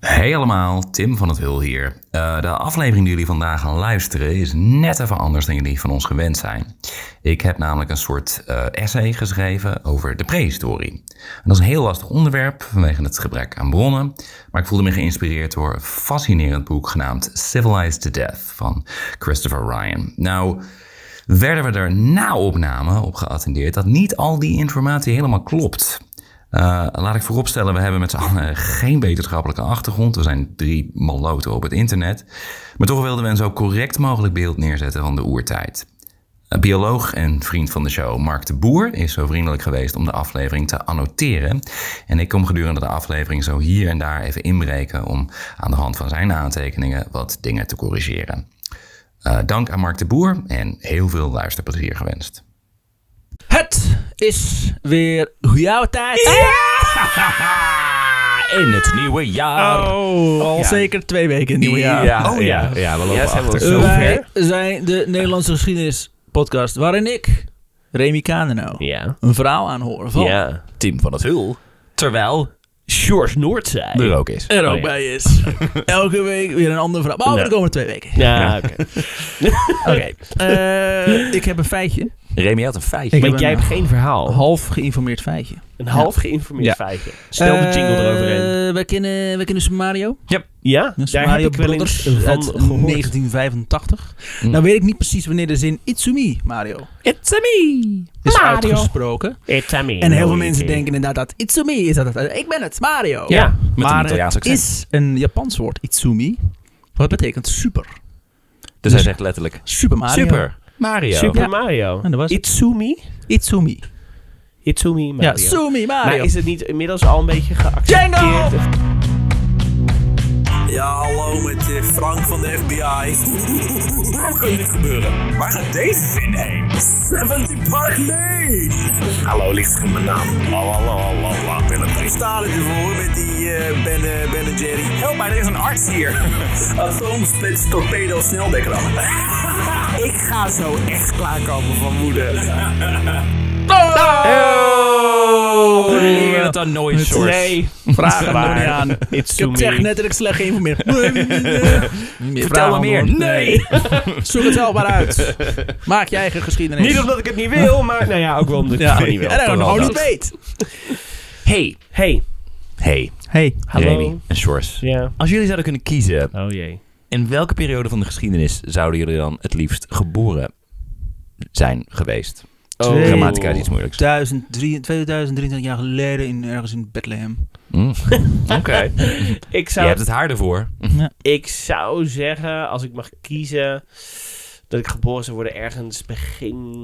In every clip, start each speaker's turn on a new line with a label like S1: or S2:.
S1: Hey allemaal, Tim van het Hul hier. Eh, de aflevering die jullie vandaag gaan luisteren is net even anders dan jullie van ons gewend zijn. Ik heb namelijk een soort eh, essay geschreven over de prehistorie. En dat is een heel lastig onderwerp vanwege het gebrek aan bronnen, maar ik voelde me geïnspireerd door een fascinerend boek genaamd Civilized to Death van Christopher Ryan. Nou, werden we er na opname op geattendeerd dat niet al die informatie helemaal klopt. Eh, laat ik vooropstellen, we hebben met z'n allen geen wetenschappelijke achtergrond. We zijn drie maloten op het internet. Maar toch wilden we een zo correct mogelijk beeld neerzetten van de oertijd. Een bioloog en vriend van de show, Mark de Boer, is zo vriendelijk geweest om de aflevering te annoteren. En ik kom gedurende de aflevering zo hier en daar even inbreken om aan de hand van zijn aantekeningen wat dingen te corrigeren. Eh, dank aan Mark de Boer en heel veel luisterplezier gewenst.
S2: Het is weer jouw tijd.
S3: Ah, in het nieuwe jaar.
S4: Oh, al zeker twee weken in het nieuwe jaar.
S3: Ja,
S1: Oh,
S2: Eh,
S3: ja,
S1: ja.
S3: ja, we lopen
S5: Ja, zijn we
S3: achter.
S5: zo
S2: Wij
S5: ver?
S2: zijn de Nederlandse geschiedenis podcast waarin ik, Remy Kaneno,
S5: Ja.
S2: een verhaal aanhoor van
S5: Ja.
S3: Tim van het Hul
S5: Oh. Terwijl George Noordzij.
S3: er ook is.
S2: er ook
S5: Oh, ja.
S2: bij is. Elke week weer een ander verhaal. Behalve
S5: Ja.
S2: de komende twee weken.
S5: Ja, oké.
S2: Oké. Eh, ik heb een feitje.
S3: Remy had een feitje.
S2: Ik heb
S5: Maar jij
S2: een- eh,
S5: hebt geen
S2: Een
S5: verhaal.
S2: half geïnformeerd feitje.
S5: Een half geïnformeerd
S3: Ja.
S5: feitje. Snel de jingle
S2: Eh,
S5: eroverheen.
S2: Wij kennen, wij kennen Super Mario.
S5: Ja,
S2: Super
S5: daar
S2: Mario
S5: heb ik wel eens
S2: Brothers
S5: van
S2: uit
S5: gehoord. Mm.
S2: 1985.
S1: Hm.
S2: Nou weet ik niet precies wanneer de zin Itsumi Mario
S5: It's a me.
S2: is
S5: Mario.
S2: uitgesproken.
S5: It's a me.
S2: En heel veel
S5: Noiki.
S2: mensen denken inderdaad dat Itsumi is dat, dat ik ben het, Mario.
S5: Ja.
S3: Met een
S2: maar
S3: Italiaans
S2: het
S3: accent.
S2: is een Japans woord, Itsumi. Wat betekent super.
S3: Dus hij zegt letterlijk...
S2: Super Mario.
S3: Super. Mario.
S5: Super
S2: Ja.
S5: Mario.
S2: En dat was het.
S5: Itsumi?
S2: Itsumi.
S5: Itsumi Mario.
S2: Ja, Sumi
S5: maar
S2: Mario.
S5: is het niet inmiddels al een beetje geaccepteerd?
S2: Django!
S6: Ja, hallo met eh, Frank van de FBI. Hoe kan dit gebeuren? Waar gaat deze zin heen? 70 Park Lane! Hallo, liefst mijn naam. Lalalala, Willem. Ik sta er voor met die eh ben, eh, ben en Jerry. Help mij, er is een arts hier. Atoomsplits, torpedo, sneldekker. Ik ga zo echt klaarkomen van moeder.
S3: Oh, leer het dan nooit, George.
S5: Nee.
S2: Vraag hem er
S5: Waar?
S2: niet aan. Ik heb
S5: Itsumi.
S2: echt letterlijk slecht geïnformeerd.
S3: Vertel
S2: Vertel
S3: me meer. Nee.
S2: Zoek het zelf maar uit. Maak je eigen geschiedenis.
S5: Niet omdat ik het niet wil, maar nou ja, ook wel omdat ik
S2: ja,
S5: het gewoon niet wil.
S2: en dan
S3: toch
S2: gewoon
S3: wel
S2: niet
S3: dat.
S2: weet.
S3: Hey,
S5: Hey,
S3: hey,
S2: Hey.
S5: hallo.
S3: Remy en George.
S5: Ja.
S3: Als jullie zouden kunnen kiezen,
S5: Oh jee.
S3: in welke periode van de geschiedenis zouden jullie dan het liefst geboren zijn geweest?
S2: Twee.
S3: Grammatica is iets moeilijks.
S2: 2003, 2023 jaar geleden in, ergens in Bethlehem.
S3: Mm. Oké.
S5: Ik
S3: Je
S5: zou
S3: hebt het haar ervoor.
S5: Mhm. Ik zou zeggen, als ik mag kiezen, dat ik geboren zou worden ergens begin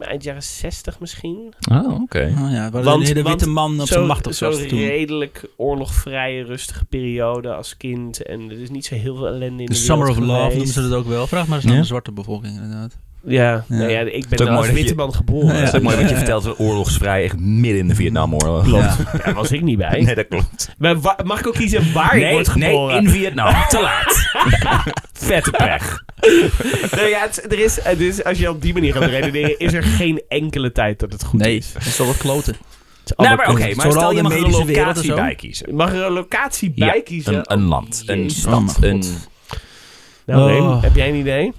S5: eh, eind jaren 60 misschien.
S3: Oh, oké.
S2: Oh ja, waar
S5: Want-
S2: de, de
S5: want
S2: witte man op zijn
S5: Zo'n
S2: macht op
S5: zo'n
S2: was toen.
S5: redelijk oorlogvrije, rustige periode als kind. En er is niet zo heel veel ellende in de,
S2: De Summer of
S5: wereld
S2: Love
S5: geweest.
S2: noemen ze dat ook wel. Vraag maar eens naar
S3: Ja.
S2: de zwarte bevolking inderdaad.
S5: Ja, nou ja, ik ben
S3: ook
S5: als
S3: mooi dat
S5: witte
S3: je-
S5: man geboren. dus
S2: Ja.
S3: Dat is ook mooi wat je
S2: Ja.
S3: vertelt, we oorlogsvrij, echt midden in de Vietnamoorlog.
S2: Klopt.
S5: Daar was ik niet bij.
S3: Nee, dat klopt.
S5: Maar wa- mag ik ook kiezen waar ik word geboren?
S3: in Vietnam. Te laat. Vette pech.
S5: Nou ja, het, is- er is, het is, als je op die manier gaat redeneren, is er geen enkele tijd dat het goed
S2: Nee,
S5: is.
S2: dat is wel wat kloten.
S5: Het is
S3: Nou,
S5: allemaal
S3: maar oké,
S5: kut.
S3: maar
S2: Zowel
S3: stel je
S2: de
S3: mag er een
S2: medische wereld en
S3: locatie
S2: zo.
S3: bij kiezen.
S5: Mag er een locatie
S3: Ja,
S5: bij kiezen?
S3: Een, een land, een
S5: Jezus.
S2: Oh mijn
S3: stad,
S2: god.
S3: een...
S5: Nou, Reem,
S2: Oh.
S5: heb jij een idee?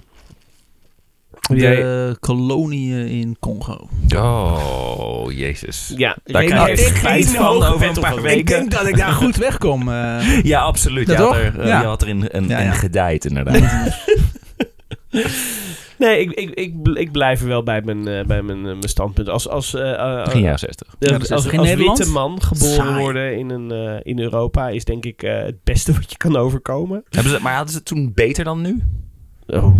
S5: Jij-
S2: De koloniën in Congo. Nou,
S3: Oh, jezus.
S5: Ja,
S3: Daar
S5: Reem
S3: krijg
S5: heeft
S3: ik spijt
S5: geen
S3: van
S5: hoge
S3: over
S5: pet
S3: een
S5: op
S3: paar
S5: haar
S3: weken.
S2: Ik denk dat ik daar goed wegkom. eh.
S3: Ja, absoluut.
S2: Dat
S3: je, had
S2: toch?
S3: er, eh,
S2: Ja.
S3: je had er in, een,
S2: Ja, ja.
S3: in gedijd, inderdaad.
S5: Nee, ik, ik, ik, bl- ik blijf er wel bij mijn, eh, bij mijn, eh, mijn standpunt. Als, als, eh, eh,
S3: Begin jaren 60.
S5: eh,
S2: Ja,
S5: als,
S2: dus
S5: als,
S2: in Nederland?
S5: witte man geboren
S2: Saai.
S5: worden in, een, eh, in Europa is denk ik eh, het beste wat je kan overkomen.
S3: Hebben ze, maar hadden ze het toen beter dan nu?
S5: Oh,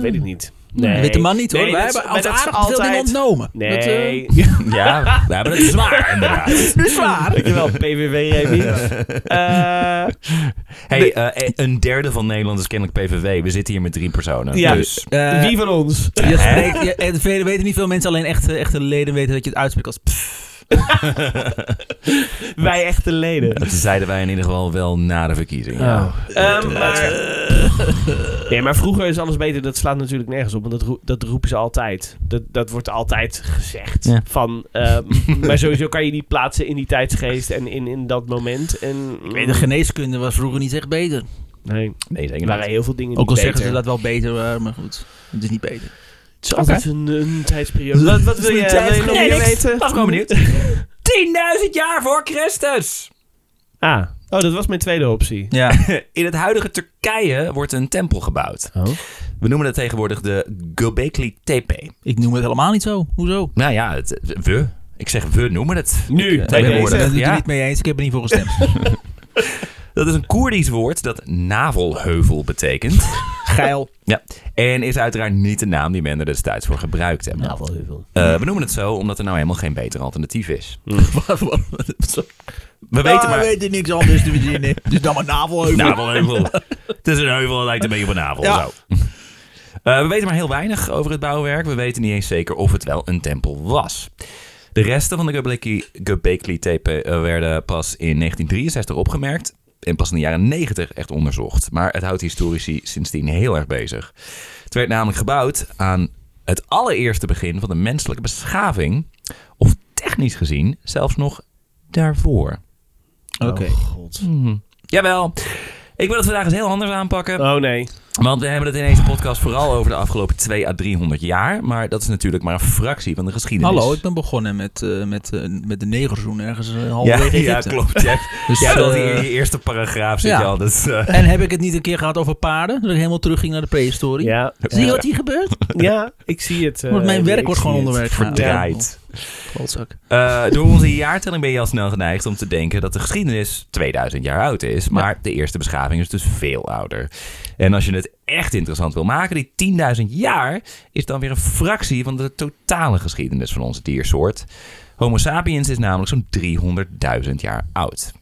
S5: weet ik niet. Nee.
S2: De witte man niet hoor.
S5: Nee,
S2: Wij
S5: dat is-
S2: hebben als
S5: maar dat is
S2: aardig altijd... veel dingen
S5: altijd-
S2: ontnomen. Dat, eh,
S5: Nee.
S3: Ja, we hebben het zwaar, inderdaad.
S2: dat is waar.
S5: Dankjewel, PVV Remy. Eh,
S3: Hey, eh, eh, een derde van Nederland is kennelijk PVV. We zitten hier met drie personen.
S5: Ja.
S3: Dus
S2: Eh,
S5: wie van ons?
S2: Je spreekt, je, en velen weten niet veel mensen, alleen echte, echte leden weten dat je het uitspreekt als pff.
S5: Wij echte leden.
S3: eh,
S1: Dat zeiden wij in ieder geval wel na de verkiezingen.
S5: Ehm, maar...
S2: Eh,
S5: Nee, maar vroeger is alles beter. Dat slaat natuurlijk nergens op. Want dat, roe- dat roepen ze altijd. Dat, dat wordt altijd gezegd.
S1: Ja.
S5: Van, ehm, maar sowieso kan je die plaatsen in die tijdsgeest en in, in dat moment. En, mm,
S2: Ik weet, de geneeskunde was vroeger niet echt beter.
S5: Nee,
S1: Nee,
S5: er
S1: zeker
S5: waren
S1: niet.
S5: heel veel dingen
S2: Ook al
S5: niet
S2: zeggen
S5: beter.
S2: ze dat wel beter waren, maar goed. Het is niet beter.
S5: Het is altijd een, een tijdsperiode.
S6: Wat- wat wil je- wil je nog meer
S5: weten?
S1: was gewoon benieuwd.
S6: 10.000 jaar voor Christus!
S5: Ah, oh, dat was mijn tweede optie.
S2: Ja.
S1: In het huidige Turkije wordt een tempel gebouwd.
S5: Oh.
S1: We noemen dat tegenwoordig de Göbekli Tepe.
S2: Ik noem het helemaal niet zo. Hoezo?
S1: Nou ja, het, we. Ik zeg we noemen het.
S5: Nu,
S1: Ik, eh,
S5: bij
S2: Ik ben
S5: deze.
S2: het er
S1: ja.
S2: niet mee eens. Ik heb er niet voor gestemd.
S1: Dat is een Koerdisch woord dat navelheuvel betekent.
S2: Geil.
S1: ja. En is uiteraard niet de naam die men er destijds voor gebruikt hebben.
S5: wel heel veel.
S1: Eh, we noemen het zo omdat er nou helemaal geen beter alternatief is. We weten maar...
S2: Ah, weten niks anders te verzinnen. Nou, Dus dan maar navelheuvel.
S1: Navelheuvel. het is Nou, een heuvel, het lijkt een beetje op een navel.
S2: Ja.
S1: Zo. Eh, we weten maar heel weinig over het bouwwerk. We weten niet eens zeker of het wel een tempel was. De resten van de Göbekli, Göbekli Tepe eh, werden pas in 1963 opgemerkt. En pas in de jaren 90 echt onderzocht. Maar het houdt historici sindsdien heel erg bezig. Het werd namelijk gebouwd aan het allereerste begin van de menselijke beschaving. Of technisch gezien zelfs nog daarvoor.
S2: Oké.
S1: Jawel. Ik wil het vandaag eens heel anders aanpakken.
S5: Oh nee.
S1: Want we hebben het in deze podcast vooral over de afgelopen 2 à 300 jaar. Maar dat is natuurlijk maar een fractie van de geschiedenis.
S2: Hallo, ik ben begonnen met, eh, met, eh, met de negerzoen ergens eh,
S1: Ja,
S2: halverwege
S1: ja,
S2: Egypte.
S1: klopt. Jij,
S2: Dus,
S1: jij hebt al die,
S2: eh,
S1: in je eerste paragraaf zit
S2: ja.
S1: je al. Dus, eh,
S2: En heb ik het niet een keer gehad over paarden? Dat ik helemaal terugging naar de prehistorie?
S5: Ja,
S2: Zie je wat hier gebeurt?
S5: ja ik zie het. eh,
S2: Wordt mijn werk
S5: ik
S2: wordt
S5: zie
S2: gewoon Oh,
S5: het.
S2: onderwerp
S1: verdraaid.
S2: Klootzak.
S1: Eh, door onze jaartelling ben je al snel geneigd om te denken dat de geschiedenis 2000 jaar oud is. Maar de eerste beschaving is dus veel ouder. En als je het echt interessant wil maken, die 10.000 jaar is dan weer een fractie van de totale geschiedenis van onze diersoort. Homo sapiens is namelijk zo'n 300.000 jaar oud.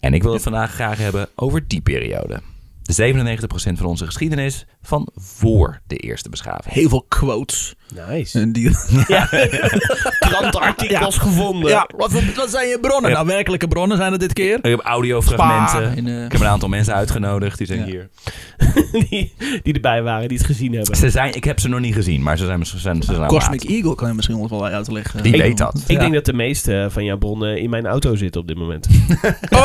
S1: En ik wil het vandaag graag hebben over die periode. De 97% van onze geschiedenis van voor de eerste beschaving.
S2: Heel veel quotes.
S5: Nice.
S2: En die,
S5: Krantenartikels gevonden.
S2: ja, wat, voor- wat zijn je bronnen?
S1: Ja.
S2: Nou, werkelijke bronnen zijn het dit keer.
S1: Ik heb
S2: Spa.
S1: audiofragmenten.
S2: En, eh,
S1: Ik heb een aantal mensen uitgenodigd. Die zijn
S2: Ja.
S1: hier.
S5: die, die erbij waren, die het gezien hebben.
S1: Ze zijn, ik heb ze nog niet gezien, maar ze zijn, ze zijn, ze zijn
S2: Cosmic
S1: Nou, laat.
S2: Eagle kan je misschien nog wel uitleggen.
S1: Die
S2: Ik-
S1: weet dat.
S5: Ik
S2: Ja.
S5: denk dat de meeste van jouw bronnen in mijn auto zitten op dit moment.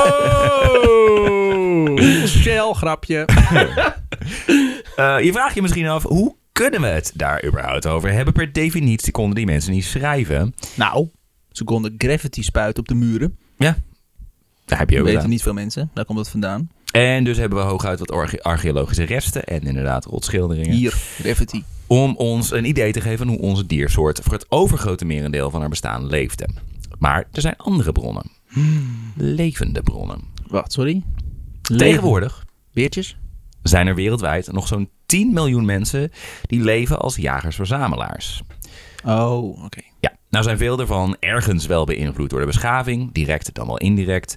S2: Oh! Shell, grapje.
S1: Eh, je vraagt je misschien af, hoe kunnen we het daar überhaupt over hebben? Per definitie konden die mensen niet schrijven.
S2: Nou, ze konden gravity spuiten op de muren.
S1: Daar heb je
S2: Dat
S1: ook
S2: weten
S1: aan.
S2: niet veel mensen. Daar komt dat vandaan.
S1: En dus hebben we hooguit wat arche- archeologische resten en inderdaad rotschilderingen.
S2: Hier, gravity.
S1: Om ons een idee te geven hoe onze diersoort voor het overgrote merendeel van haar bestaan leefde. Maar er zijn andere bronnen. Levende bronnen.
S2: Wat, sorry?
S1: Tegenwoordig
S2: Beertjes?
S1: zijn er wereldwijd nog zo'n 10 miljoen mensen die leven als jagers-verzamelaars.
S2: Oh, oké.
S1: Ja, nou zijn veel daarvan ergens wel beïnvloed door de beschaving, direct dan wel indirect.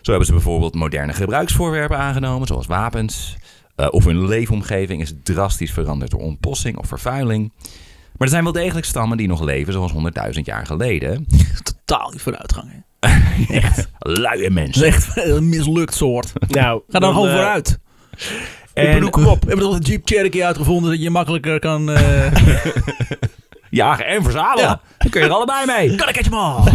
S1: Zo hebben ze bijvoorbeeld moderne gebruiksvoorwerpen aangenomen, zoals wapens. eh, of hun leefomgeving is drastisch veranderd door ontbossing of vervuiling. Maar er zijn wel degelijk stammen die nog leven, zoals 100.000 jaar geleden.
S2: Totaal niet vooruitgang, hè.
S1: Echt luie
S2: Dat
S1: mensen.
S2: is echt een mislukt soort.
S5: Nou,
S2: Ga dan gewoon
S5: eh,
S2: vooruit.
S1: En-
S2: ik bedoel, kom op. We hebben toch de Jeep Cherokee uitgevonden dat je makkelijker kan... eh
S1: Jagen en verzamelen.
S2: Ja.
S1: Dan kun je er allebei mee.
S2: kan ik het maar.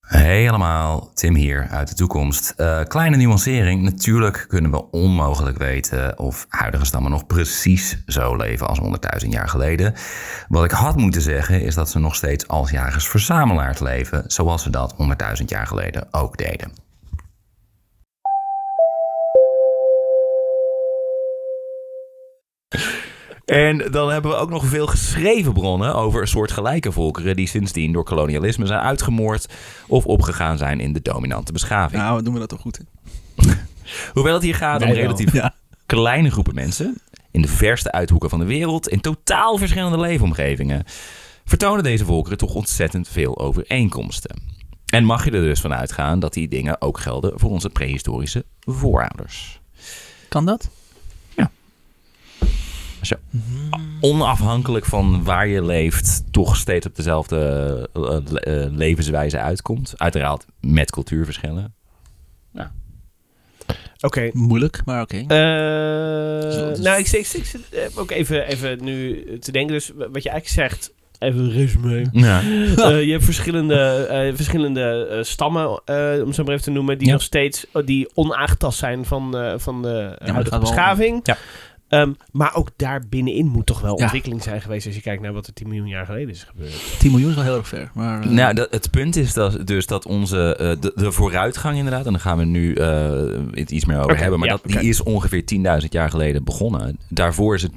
S6: Hey allemaal, Tim hier uit de toekomst. Eh, kleine nuancering. Natuurlijk kunnen we onmogelijk weten of huidige stammen nog precies zo leven als 100.000 jaar geleden. Wat ik had moeten zeggen is dat ze nog steeds als jagers-verzamelaars leven, zoals ze dat 100.000 jaar geleden ook deden.
S1: En dan hebben we ook nog veel geschreven bronnen over een soort gelijke volkeren die sindsdien door kolonialisme zijn uitgemoord of opgegaan zijn in de dominante beschaving.
S2: Nou, doen we dat toch goed, hè?
S1: Hoewel het hier gaat om
S5: Wij wel.
S1: relatief
S2: Ja.
S1: kleine groepen mensen in de verste uithoeken van de wereld in totaal verschillende leefomgevingen, vertonen deze volkeren toch ontzettend veel overeenkomsten. En mag je er dus van uitgaan dat die dingen ook gelden voor onze prehistorische voorouders.
S2: Kan dat?
S1: Als je onafhankelijk van waar je leeft, toch steeds op dezelfde eh, le- eh, levenswijze uitkomt. Uiteraard met cultuurverschillen.
S5: Oké.
S2: Moeilijk, maar oké.
S5: Eh,
S2: Zo, dus-
S5: nou, ik, ik, ik zit eh, ook even, even nu te denken. Dus wat je eigenlijk zegt, even een resume.
S1: Ja.
S5: Eh, je hebt verschillende, eh, verschillende eh, stammen, eh, om zo maar even te noemen, die
S1: Ja.
S5: nog steeds eh, die onaangetast zijn van, eh, van de eh,
S2: dat
S5: huidige
S2: gaat wel-
S5: beschaving.
S1: Ja.
S5: Ehm, maar ook daar binnenin moet toch wel
S2: Ja.
S5: ontwikkeling zijn geweest als je kijkt naar wat er 10 miljoen jaar geleden is gebeurd.
S2: 10 miljoen is wel heel erg ver. Maar, eh,
S1: Nou, dat, het punt is dat, dus dat onze eh, de, de vooruitgang inderdaad, en daar gaan we nu eh, het iets meer over
S5: Oké,
S1: hebben, maar
S5: ja,
S1: dat,
S5: oké.
S1: die is ongeveer 10.000 jaar geleden begonnen. Daarvoor is het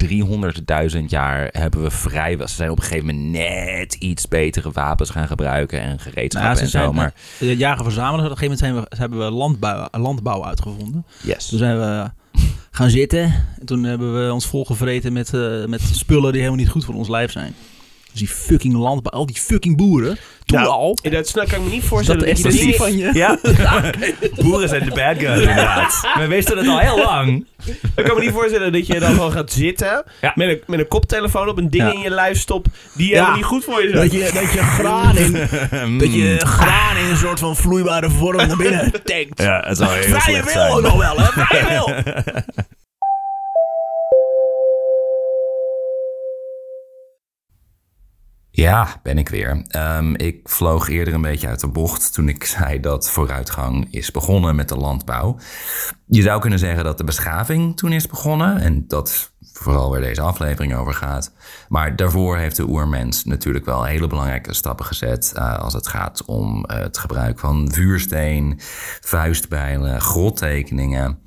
S1: 300.000 jaar hebben we vrij. Ze zijn op een gegeven moment net iets betere wapens gaan gebruiken en gereedschappen
S2: nou, ze
S1: en zo.
S2: zijn,
S1: Maar
S2: eh, jagen verzamelen. Op een gegeven moment zijn we, hebben we landbouw, landbouw uitgevonden.
S1: yes.
S2: Toen zijn we gaan zitten. En toen hebben we ons volgevreten met, eh, met spullen die helemaal niet goed voor ons lijf zijn. Dus die fucking landbouw, al die fucking boeren. Toen
S5: Nou,
S2: al.
S5: En dat snap- kan ik me niet voorstellen.
S2: dat
S5: je
S2: is
S5: niet-
S2: van je.
S1: Ja, boeren zijn de bad guys inderdaad. We wisten het al heel lang.
S5: Ik kan me niet voorstellen dat je dan gewoon gaat zitten
S1: Ja.
S5: met, een, met een koptelefoon op, een ding
S2: Ja.
S5: in je lijf stopt die
S2: Ja.
S5: helemaal niet goed voor je zijn.
S2: Dat je, dat je graan in, dat je graan in een soort van vloeibare vorm naar binnen tankt.
S1: Ja, het zou heel
S2: Vrije
S1: slecht
S2: wil ook
S1: zijn.
S2: nog wel, hè? Vrije wil.
S6: Ja, ben ik weer. Ehm, ik vloog eerder een beetje uit de bocht toen ik zei dat vooruitgang is begonnen met de landbouw. Je zou kunnen zeggen dat de beschaving toen is begonnen en dat is vooral waar deze aflevering over gaat. Maar daarvoor heeft de oermens natuurlijk wel hele belangrijke stappen gezet eh, als het gaat om eh, het gebruik van vuursteen, vuistbijlen, grottekeningen.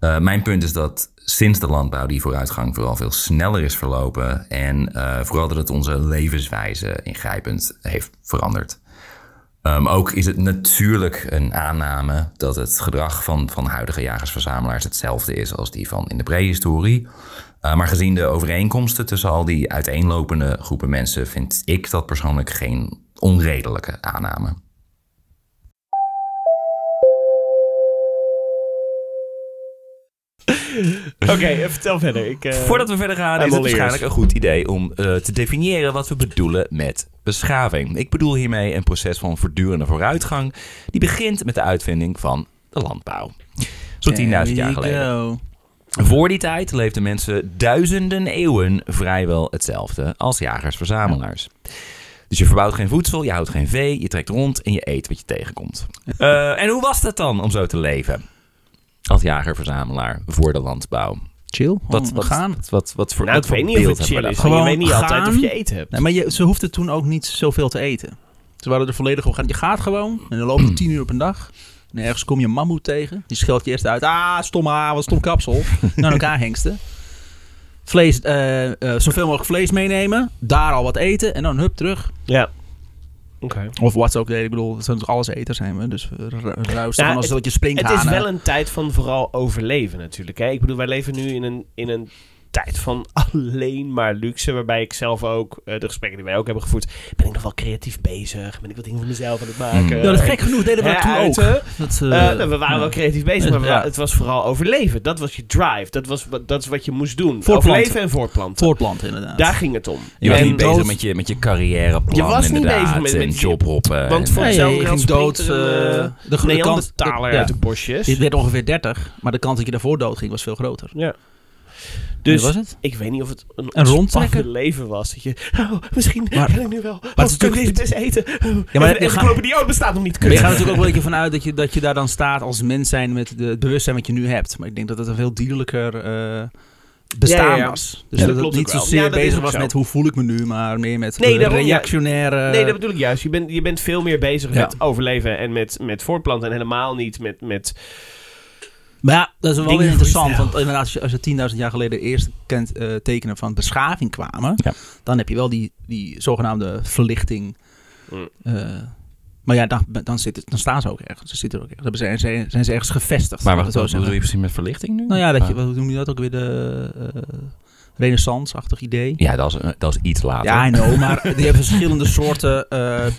S6: Eh, mijn punt is dat sinds de landbouw die vooruitgang vooral veel sneller is verlopen. En eh, vooral dat het onze levenswijze ingrijpend heeft veranderd. Ehm, ook is het natuurlijk een aanname dat het gedrag van, van huidige jagers-verzamelaars hetzelfde is als die van in de prehistorie. Eh, maar gezien de overeenkomsten tussen al die uiteenlopende groepen mensen, vind ik dat persoonlijk geen onredelijke aanname.
S5: Oké, eh, vertel verder. Ik, eh,
S1: Voordat we verder gaan,
S5: I'm
S1: is
S5: all
S1: het dus
S5: ears.
S1: waarschijnlijk een goed idee om eh, te definiëren wat we bedoelen met beschaving. Ik bedoel hiermee een proces van voortdurende vooruitgang, die begint met de uitvinding van de landbouw. Zo'n 10.000 jaar geleden. Voor die tijd leefden mensen duizenden eeuwen vrijwel hetzelfde als jagers-verzamelaars. Dus je verbouwt geen voedsel, je houdt geen vee, je trekt rond en je eet wat je tegenkomt. Eh, en hoe was dat dan om zo te leven? Als jager-verzamelaar voor de landbouw.
S2: Chill,
S1: Wat,
S2: we
S1: wat,
S2: gaan.
S1: Wat, wat, wat voor,
S5: Nou,
S1: wat
S5: ik weet
S1: voor
S5: niet of
S1: beeld
S5: het
S1: hebben we daarvan?
S5: chill is. want Je
S2: Gewoon
S5: weet niet altijd
S2: gaan.
S5: of je eten hebt.
S2: Nee, maar je, ze hoefden toen ook niet zoveel te eten. Ze waren er volledig op. Je gaat gewoon en dan loop je tien uur op een dag. En ergens kom je een mammoet tegen. Die scheldt je eerst uit. Ah, stomme ah, wat stom kapsel. Naar elkaar hengsten. Vlees, eh, eh, zoveel mogelijk vlees meenemen. Daar al wat eten. En dan hup terug.
S5: Ja. Oké.
S2: Of wat ze ook deden. Ik bedoel, het zijn natuurlijk alles eten zijn we. Dus we ru- ruisten
S5: Ja,
S2: van als
S5: het-
S2: dat je springt
S5: Het is wel een tijd van vooral overleven natuurlijk. Hè? Ik bedoel, wij leven nu in een, in een tijd van alleen maar luxe. Waarbij ik zelf ook, eh, de gesprekken die wij ook hebben gevoerd... ben ik nog wel creatief bezig? Ben ik wat dingen voor mezelf aan
S2: Hmm.
S5: het maken?
S2: Ja, Nou, dat is gek genoeg deden we dat
S5: Ja,
S2: toen ook.
S5: uiten.
S2: Dat, eh,
S5: Eh, nou, we waren wel creatief bezig, maar we
S2: Ja.
S5: wa- het was vooral overleven. Dat was je drive. Dat, was, wat- dat is wat je moest doen.
S2: Voortplanten.
S5: Overleven en voortplanten.
S2: voortplanten inderdaad.
S5: Daar ging het om.
S1: Je was
S5: En
S1: niet
S5: dood-
S1: bezig met je, met je carrièreplan
S5: Je was niet
S1: inderdaad,
S5: bezig met-
S1: en
S5: met je-
S1: jobhoppen.
S5: want
S1: en-
S5: voor-
S2: Nee,
S5: Zelf
S2: je
S5: geld
S2: ging dood.
S5: springt er een, eh,
S2: eh, de, de kans,
S5: Neandertaler
S2: ja.
S5: uit de bosjes.
S2: Je werd ongeveer 30, maar de kans dat je daarvoor dood ging was veel groter.
S5: Ja.
S2: Dus
S5: Dus
S2: was het?
S5: ik weet niet of het een,
S2: Een
S5: ontspannen
S2: rondtrekker?
S5: leven was. Dat je, oh, misschien
S2: Maar-
S5: kan ik nu wel. Oh,
S2: is
S5: kan ik deze
S2: natuurlijk-
S5: test eten? Oh,
S2: je
S5: ja, maar de
S2: gaat-
S5: encyclopedie ook bestaat nog niet.
S2: Maar
S5: Kut.
S2: je gaat natuurlijk ook wel een beetje vanuit dat je, dat je daar dan staat als mens zijn met de, het bewustzijn wat je nu hebt. Maar ik denk dat het een veel dierlijker eh, bestaan
S5: Ja, ja, ja.
S2: was.
S5: Ja,
S2: Dus
S5: dat
S2: dat, het
S5: klopt
S2: niet
S5: ook wel.
S2: zozeer
S5: Ja, dat is
S2: bezig
S5: ook
S2: was
S5: zo.
S2: met hoe voel ik me nu, maar meer met
S5: Nee,
S2: eh,
S5: daarom, ja.
S2: reactionaire...
S5: Nee, dat bedoel ik juist. Je bent, je bent veel meer bezig
S2: Ja.
S5: met overleven en met, met voortplanten. En helemaal niet met, met
S2: Maar ja, dat is wel
S5: Dingen
S2: weer
S5: voor
S2: interessant.
S5: jezelf.
S2: Want inderdaad, als je, als je 10.000 jaar geleden eerst kent, eh, tekenen van beschaving kwamen,
S1: Ja.
S2: dan heb je wel die, die zogenaamde verlichting.
S5: Mm.
S2: Eh, maar ja, dan, dan, zitten, dan staan ze ook ergens. Ze zitten er ook ergens. Dan zijn, ze- zijn ze ergens gevestigd.
S1: maar
S2: laat
S1: wacht,
S2: ik het zo
S1: wat bedoel
S2: zeggen.
S1: je precies met verlichting nu?
S2: Nou ja, dat je,
S1: Ah.
S2: wat noem je dat ook weer? De eh, renaissance-achtig idee.
S1: Ja, dat is, eh, dat is iets later.
S2: Ja, I know, maar die hebben verschillende soorten eh, eh,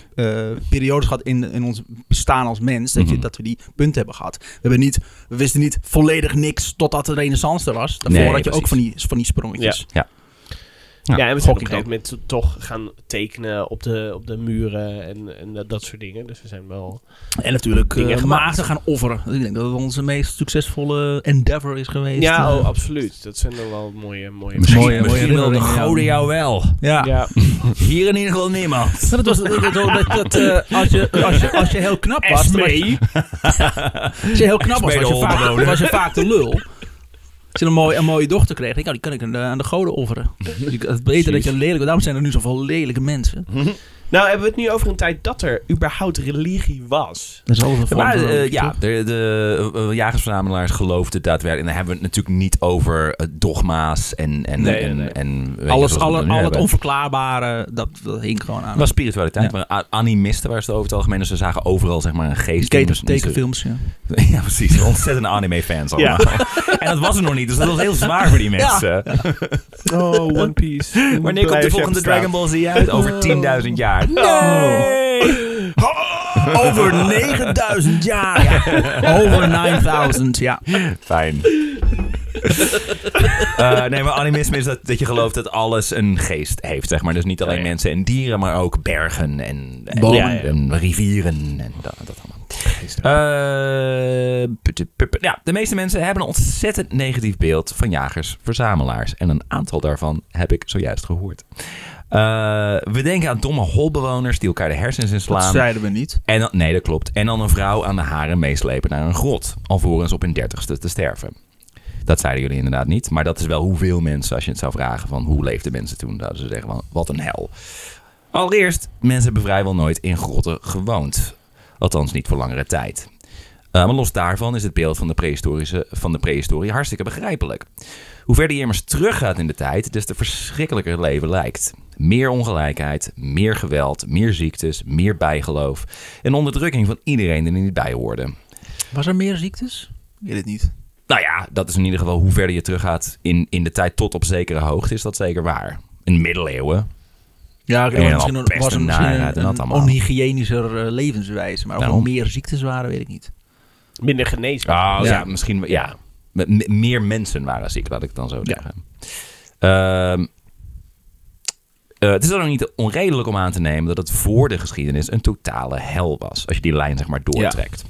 S2: periodes gehad in, in ons bestaan als mens. Dat, je,
S1: Mhm.
S2: dat we die punten hebben gehad. We, hebben niet, we wisten niet volledig niks totdat de renaissance er was. Daarvoor
S1: Nee,
S2: had je
S1: precies.
S2: ook van die, van die sprongetjes.
S1: Ja.
S5: Ja, en we zijn
S2: gok
S5: op een
S2: ik
S5: gegeven moment to- toch gaan tekenen op de, op de muren en, en dat, dat soort dingen. Dus we zijn wel...
S2: En natuurlijk
S5: Dingen
S2: uh,
S5: gemaakt.
S2: maagden gaan offeren. Ik denk dat het onze meest succesvolle endeavor is geweest.
S5: Ja,
S2: Eh,
S5: oh, absoluut. Dat zijn dan wel mooie... mooie
S6: Misschien-
S2: mooie, mooie
S1: Misschien wil de
S2: herinneringen, ja.
S1: goden jou wel.
S2: Ja.
S5: Ja,
S1: Hier in ieder geval niemand.
S2: Nou, dat was, dat, dat- dat- dat, eh, als, je, als, je, als je heel knap was, dan was je, als je heel knap was, was je,
S1: Esmee de
S2: vaak,
S1: hondenwoner.
S2: was je vaak de lul. Als je een mooie, een mooie dochter kreeg, denk ik, oh, die kan ik aan de, aan de goden offeren. Dus ik- het is beter dat je lelijk bent. Daarom zijn er nu zoveel lelijke mensen.
S1: Hm.
S5: Nou, hebben we het nu over een tijd dat er überhaupt religie was.
S2: Dat is altijd een
S1: Maar
S2: vorm van
S1: eh,
S2: religie,
S1: ja,
S2: toch?
S1: de, de eh, jagersverzamelaars geloofden daadwerkelijk. En dan hebben we het natuurlijk niet over eh, dogma's en... en,
S5: Nee,
S1: en,
S5: nee, nee.
S1: en weet je, zoals
S2: Alles,
S1: we
S2: alle,
S1: dat nu
S2: al het
S1: hebben.
S2: onverklaarbare, dat, dat hing gewoon aan.
S1: Het was spiritualiteit,
S2: Ja.
S1: maar a- animisten waren ze over het algemeen. Dus ze zagen overal zeg maar een
S2: Die
S1: geest. in.
S2: teken-
S1: Dus niet zo-
S2: tekenfilms, ja.
S1: Ja, precies. Ontzettende anime-fans
S5: Ja.
S1: allemaal. En dat was er nog niet, dus dat was heel zwaar voor die mensen.
S5: Oh, One Piece.
S1: Wanneer komt de volgende Dragon Ball Z uit? Over 10.000 jaar.
S5: Nee!
S1: Oh.
S2: Over 9000 jaar. Over 9000, ja.
S1: Fijn. Eh, nee, maar animisme is dat, dat je gelooft dat alles een geest heeft, zeg maar. Dus niet alleen
S5: Ja, ja.
S1: mensen en dieren, maar ook bergen en, en,
S2: Bomen.
S1: en- en rivieren en dat, dat allemaal. Eh, putte, puppe. ja, de meeste mensen hebben een ontzettend negatief beeld van jagers, verzamelaars. En een aantal daarvan heb ik zojuist gehoord. Eh, we denken aan domme holbewoners die elkaar de hersens inslaan.
S2: Dat zeiden we niet.
S1: En dan, nee, dat klopt. En dan een vrouw aan de haren meeslepen naar een grot. Alvorens op hun dertigste te sterven. Dat zeiden jullie inderdaad niet. Maar dat is wel hoeveel mensen, als je het zou vragen van hoe leefden mensen toen, zouden ze zeggen van wat een hel. Allereerst, mensen hebben vrijwel nooit in grotten gewoond. Althans niet voor langere tijd. Eh, maar los daarvan is het beeld van de, prehistorische, van de prehistorie hartstikke begrijpelijk. Hoe verder je immers teruggaat in de tijd, des te verschrikkelijker het leven lijkt. Meer ongelijkheid, meer geweld, meer ziektes, meer bijgeloof en onderdrukking van iedereen die er niet bij hoorde.
S2: Was er meer ziektes? Ik weet het niet.
S1: Nou ja, dat is in ieder geval hoe verder je teruggaat in, in de tijd tot op zekere hoogte, is dat zeker waar. In de middeleeuwen.
S2: Ja, oké,
S1: Ja,
S2: maar
S1: wel
S2: misschien
S1: pest
S2: was er
S1: en
S2: misschien
S1: narigheid en
S2: een,
S1: dat
S2: een
S1: allemaal.
S2: onhygiënischer eh, levenswijze. Maar of er
S1: Daarom.
S2: meer ziektes waren, weet ik niet.
S5: Minder geneesbaar.
S1: Ah, ja.
S2: Ja.
S1: misschien. Ja. Me- me- meer mensen waren ziek, laat ik het dan zo zeggen. Ehm, eh, het is dan ook niet onredelijk om aan te nemen dat het voor de geschiedenis een totale hel was. Als je die lijn zeg maar doortrekt.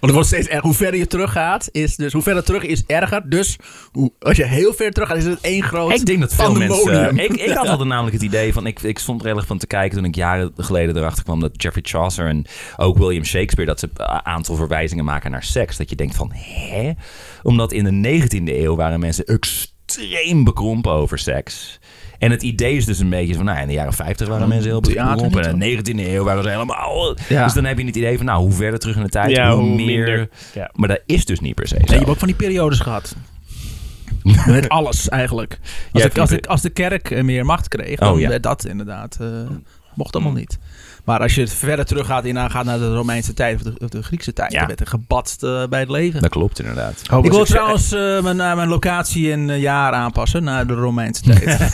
S2: Want het wordt steeds erger. Hoe verder je teruggaat, is dus hoe verder terug is erger. Dus hoe, als je heel ver terug gaat, is het één groot
S1: Ik denk dat veel
S2: pandemonium.
S1: mensen. eh, Ik, ik had altijd namelijk het idee van. Ik, ik stond er erg van te kijken toen ik jaren geleden erachter kwam dat Jeffrey Chaucer en ook William Shakespeare. dat ze een aantal verwijzingen maken naar seks. Dat je denkt van hè? Omdat in de 19e eeuw waren mensen extreem bekrompen over seks. En het idee is dus een beetje van, nou, in de jaren 50 waren mensen heel
S2: theater
S1: bekrompen.
S2: niet
S1: En in de 19e eeuw waren ze helemaal...
S2: Ja.
S1: Dus dan heb je het idee van, nou, hoe verder terug in de tijd,
S5: Ja,
S1: hoe,
S5: hoe
S1: meer...
S5: minder. Ja.
S1: Maar dat is dus niet per se
S2: Nee,
S1: zo.
S2: je hebt ook van die periodes gehad. Met alles eigenlijk. Als,
S1: hebt
S2: de, als,
S1: die
S2: de, als de kerk eh, meer macht kreeg, dan
S1: Oh, ja.
S2: werd dat inderdaad. eh, mocht allemaal niet. Maar als je het verder teruggaat in eh, gaat naar de Romeinse tijd of de, of de Griekse tijd,
S1: Ja.
S2: dan werd er gebadst eh, bij het leven.
S1: Dat klopt inderdaad.
S5: Oh,
S2: ik wil trouwens eh, mijn, eh, mijn locatie en eh, jaar aanpassen naar de Romeinse tijd.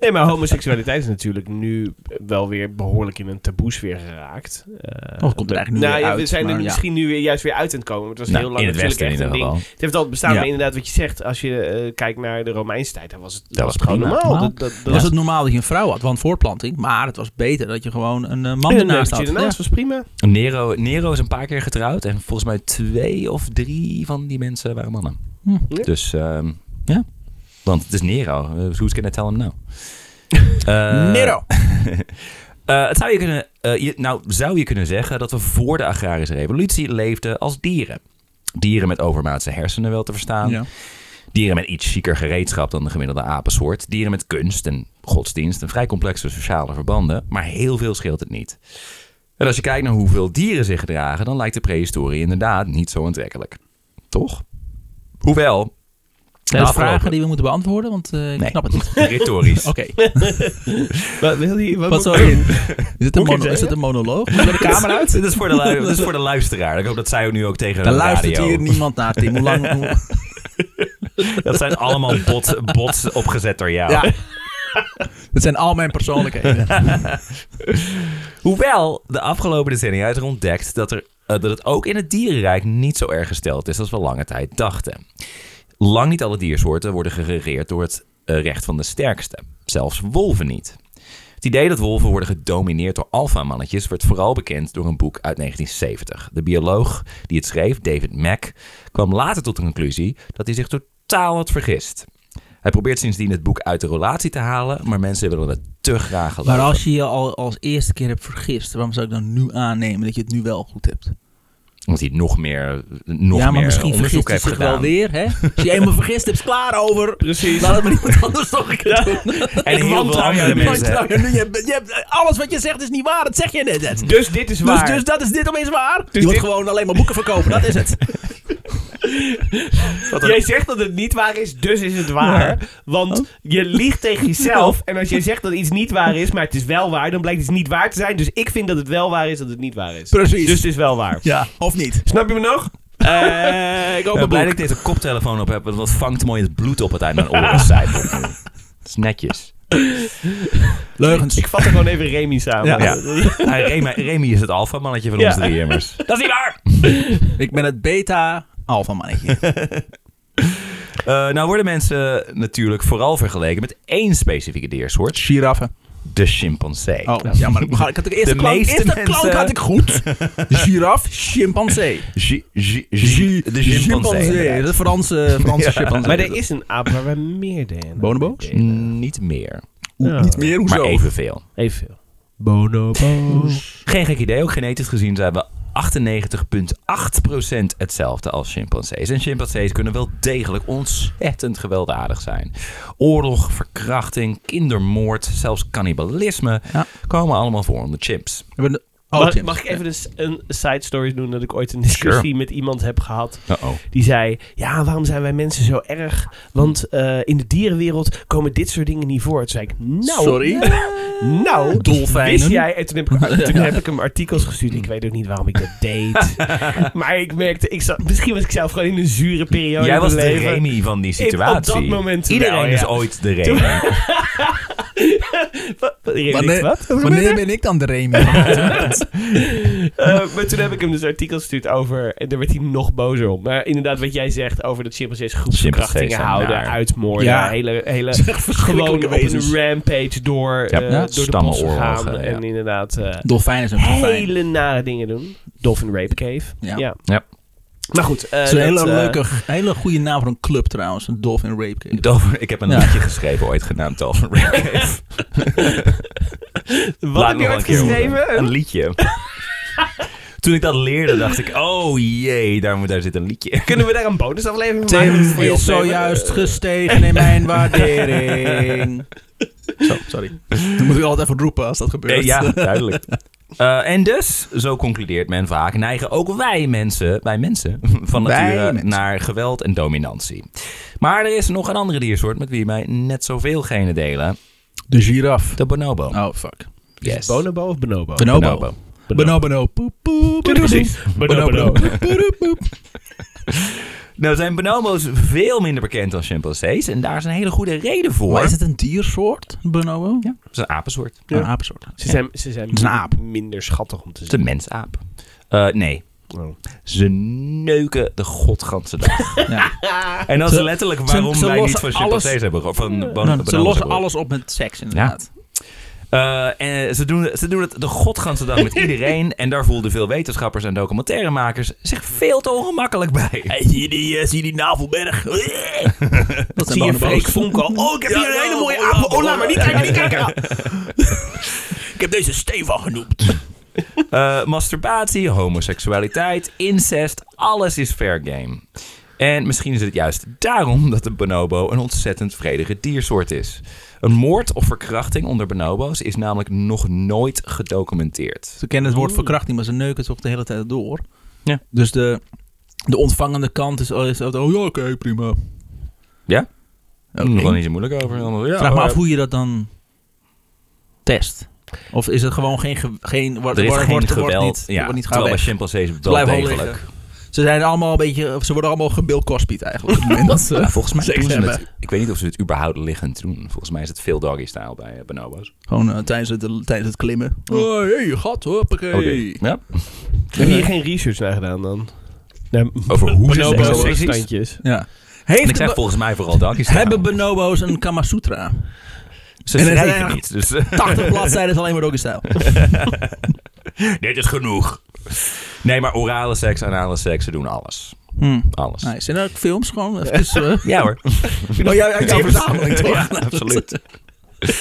S5: Nee, maar homoseksualiteit is natuurlijk nu wel weer behoorlijk in een taboesfeer geraakt. Eh,
S2: Oh, het komt er eigenlijk nu
S5: nou,
S2: weer
S5: ja,
S2: uit,
S5: we zijn er
S2: maar ja.
S5: misschien nu weer juist weer uit aan het komen. want Het was
S1: Nou,
S5: heel lang
S1: in het
S5: natuurlijk
S1: Westen in
S5: echt
S1: ieder
S5: een ding.
S1: geval.
S5: Het heeft altijd bestaan,
S2: Ja.
S5: maar inderdaad wat je zegt, als je eh, kijkt naar de Romeinse tijd, dan was het,
S1: was
S5: het gewoon
S1: prima.
S5: normaal.
S2: Normaal.
S5: Dat, dat,
S2: Dat
S5: dat
S2: was het normaal dat je een vrouw had, want voortplanting. Maar het was beter dat je gewoon een eh, man
S5: Ja,
S2: ernaast
S5: nee,
S2: had.
S5: ernaast was prima.
S1: Nero, Nero is een paar keer getrouwd. En volgens mij twee of drie van die mensen waren mannen.
S2: Hm.
S5: Ja.
S1: Dus ehm, ja. Want het is Nero. Eh, Who's gonna tell him no? Eh,
S2: Ja. Nero!
S1: eh, het zou je kunnen, eh, je- nou, zou je kunnen zeggen dat we voor de agrarische revolutie leefden als dieren. Dieren met overmaatse hersenen wel te verstaan.
S2: Ja.
S1: Dieren met iets chieker gereedschap dan de gemiddelde apensoort. Dieren met kunst en godsdienst en vrij complexe sociale verbanden. Maar heel veel scheelt het niet. En als je kijkt naar hoeveel dieren zich gedragen, dan lijkt de prehistorie inderdaad niet zo aantrekkelijk. Toch? Hoewel.
S2: Zijn
S1: de
S2: dat Nou, vragen
S1: afgelopen-
S2: die we moeten beantwoorden? Want eh, ik
S1: Nee.
S2: snap het niet.
S1: Retorisch.
S2: Oké.
S5: Wat wil je? Wat,
S2: Wat
S5: moet
S2: zou
S5: ik-
S2: Is het een,
S5: Moet ik
S2: mono- is
S5: zeggen?
S2: het een monoloog? Moet je de camera uit?
S1: Dit is, voor de lu- dit is voor de luisteraar. Ik hoop dat zij ook nu ook tegen
S2: Daar
S1: de
S2: luistert
S1: radio.
S2: hier niemand naar, Tim. Hoe lang? hoe-
S1: Dat zijn allemaal bots, bots opgezet door jou.
S2: Ja. Dat zijn al mijn persoonlijkheden.
S1: Hoewel de afgelopen decennia is er ontdekt dat, er, eh, dat het ook in het dierenrijk niet zo erg gesteld is als we lange tijd dachten. Lang niet alle diersoorten worden geregeerd door het eh, recht van de sterkste, zelfs wolven niet. Het idee dat wolven worden gedomineerd door alfamannetjes werd vooral bekend door een boek uit 1970. De bioloog die het schreef, David Mack, kwam later tot de conclusie dat hij zich totaal had vergist. Hij probeert sindsdien het boek uit de relatie te halen, maar mensen willen het te graag geloven.
S2: Maar als je je al als eerste keer hebt vergist, waarom zou ik dan nu aannemen dat je het nu wel goed hebt?
S1: Omdat hij nog meer, nog
S2: ja, maar
S1: meer
S2: misschien vergist
S1: onderzoek
S2: hij
S1: heeft
S2: zich
S1: gedaan.
S2: wel weer. Hè? Als je eenmaal vergist hebt, is het klaar over.
S5: Precies.
S2: Laat het maar iemand anders nog een keer doen.
S1: En heel veel andere
S2: Want
S1: mensen. Mm.
S2: nou, je, hebt- je hebt- alles wat je zegt is niet waar, dat zeg je net. net. Dus,
S5: Dus dit is waar. Dus
S2: dus dat is dit opeens waar. je
S1: Dus
S5: dit-
S2: moet gewoon alleen maar boeken verkopen, dat is het.
S5: Jij zegt dat het niet waar is, dus is het waar. Want
S2: Oh.
S5: je liegt tegen jezelf. En als jij zegt dat iets niet waar is, maar het is wel waar, dan blijkt het niet waar te zijn. Dus ik vind dat het wel waar is dat het niet waar is.
S2: Precies.
S5: Dus het is wel waar.
S2: ja, of niet?
S5: Snap je me nog?
S2: Eh, ik hoop
S1: Ik
S2: dat
S1: ben blij dat ik deze koptelefoon op heb, want wat vangt mooi het bloed op het uit mijn oren zijpelt nu. Dat is netjes.
S2: Leugens.
S5: Ik vat er gewoon even Remy samen.
S2: Ja.
S1: Ja. Ah, Remy, Remy is het alfamannetje van
S5: Ja.
S1: onze Eh, drieëmmers. Dat is niet waar!
S2: Ik ben het beta-alpha mannetje.
S1: Eh, nou worden mensen natuurlijk vooral vergeleken met één specifieke diersoort.
S2: Giraffen.
S1: De chimpansee.
S2: Oh, ja, maar ik had, ik had de eerste
S1: De
S2: klank,
S1: meeste
S2: eerste
S1: mensen-
S2: klank had ik goed. Giraf, chimpansee.
S1: Gi- gi- gi- de chimpansee.
S2: De Franse, Franse chimpansee.
S5: Maar er is een aap waar we meer DNA
S2: Bonobos?
S1: Mm, Niet meer,
S5: Ja.
S2: Niet meer, hoezo?
S1: maar evenveel. Hm.
S5: Evenveel.
S1: Geen gek idee, ook genetisch gezien zijn we 98,8% hetzelfde als chimpansees. En chimpansees kunnen wel degelijk ontzettend gewelddadig zijn. Oorlog, verkrachting, kindermoord, zelfs cannibalisme
S2: Ja.
S1: komen allemaal voor onder chimps.
S2: We hebben de- oh,
S5: Mag,
S2: Tim.
S5: mag ik even een, s- een side story doen dat ik ooit een discussie
S1: Sure.
S5: met iemand heb gehad?
S1: Uh-oh.
S5: Die zei, ja, waarom zijn wij mensen zo erg? Want eh, in de dierenwereld komen dit soort dingen niet voor. Toen zei ik, nou,
S2: Sorry.
S5: nou,
S2: Dolfijnen.
S5: wist jij? En toen heb, ik, toen heb ik hem artikels gestuurd. Ik weet ook niet waarom ik dat deed. maar ik merkte, ik zat, misschien was ik zelf gewoon in een zure periode
S1: Jij
S5: in
S1: was
S5: mijn
S1: de
S5: leven.
S1: Remy van die
S5: Ik- op dat
S1: situatie.
S5: moment
S1: Iedereen
S5: wel, ja.
S1: is ooit de Remy.
S5: Wat? Wat? Remy,
S2: Wanneer,
S5: wat? Wat gebeurt
S2: wanneer
S5: er?
S2: ben ik dan de Remy?
S5: Eh, maar toen heb ik hem dus artikels gestuurd over... En daar werd hij nog bozer om. Maar inderdaad, wat jij zegt over dat chimpansees
S1: Chimpansees
S5: groepsverkrachtingen
S1: zijn
S5: houden,
S1: naar.
S5: uitmoorden.
S2: Ja.
S5: Hele, hele gewoon op
S2: verschrikkelijke
S5: een
S2: wezens.
S5: rampage door, eh,
S1: ja,
S5: door de bossen
S1: stammenoorlogen,
S5: gaan.
S1: ja.
S5: En inderdaad eh,
S2: Dolfijn is een dolfijn.
S5: hele nare dingen doen. Dolphin Rape Cave. Ja.
S2: Ja.
S1: Ja.
S5: Maar goed. eh,
S2: Dat is een hele,
S5: dat, eh,
S2: leuke, hele goede naam voor een club trouwens. Een Dolphin Rape Cave.
S1: Dover, ik heb een
S2: Ja.
S1: liedje geschreven ooit genaamd Dover Rape Cave.
S5: Wat
S1: Laat
S5: heb
S1: me
S5: je
S1: nog
S5: ooit
S1: een keer horen.
S5: geschreven?
S1: Een liedje. Toen ik dat leerde, dacht ik, oh jee, daar, moet- daar zit een liedje.
S5: Kunnen we daar een bonusaflevering van maken?
S2: Tim
S5: Voor je
S2: is
S5: opnemen? Eh,
S2: zojuist gestegen in mijn waardering. Zo, sorry. Dan moet ik altijd even roepen als dat gebeurt.
S1: Eh, ja, duidelijk. Eh, en dus, zo concludeert men vaak, neigen ook wij mensen, wij mensen, van
S2: Wij
S1: nature
S2: mensen.
S1: naar geweld en dominantie. Maar er is nog een andere diersoort met wie wij net zoveel genen delen.
S2: De giraf.
S1: De bonobo.
S2: Oh, fuck.
S5: Is het
S1: Yes.
S5: Bonobo of Bonobo?
S2: Bonobo. Bonobo. Bonobo. Poep, poep, boep,
S5: Doe precies.
S2: boep.
S5: Bonobo.
S2: Bonobo. Poep, poep.
S1: Nou zijn bonobo's veel minder bekend dan chimpansees en daar is een hele goede reden voor.
S2: Maar is het een diersoort, een bonobo?
S1: Ja, het is een apensoort.
S5: Ja.
S2: Een apensoort.
S5: Ze zijn, ze zijn
S2: is een aap.
S5: minder schattig om
S1: Het
S5: te
S1: is
S5: zien.
S1: een mensaap. Eh, nee, ze neuken de godganse dag.
S2: Ja.
S1: En dat is
S2: Ze-
S1: letterlijk
S2: ze-
S1: waarom
S2: ze
S1: wij niet
S2: lossen
S1: van
S2: alles- Nou,
S1: chimpansees hebben gehoord. Van bon- bonobo's
S2: Ze lossen
S1: hebben gehoord.
S2: alles op met seks, inderdaad.
S1: Eh, en ze doen, ze doen het de godganse dag met iedereen. En daar voelden veel wetenschappers en documentairemakers zich veel te ongemakkelijk bij.
S2: Zie die,
S5: eh,
S2: zie die navelberg? Dat zijn
S5: Zie je
S2: bonobo's.
S5: Freek Vonkel? Oh, ik heb hier een hele mooie aap. Oh, laat maar niet kijken, niet kijken.
S2: Ik heb deze Stefan genoemd.
S1: Eh, masturbatie, homoseksualiteit, incest, alles is fair game. En misschien is het juist daarom dat de bonobo een ontzettend vredige diersoort is. Een moord of verkrachting onder bonobo's is namelijk nog nooit gedocumenteerd.
S2: Ze kennen het woord verkrachting, maar ze neuken toch de hele tijd door.
S1: Ja.
S2: Dus de, de ontvangende kant is altijd, altijd, oh ja, oké, prima.
S1: Ja?
S2: Oké.
S1: Nog wel niet zo moeilijk over. Allemaal, ja,
S2: Vraag me
S1: eh,
S2: af hoe je dat dan test. Of is het gewoon geen... ge- geen wordt,
S1: Er is
S2: wordt,
S1: geen
S2: wordt- wordt
S1: geweld.
S2: niet,
S1: ja,
S2: wordt niet gaan
S1: terwijl bij
S2: weg.
S1: chimpansees
S2: Ze
S1: wel
S2: blijven wel
S1: degelijk.
S2: liggen. Ze zijn allemaal een beetje... of Ze worden allemaal gebill Cosby'd eigenlijk. op het moment dat ze-
S1: Ja, volgens mij
S2: seks
S1: doen ze
S2: hebben.
S1: het. Ik weet niet of ze het überhaupt liggend doen. Volgens mij is het veel doggy-style bij eh, bonobos.
S2: Gewoon eh, tijdens, het, tijdens het klimmen. Oh, hey, gat, hoppakee.
S1: Oké. Oh, Ja.
S5: Heb je hier geen research naar gedaan dan? Nee,
S1: Over hoe ze
S5: bonobo's
S1: seks
S5: en
S1: precies-
S5: standjes.
S2: Ja.
S1: En ik
S2: Heeft
S1: zeg
S2: de-
S1: volgens mij vooral dank.
S2: hebben bonobo's een Kama Sutra?
S1: Ze
S2: en het
S1: schrijven
S2: zijn-
S1: niet. Dus,
S2: 80 bladzijden is alleen maar doggy-stijl.
S1: dit is genoeg. Nee, maar orale seks, anale seks, ze doen alles. Alles.
S2: Hmm. Nice. En ook films gewoon. Even, eh,
S1: Ja hoor.
S2: Oh, jij hebt jouw verzameling toch?
S1: Ja, absoluut. Eh,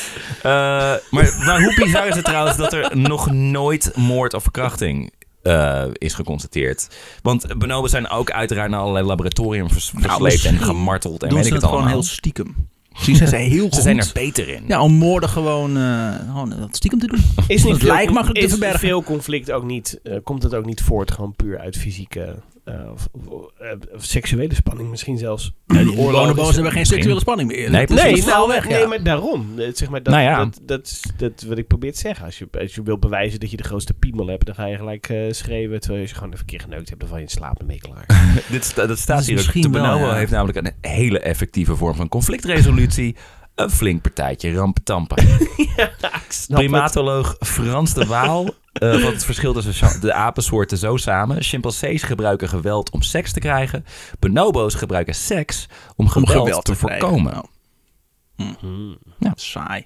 S1: maar, maar hoe bizar is het trouwens dat er nog nooit moord of verkrachting eh, is geconstateerd? Want bonobos zijn ook uiteraard naar allerlei laboratorium vers- versleept en
S2: Nou, misschien
S1: gemarteld en
S2: doen
S1: weet
S2: ze
S1: ik
S2: het
S1: het
S2: gewoon
S1: allemaal.
S2: heel stiekem. Misschien zijn ze heel
S1: Ze
S2: goed.
S1: zijn er beter in.
S2: Ja, om moorden gewoon, eh, gewoon dat stiekem te doen.
S5: Is niet
S2: Het
S5: veel,
S2: lijkt makkelijk te
S5: is
S2: verbergen.
S5: veel conflict ook niet, eh, komt het ook niet voort gewoon puur uit fysieke eh, of, of, eh, of seksuele spanning misschien zelfs?
S2: Die
S5: Oorlog
S2: bonobos
S5: is-
S2: hebben geen seksuele spanning meer.
S1: Nee,
S2: Dat is
S5: Nee,
S2: een
S5: nou,
S2: snel weg,
S5: nee,
S2: ja.
S5: maar daarom. Eh, Zeg maar, dat,
S1: Nou ja.
S5: dat, dat, is- dat wat ik probeer te zeggen. Als je, als je wil bewijzen dat je de grootste piemel hebt, dan ga je gelijk eh, schreeuwen. Terwijl je ze gewoon even een keer geneukt hebt, dan val je in slaap en ben je klaar. Nou,
S1: Dit, sta- dat staat
S2: Dat is
S1: hier ook.
S2: Dus misschien
S1: De
S2: wel,
S1: bonobo
S2: ja.
S1: heeft namelijk een hele effectieve vorm van conflictresolutie. Een flink partijtje rampetampen. Nou, Primatoloog Frans de Waal eh wat het verschil tussen cha- de apensoorten zo samen. Chimpansees gebruiken geweld om seks te krijgen. Bonobo's gebruiken seks om
S2: Om
S1: geweld, te,
S2: krijgen.
S1: voorkomen. Hmm.
S2: Nou, Hmm. saai.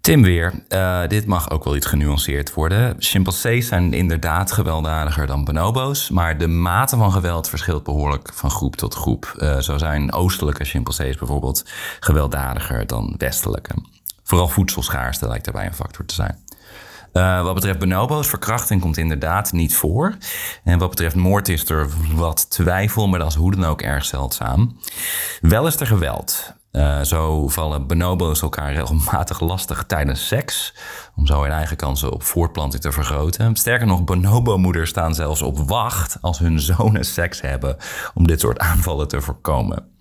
S6: Tim weer. Eh, dit mag ook wel iets genuanceerd worden. Chimpansees zijn inderdaad gewelddadiger dan bonobo's, maar de mate van geweld verschilt behoorlijk van groep tot groep. Eh, zo zijn oostelijke chimpansees bijvoorbeeld gewelddadiger dan westelijke. Vooral voedselschaarste lijkt daarbij een factor te zijn. Eh, wat betreft bonobo's, verkrachting komt inderdaad niet voor. En wat betreft moord is er wat twijfel, maar dat is hoe dan ook erg zeldzaam. Wel is er geweld. Eh, zo vallen bonobo's elkaar regelmatig lastig tijdens seks, om zo hun eigen kansen op voortplanting te vergroten. Sterker nog, bonobo-moeders staan zelfs op wacht als hun zonen seks hebben, om dit soort aanvallen te voorkomen.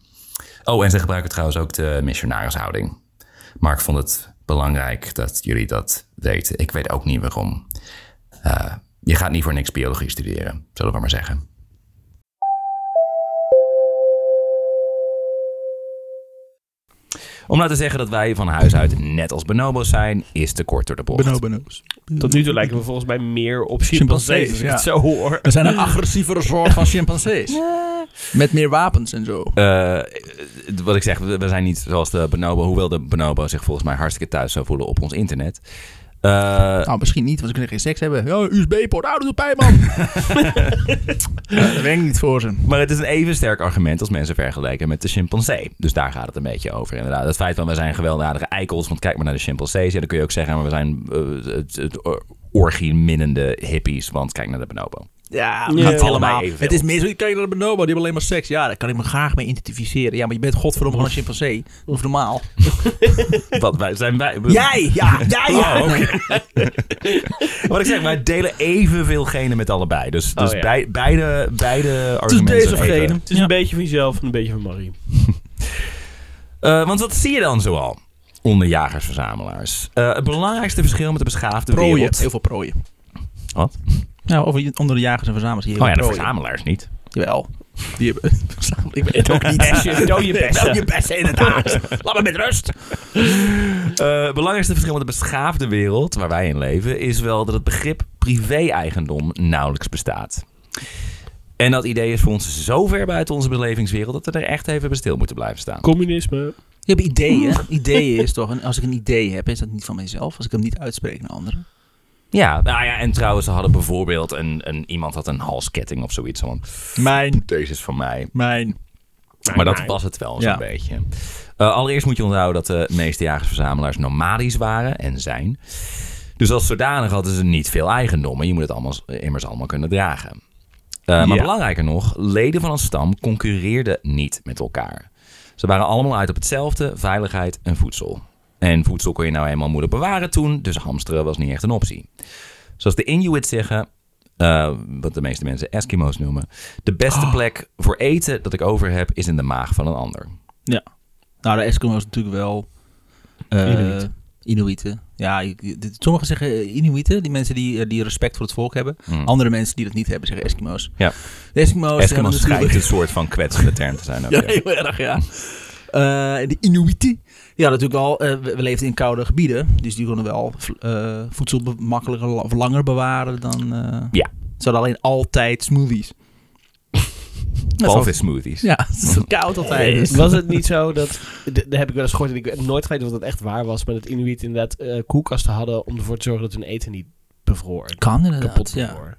S6: Oh, en ze gebruiken trouwens ook de missionarishouding. Maar ik vond het belangrijk dat jullie dat weten. Ik weet ook niet waarom. Eh, je gaat niet voor niks biologie studeren, zullen we maar zeggen.
S1: Om nou te zeggen dat wij van huis uit net als bonobo's zijn, is te kort door de bocht.
S2: Bonobos.
S5: Tot nu toe lijken we volgens mij meer op
S2: Chimpansees,
S5: chimpansees. Als ik
S2: ja.
S5: het zo hoor.
S2: We zijn een agressievere soort van chimpansees. Met meer wapens en zo.
S1: Eh, wat ik zeg, we we zijn niet zoals de bonobo, hoewel de bonobo zich volgens mij hartstikke thuis zou voelen op ons internet. Eh,
S2: Nou, misschien niet, want ze kunnen geen seks hebben. Ja, USB-poort, oude doe pijn, man. Ja, dat werkt niet voor ze.
S1: Maar het is een even sterk argument als mensen vergelijken met de chimpansee. Dus daar gaat het een beetje over inderdaad. Het feit van we zijn gewelddadige eikels, want kijk maar naar de chimpansees. Ja, dan kun je ook zeggen, maar we zijn eh, het, het or- orgie-minnende hippies, want kijk naar de bonobo.
S2: Ja,
S5: Ja.
S2: niet helemaal.
S1: Allebei evenveel.
S2: Het is meer zo, kijk naar de bonobo, die hebben alleen maar seks. Ja, daar kan ik me graag mee identificeren. Ja, maar je bent godverdomme gewoon een chimpansee. Of normaal.
S1: Wat wij, zijn wij...
S2: Jij! Ja, jij! Ja.
S1: Oh, oké. Wat ik zeg, wij delen evenveel genen met allebei. Dus, dus
S5: Oh, ja.
S1: bij- beide, beide argumenten
S2: Dus deze
S1: zijn
S2: of
S1: even.
S2: gene.
S5: Het is een beetje van jezelf en een beetje van Marie.
S1: Eh, want wat zie je dan zoal onder jagers-verzamelaars? Eh, het belangrijkste verschil met de beschaafde
S2: Prooien.
S1: wereld...
S2: Heel veel prooien.
S1: Wat?
S2: Nou, over, onder de jagers en verzamelaars hier.
S1: Oh ja, de verzamelaars niet.
S2: Jawel. Die hebben... verzamel- Ik weet het ook niet.
S5: doe je best.
S2: Doe je best, inderdaad. Laat me met rust.
S1: Eh, het belangrijkste verschil met de beschaafde wereld waar wij in leven is wel dat het begrip privé-eigendom nauwelijks bestaat. En dat idee is voor ons dus zo ver buiten onze belevingswereld dat we er echt even bij stil moeten blijven staan.
S5: Communisme.
S2: Je hebt ideeën. Ideeën is toch... Een, als ik een idee heb, is dat niet van mijzelf. Als ik hem niet uitspreek naar anderen.
S1: Ja, nou ja, en trouwens, ze hadden bijvoorbeeld een, een iemand had een halsketting of zoiets. Van,
S2: Mijn.
S1: deze is van mij.
S2: Mijn.
S1: Maar
S5: nou,
S1: dat was het wel zo'n
S2: Ja.
S1: beetje. Eh, allereerst moet je onthouden dat de meeste jagers-verzamelaars nomadisch waren en zijn. Dus als zodanig hadden ze niet veel eigendom. En je moet het allemaal, immers allemaal kunnen dragen. Eh, Maar
S5: Ja.
S1: belangrijker nog, leden van een stam concurreerden niet met elkaar. Ze waren allemaal uit op hetzelfde, veiligheid en voedsel. En voedsel kon je nou eenmaal moeilijk bewaren toen, dus hamsteren was niet echt een optie. Zoals de Inuit zeggen, eh, wat de meeste mensen Eskimo's noemen, de beste
S2: Oh.
S1: plek voor eten dat ik over heb is in de maag van een ander.
S2: Ja. Nou, de Eskimo is natuurlijk wel... eh, Inuiten. Ja, je- je- dit- sommigen zeggen Inuiten, die mensen die, eh, die respect voor het volk hebben. Andere mensen die dat niet Oh, hebben, zeggen Eskimo's.
S1: Ja.
S2: De Eskimo's, hebben
S1: Eskimo's schijnt
S2: natuurlijk...
S1: een soort van kwetsende term te zijn. ook,
S2: Ja,
S1: ja.
S2: heel erg, ja. Eh, de Inuiti. Ja, natuurlijk wel. eh, we, we leefden in koude gebieden. Dus die konden wel v- eh, voedsel be- makkelijker la- of langer bewaren dan. eh,
S1: Ja.
S2: Ze hadden alleen altijd smoothies.
S6: Walvis smoothies.
S2: Ja, het is koud altijd. Dus.
S5: Was het niet zo dat, d- dat heb ik wel eens gehoord en ik heb nooit geweten of dat echt waar was, maar dat Inuit inderdaad eh, koelkasten hadden om ervoor te zorgen dat hun eten niet bevroor,
S2: Kan inderdaad,
S5: kapot
S2: ja.
S5: bevroor.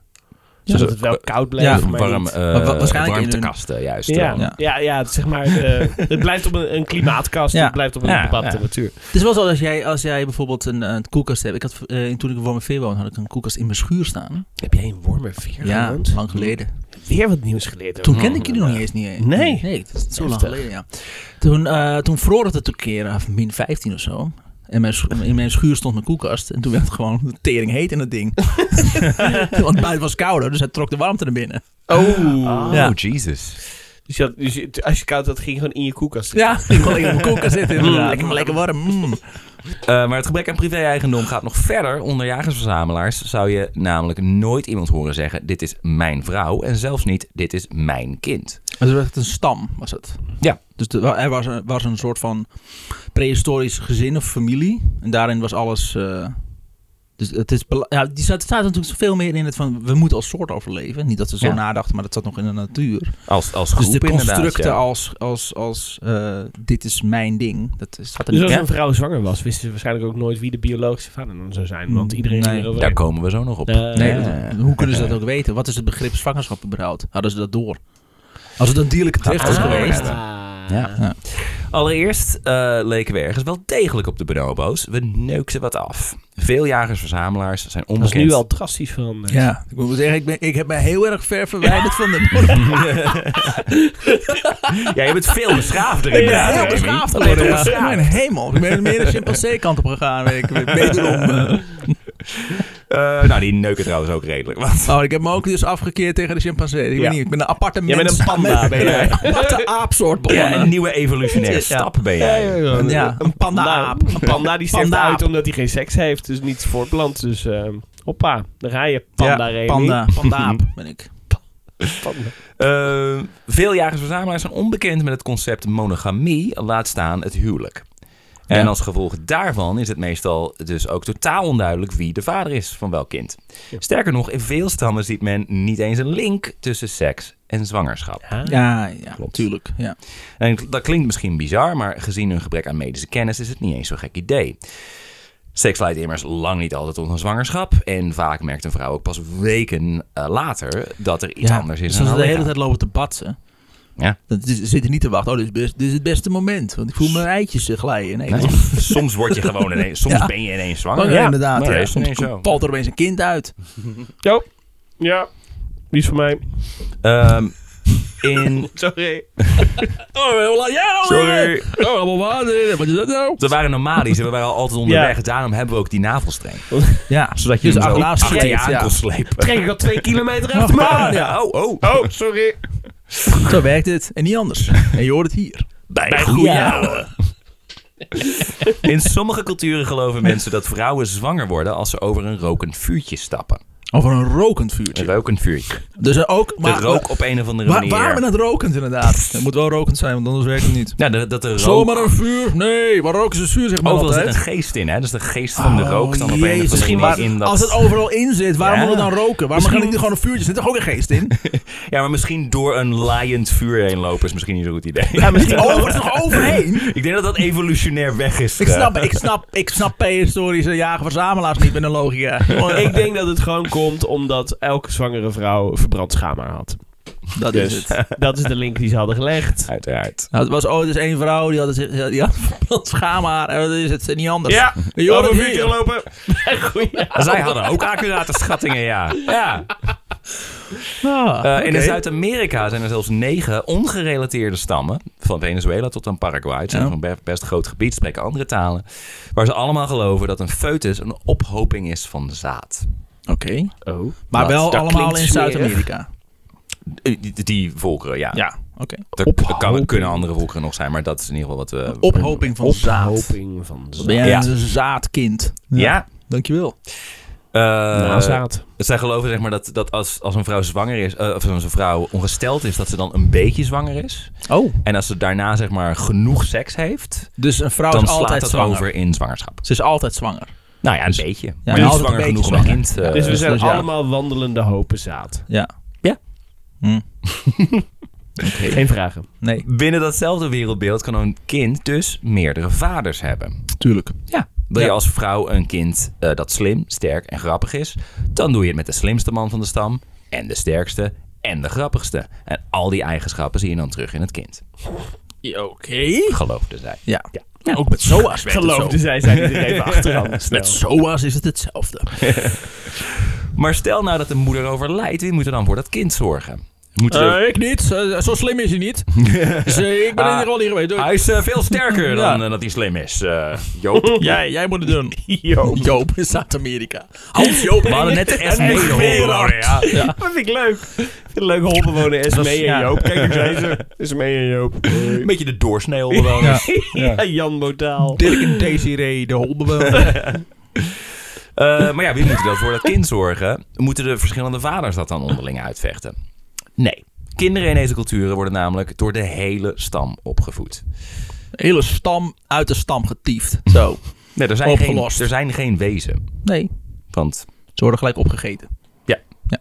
S5: Zodat
S6: Zo-
S5: het wel koud blijft,
S2: Ja,
S5: maar
S6: warm,
S5: niet-
S6: eh,
S2: Maar wa- waarschijnlijk in hun-
S6: warmtekasten, juist.
S5: Ja,
S6: dan.
S5: ja. ja, zeg maar, eh, het blijft op een, een klimaatkast,
S2: Ja.
S5: het blijft op een
S6: Ja,
S5: bepaalde
S6: ja.
S5: temperatuur.
S2: Het is wel zo als jij, als jij bijvoorbeeld een, eh, een koelkast hebt. Ik had, eh, toen ik in Wormerveer woonde, had ik een koelkast in mijn schuur staan.
S5: Heb jij een warme veer
S2: Ja,
S5: gewoond?
S2: lang geleden.
S5: Weer wat nieuws geleerd. hoor.
S2: Toen kende ik jullie nog niet eens niet. eens.
S5: Nee.
S2: Nee, het is zo lang
S5: Heftig.
S2: geleden, ja. Toen, eh, toen vroor het het een keer, eh, min 15 of zo. En mijn, schu- in mijn schuur stond mijn koelkast. En toen werd het gewoon tering heet in dat ding. Want buiten was kouder, dus hij trok de warmte naar binnen.
S6: Oh,
S2: Ja.
S6: oh, Jesus.
S5: Dus, je had- dus je- als je koud had, ging je gewoon in je koelkast zitten.
S2: Ja, ik kon lekker in mijn koelkast zitten inderdaad. Lekker, lekker warm. mm.
S6: Hmm. Eh, maar het gebrek aan privé-eigendom gaat nog verder. Onder jagersverzamelaars zou je namelijk nooit iemand horen zeggen... dit is mijn vrouw en zelfs niet dit is mijn kind.
S2: dus Het was echt een stam, was het.
S6: Ja.
S2: Dus de- wa- er was een, was een soort van prehistorisch gezin of familie. En daarin was alles... eh, dus het is bela- ja, die staat, staat natuurlijk veel meer in het van... we moeten als soort overleven. Niet dat ze zo
S6: Ja.
S2: nadachten, maar dat zat nog in de natuur.
S6: Als, als
S2: dus
S6: groep
S2: de
S6: inderdaad,
S2: constructen
S6: ja.
S2: als... als, als eh, dit is mijn ding. Dat is, staat er niet
S5: Dus als
S2: in.
S5: een vrouw zwanger was, wisten ze waarschijnlijk ook nooit wie de biologische vader dan zou zijn. Want iedereen
S2: Mm, Nee.
S5: ging erover.
S6: Daar komen we zo nog op.
S5: Eh,
S2: Nee,
S5: eh,
S2: dat- hoe kunnen ze dat ook weten? Wat is het begrip zwangerschap überhaupt? Hadden ze dat door? Als het een dierlijke drift was
S6: Ah.
S2: geweest...
S6: Ja.
S2: Ja.
S6: Allereerst eh, leken we ergens wel degelijk op de bonobo's. We neukten wat af. Veel jagers-verzamelaars zijn
S5: Dat is
S6: onbekend.
S5: nu al drastisch veranderd.
S2: Ja, ik moet wel zeggen, ik, ben, ik heb me heel erg ver verwijderd van de...
S6: Ja, je bent veel beschaafder inderdaad.
S2: heel
S6: Remy.
S2: beschaafd
S6: Alleen
S2: geworden.
S6: al
S2: Ja.
S6: beschaafd.
S2: Mijn hemel, ik ben meer de chimpansee-kant op gegaan. Ik wederom. eh.
S6: Eh, nou, die neuken trouwens ook redelijk. Want
S2: Oh, ik heb me ook dus afgekeerd tegen de chimpansee. Ik
S5: Ja.
S2: weet niet, ik ben een aparte
S5: Jij
S2: mens.
S5: bent een panda, ben jij.
S2: Een aparte aapsoort begonnen.
S6: ja, een nieuwe evolutionaire
S2: Ja.
S6: stap ben jij.
S2: Een- ja, een panda-aap.
S5: eh, Een panda die sterft
S2: Panda-aap.
S5: uit omdat hij geen seks heeft. Dus niet voortplant. Dus ehm, hoppa, daar ga je. Panda
S2: ja,
S5: Remy.
S2: panda, panda-aap ben ik.
S5: Panda.
S6: Eh, veel jagers-verzamelaars zijn onbekend met het concept monogamie, laat staan het huwelijk. En
S2: Ja.
S6: als gevolg daarvan is het meestal dus ook totaal onduidelijk wie de vader is van welk kind. Sterker nog, in veel stammen ziet men niet eens een link tussen seks en zwangerschap.
S2: Ja, ja,
S6: Klopt.
S2: tuurlijk. Ja.
S6: En dat klinkt misschien bizar, maar gezien hun gebrek aan medische kennis is het niet eens zo'n gek idee. Seks leidt immers lang niet altijd tot een zwangerschap. En vaak merkt een vrouw ook pas weken eh, later dat er iets
S2: ja.
S6: anders is.
S2: Dus
S6: aan
S2: als we
S6: haar
S2: de hele
S6: lichaam.
S2: tijd lopen te batsen.
S6: Ja.
S2: Dat is, zitten niet te wachten. Oh, dit is, best- dit is het beste moment. Want ik voel mijn eitjes eh, glijden. Nee, dat is-
S6: Nee, soms word je gewoon ineens, soms
S2: Ja.
S6: ben je ineens
S2: Oh,
S6: zwanger.
S2: ja, inderdaad.
S6: Nee,
S2: ja.
S6: is
S2: Soms
S6: niet zo.
S2: valt er opeens een kind uit.
S5: Jo. Ja. Die is van mij.
S6: Ehm, in,
S5: Sorry.
S2: Oh, ja,
S6: sorry,
S2: Oh, allemaal water. Wat is dat nou?
S6: we waren nomadische, we waren altijd onderweg.
S5: Ja.
S6: Daarom hebben we ook die navelstreng.
S2: Ja,
S6: Zodat je
S2: dus
S6: hem zo
S2: achternaast
S6: achter je
S2: sleept,
S6: aan
S2: ja.
S6: kon slepen.
S5: Trek ik al twee kilometer achter me
S6: Maar,
S5: aan.
S6: ja, oh, oh.
S5: Oh, sorry.
S2: Zo werkt het. En niet anders. En je hoort het hier.
S6: Bij de goede ouwe. In sommige culturen geloven mensen dat vrouwen zwanger worden als ze over een rokend vuurtje stappen.
S2: Over een rokend
S6: Een
S2: vuurtje.
S6: rokend vuurtje.
S2: Dus er ook...
S6: De
S2: Maar,
S6: rook op een of andere
S2: Waar,
S6: manier.
S2: waarom het rokend inderdaad? Het moet wel rokend zijn, want anders werkt het niet.
S6: Nou, dat- dat de rook...
S2: Zomaar een vuur? Nee, waar roken ze zuur zeg maar
S6: Overal zit een
S2: altijd. Oh,
S6: geest in, hè? Dus de geest van de rook dan op een of
S2: Jezus,
S6: andere
S2: misschien
S6: manier
S2: waar-
S6: in dat...
S2: Als het overal in zit, waarom
S6: Ja.
S2: wil het dan roken? Waarom
S6: Misschien-
S2: gaan niet gewoon een vuurtje? Zit er ook een geest in?
S6: Ja, maar misschien door een laaiend vuur heen lopen is misschien niet zo'n goed idee.
S2: Over, is nog overheen?
S6: Ik denk dat dat evolutionair weg is.
S2: Ik snap, ik snap, ik snap prehistorische jager-verzamelaars niet met een logica.
S5: Ik denk dat het gewoon komt omdat elke zwangere vrouw verbrand schaamhaar had. Dus
S2: Dat is het.
S5: Dat is de link die ze hadden gelegd.
S6: eh, Uiteraard.
S2: Nou, het was ooit eens één vrouw die had, het- die had verbrand schaamhaar. En dat is het niet anders. Je hoort het hier.
S5: gelopen.
S6: Zij hadden ook accurate schattingen, ja. ja.
S2: Ah,
S6: Eh, In
S2: oké.
S6: Zuid-Amerika zijn er zelfs negen ongerelateerde stammen. Van Venezuela tot aan Paraguay. Het is
S2: Ja.
S6: een be- best groot gebied, spreken andere talen. Waar ze allemaal geloven dat een foetus een ophoping is van zaad.
S2: Oké. Maar wel
S5: dat
S2: allemaal
S5: klinkt
S2: in
S5: smerig.
S2: Zuid-Amerika.
S6: Eh, Die, die volkeren, ja.
S2: Ja, oké.
S6: Er, er kan, kunnen andere volkeren nog zijn, maar dat is in ieder geval wat we...
S2: Ophoping van zaad.
S5: Ophoping van
S2: Dan
S5: zaad.
S2: ben jij
S6: Ja.
S2: een zaadkind.
S6: Ja.
S2: Dankjewel.
S6: Eh,
S5: Na zaad.
S6: Zij geloven zeg maar dat, dat als, als een vrouw zwanger is, eh, of als een vrouw ongesteld is, dat ze dan een beetje zwanger is.
S2: Oh.
S6: En als ze daarna zeg maar genoeg seks heeft,
S2: Dus een vrouw
S6: dan
S2: is
S6: slaat
S2: altijd
S6: dat
S2: zwanger.
S6: over in zwangerschap.
S2: Ze is altijd zwanger.
S6: Nou ja, een beetje. Maar
S2: ja,
S6: niet
S2: altijd
S6: zwanger
S2: een
S6: genoeg
S2: beetje
S6: om een
S2: zwanger.
S6: kind... eh,
S5: dus we zijn
S2: dus ja.
S5: allemaal wandelende hopenzaad.
S2: Ja.
S6: Ja.
S2: Hm.
S5: Geen vragen.
S2: Nee,
S6: Binnen datzelfde wereldbeeld kan een kind dus meerdere vaders hebben.
S2: tuurlijk.
S6: Ja. Wil je
S2: Ja.
S6: als vrouw een kind eh, dat slim, sterk en grappig is, dan doe je het met de slimste man van de stam en de sterkste en de grappigste. En al die eigenschappen zie je dan terug in het kind.
S2: Oké.
S6: Geloofde zij.
S2: Ja. Ja, Ook met SOAS werkt het zo.
S5: Geloofde zij, zijn niet er even achteraan.
S2: Met SOAS is het hetzelfde.
S6: Maar stel nou dat de moeder overlijdt, wie moet er dan voor dat kind zorgen? Moet ze-
S5: Eh,
S2: ik niet. zo slim is hij niet. ik ben in
S6: in ieder
S2: ieder
S6: geval
S2: geval hier geweest.
S6: Hij is eh, veel sterker dan
S2: Ja.
S6: eh, dat hij slim is. Eh, Joop.
S2: Jij, jij moet het doen. Joop. Joop in Zuid-Amerika. Hans Joop.
S6: We hadden net de SME gehoord.
S2: Gerard.
S6: Ja.
S5: Dat vind ik leuk. Ik vind het leuk holpen wonen SME en
S2: ja. E
S5: Joop. Kijk, daar zijn ze. SME en Joop.
S6: Een beetje de doorsnee onderwoner.
S5: Ja, Jan Modaal.
S2: Dirk en Desiree, de hondenbel.
S6: Eh, maar ja, wie moet er dan voor dat kind zorgen? Moeten de verschillende vaders dat dan onderling uitvechten? Nee. Kinderen in deze culturen worden namelijk door de hele stam opgevoed.
S2: Hele stam uit de stam getiefd. Zo.
S6: Nee, er zijn, geen,
S2: Opgelost.
S6: er zijn geen wezen.
S2: Nee.
S6: Want
S2: Ze worden gelijk opgegeten.
S6: ja.
S2: Ja.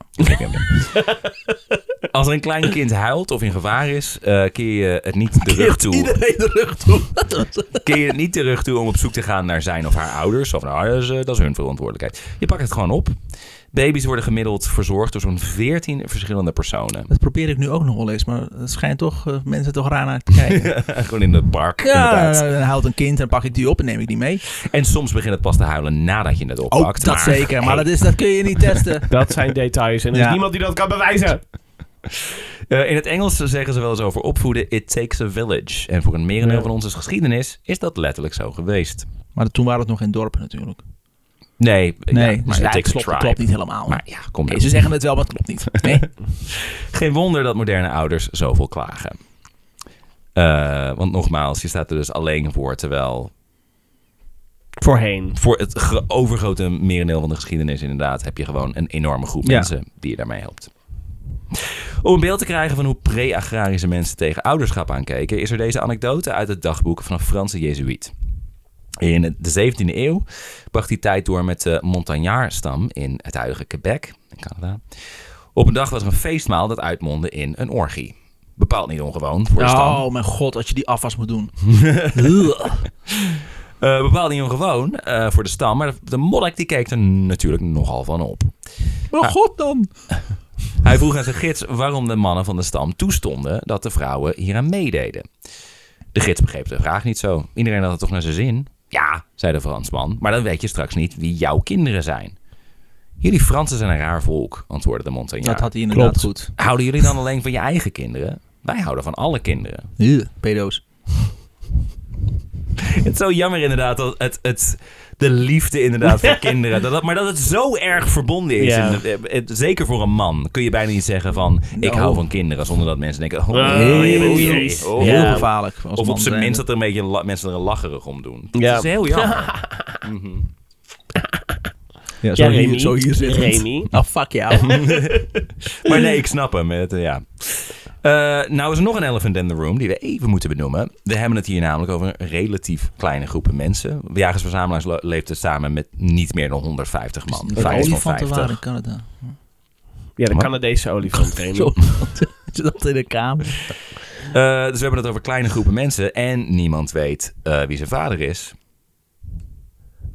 S6: Als er een klein kind huilt of in gevaar is, eh, keer je het niet de rug toe.
S2: Iedereen de rug toe.
S6: Keer je het niet de rug toe om op zoek te gaan naar zijn of haar ouders. Of nou, dat is, eh, dat is hun verantwoordelijkheid. Je pakt het gewoon op. Baby's worden gemiddeld verzorgd door zo'n 14 verschillende personen.
S2: Dat probeer ik nu ook nog wel eens, maar het schijnt toch eh, mensen toch raar naar te kijken.
S6: Gewoon in het park.
S2: ja,
S6: inderdaad.
S2: dan houdt een kind en pak ik die op en neem ik die mee.
S6: En soms begint het pas te huilen nadat je het
S2: Ook
S6: oppakt.
S2: dat
S6: maar-
S2: zeker, maar
S6: Hey,
S2: dat, is, dat kun je niet testen.
S5: Dat zijn details en er is
S2: Ja.
S5: niemand die dat kan bewijzen.
S6: eh, in het Engels zeggen ze wel eens over opvoeden: it takes a village. En voor een merendeel
S5: Ja.
S6: van onze geschiedenis is dat letterlijk zo geweest.
S2: Maar toen waren het nog geen dorpen natuurlijk.
S6: Nee,
S2: Nee,
S6: ja,
S2: dus ja,
S6: maar it
S2: het
S6: takes
S2: klopt,
S6: a
S2: het
S6: tribe.
S2: klopt niet helemaal.
S6: Maar ja, kom
S2: Nee, ze
S6: op.
S2: zeggen het wel, maar het klopt niet. Nee.
S6: Geen wonder dat moderne ouders zoveel klagen. Eh, want nogmaals, je staat er dus alleen voor, terwijl
S5: Voorheen.
S6: voor het gro- overgrote merendeel van de geschiedenis inderdaad heb je gewoon een enorme groep
S2: Ja.
S6: mensen die je daarmee helpt. Om een beeld te krijgen van hoe pre-agrarische mensen tegen ouderschap aankeken, is er deze anekdote uit het dagboek van een Franse jezuïet. In de 17e eeuw bracht hij tijd door met de Montagnard-stam in het huidige Quebec, in Canada. Op een dag was er een feestmaal dat uitmondde in een orgie. Bepaald niet ongewoon voor de stam.
S2: Oh mijn god, als je die afwas moet doen.
S6: Eh, bepaald niet ongewoon eh, voor de stam, maar de, de monnik die keek er natuurlijk nogal van op.
S2: Maar god dan.
S6: Hij vroeg aan zijn gids waarom de mannen van de stam toestonden dat de vrouwen hieraan meededen. De gids begreep de vraag niet zo. Iedereen had het toch naar zijn zin? Ja, zei de Fransman, maar dan weet je straks niet wie jouw kinderen zijn. Jullie Fransen zijn een raar volk, antwoordde de Montagnard.
S2: Dat had hij inderdaad
S5: klopt.
S2: goed.
S6: Houden jullie dan alleen van je eigen kinderen? Wij houden van alle kinderen.
S2: Ugh, Pedo's.
S6: Het is zo jammer inderdaad dat het, het, de liefde inderdaad voor kinderen. Dat, dat- maar dat het zo erg verbonden is.
S5: Ja.
S6: in de- eh, het- zeker voor een man kun je bijna niet zeggen van ik
S2: Nou.
S6: hou van kinderen. Zonder dat mensen denken oh,
S5: Heel
S6: jee, oh, jee,
S5: jee.
S6: oh.
S2: Heel
S5: Ja.
S2: gevaarlijk. als
S6: Of
S2: man
S6: op zijn
S2: zijn.
S6: minst dat er een beetje la- mensen er een lacherig om doen. Dat
S5: Ja.
S6: is heel jammer.
S2: Ja, zo,
S5: Ja, Remy.
S2: hier, zo hier zit het.
S5: Remy.
S2: Nou, fuck jou.
S6: maar nee, ik snap hem. Het, eh, ja. Eh, nou is er nog een elephant in the room die we even moeten benoemen. We hebben het hier namelijk over een relatief kleine groepen mensen. Jagers-verzamelaars lo- leeft er samen met niet meer dan 150 man.
S2: Een
S6: Vijf van
S2: Dus olifanten
S6: 50.
S2: waren in Canada.
S5: Ja, de
S6: Wat?
S5: Canadese olifant. Remy.
S2: Zo. Ze dat in de kamer.
S6: Eh, dus we hebben het over kleine groepen mensen en niemand weet eh, wie zijn vader is.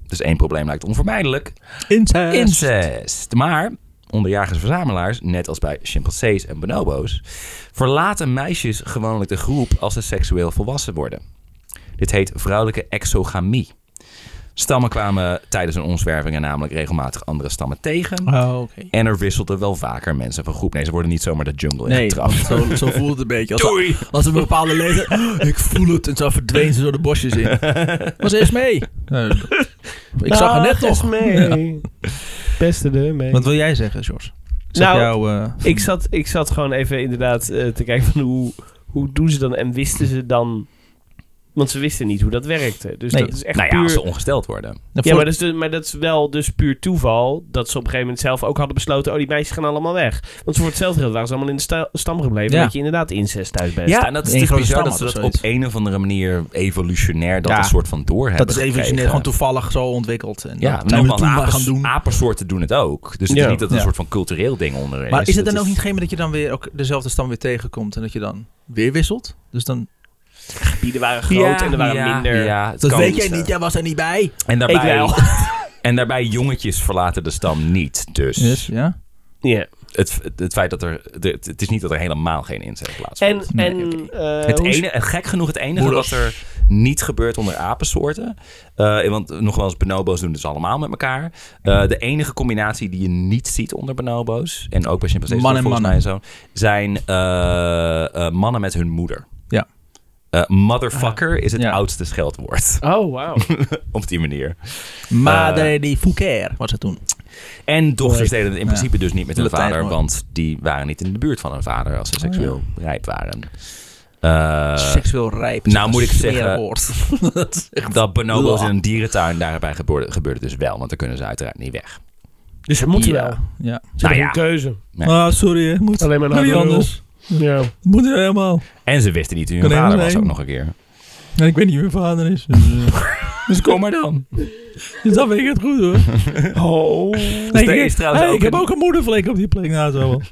S6: Dus één probleem lijkt onvermijdelijk.
S2: Incest.
S6: Incest. Maar onderjagers-verzamelaars, net als bij chimpansees en bonobo's, verlaten meisjes gewoonlijk de groep als ze seksueel volwassen worden. Dit heet vrouwelijke exogamie. Stammen kwamen tijdens hun omzwervingen namelijk regelmatig andere stammen tegen.
S2: Oh, oké.
S6: En er wisselden wel vaker mensen van groep. Nee, ze worden niet zomaar de jungle
S2: Nee,
S6: ingetrapt.
S2: want zo, zo voelt het een beetje. Als, als een bepaalde lezer... "Oh, ik voel het. En zo verdween ze door de bosjes in. Was eerst mee. Eh, ik zag haar net toch.
S5: mee. Beste de mee.
S2: Wat wil jij zeggen, George? Zeg
S5: Nou,
S2: jou, eh,
S5: Ik zat, ik zat gewoon even inderdaad eh, te kijken van hoe, hoe doen ze dan en wisten ze dan Want ze wisten niet hoe dat werkte. Dus
S6: Nee.
S5: dat is echt
S6: nou ja,
S5: puur...
S6: als ze ongesteld worden.
S5: Ja, maar dat, is dus- maar dat is wel dus puur toeval dat ze op een gegeven moment zelf ook hadden besloten, oh die meisjes gaan allemaal weg. Want ze voor hetzelfde geld waren ze allemaal in de sta- stam gebleven,
S2: Ja.
S5: dat je inderdaad incest thuis bent.
S6: Ja, en dat is
S2: Eén
S6: natuurlijk
S2: grote
S6: bizar
S2: stam
S6: dat ze
S2: of
S6: dat op
S2: zoiets.
S6: een of andere manier evolutionair dat
S2: Ja.
S6: een soort van door hebben
S2: dat is evolutionair
S6: gekregen.
S2: gewoon toevallig zo ontwikkeld. En
S6: Ja,
S2: dat zijn we
S6: nogmaals,
S2: toen maar
S6: apers-
S2: gaan doen.
S6: apensoorten doen het ook. Dus het is
S5: Ja.
S6: niet dat er een
S2: Ja.
S6: soort van cultureel ding onder is.
S2: Maar is het
S6: Dat
S2: dan ook niet geen dat je dan weer ook dezelfde stam weer tegenkomt en dat je dan weer wisselt? Dus dan,
S5: Gebieden waren groot en er waren
S6: ja,
S5: minder.
S6: Ja, het
S2: dat
S6: kan.
S2: weet jij niet, jij was er niet bij.
S6: En
S5: Ik
S6: daarbij,
S5: wel.
S6: en daarbij jongetjes verlaten de stam niet. Dus
S2: ja.
S5: Ja.
S6: het, het feit dat er... Het, het is niet dat er helemaal geen incest plaatsvindt.
S5: En,
S2: Nee,
S5: en eh,
S6: Het
S5: hoe is-
S6: ene, en gek genoeg, het enige
S2: Moeders.
S6: wat er niet gebeurt onder apensoorten. eh, want eh, nogmaals, bonobo's doen dus allemaal met elkaar.
S2: Mhm.
S6: Eh, de enige combinatie die je niet ziet onder bonobo's. En ook bij chimpansees
S2: Man en
S6: volgens mij
S2: mannen.
S6: zo. Zijn eh, eh, mannen met hun moeder.
S2: Ja.
S6: Eh, motherfucker is het
S2: Ja.
S6: oudste scheldwoord.
S5: Oh, wauw.
S6: Op die manier.
S2: Madre di Foucaire was het toen.
S6: En dochters deden het in principe dus niet met hun
S2: Latijn,
S6: vader.
S2: mooi.
S6: Want die waren niet in de buurt van hun vader
S2: Oh,
S6: als ze seksueel rijp waren. Eh,
S2: Seksueel rijp.
S6: nou, moet ik
S2: Smerig
S6: zeggen-
S2: woord. dat is echt...
S6: Eh, Dat bonobo's in een dierentuin, daarbij gebeurde, gebeurde dus wel. Want dan kunnen ze uiteraard niet weg.
S5: Dus ze moeten
S6: Ja.
S5: wel.
S2: Ja.
S5: Ze
S6: Nou
S5: hebben
S6: ja.
S5: een keuze.
S6: Nee.
S2: Ah, sorry, hè. moet
S5: Alleen maar naar
S2: moet niet
S5: de lul.
S2: anders.
S5: Ja.
S2: Moet niet helemaal.
S6: En ze wisten niet wie hun
S2: Kan
S6: vader
S2: helemaal
S6: was
S2: heen.
S6: ook nog een keer.
S2: En ik weet niet wie mijn vader is. Dus, eh,
S6: Dus kom maar dan.
S2: dus dan weet ik het goed hoor.
S5: Oh.
S2: Nee,
S6: er
S2: ik-
S6: is trouwens
S2: hey,
S6: ook
S2: ik heb
S6: een-
S2: ook een moedervlek op die plek. Nou, zo wel.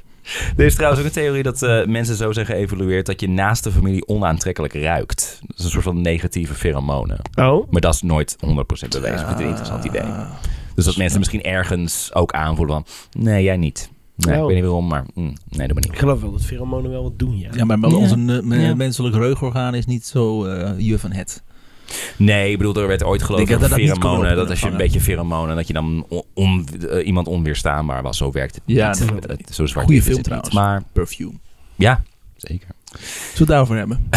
S6: Er is trouwens ook een theorie dat eh, mensen zo zijn geëvolueerd dat je naast de familie onaantrekkelijk ruikt. Dat is een soort van negatieve pheromonen.
S5: Oh.
S6: Maar dat is nooit 100% bewezen. Ik vind het een interessant idee. Dus dat mensen misschien ergens ook aanvoelen van, nee, jij niet. Nee, ik
S5: Oh.
S6: weet niet waarom, maar mm, nee, doe maar
S5: Ik
S6: niet.
S5: geloof wel dat pheromonen wel wat doen, ja.
S2: Ja, maar
S6: Ja.
S2: onze eh, me-
S6: Ja.
S2: menselijk reugorgaan is niet zo eh je van het.
S6: Nee, ik bedoel, er werd ooit geloofd
S2: Ik denk
S6: dat
S2: dat dat niet kon
S6: pheromonen, dat
S2: worden
S6: als je een
S2: ontvangen.
S6: beetje pheromonen, dat je dan on- on- eh, iemand onweerstaanbaar was. Zo werkt het
S2: Ja,
S6: niet.
S2: dat klopt.
S6: Het- zo zwart
S2: Goeie
S6: is
S2: film
S6: het niet,
S2: trouwens.
S6: Maar
S2: Perfume.
S6: ja, zeker.
S2: Zullen we het daarover hebben?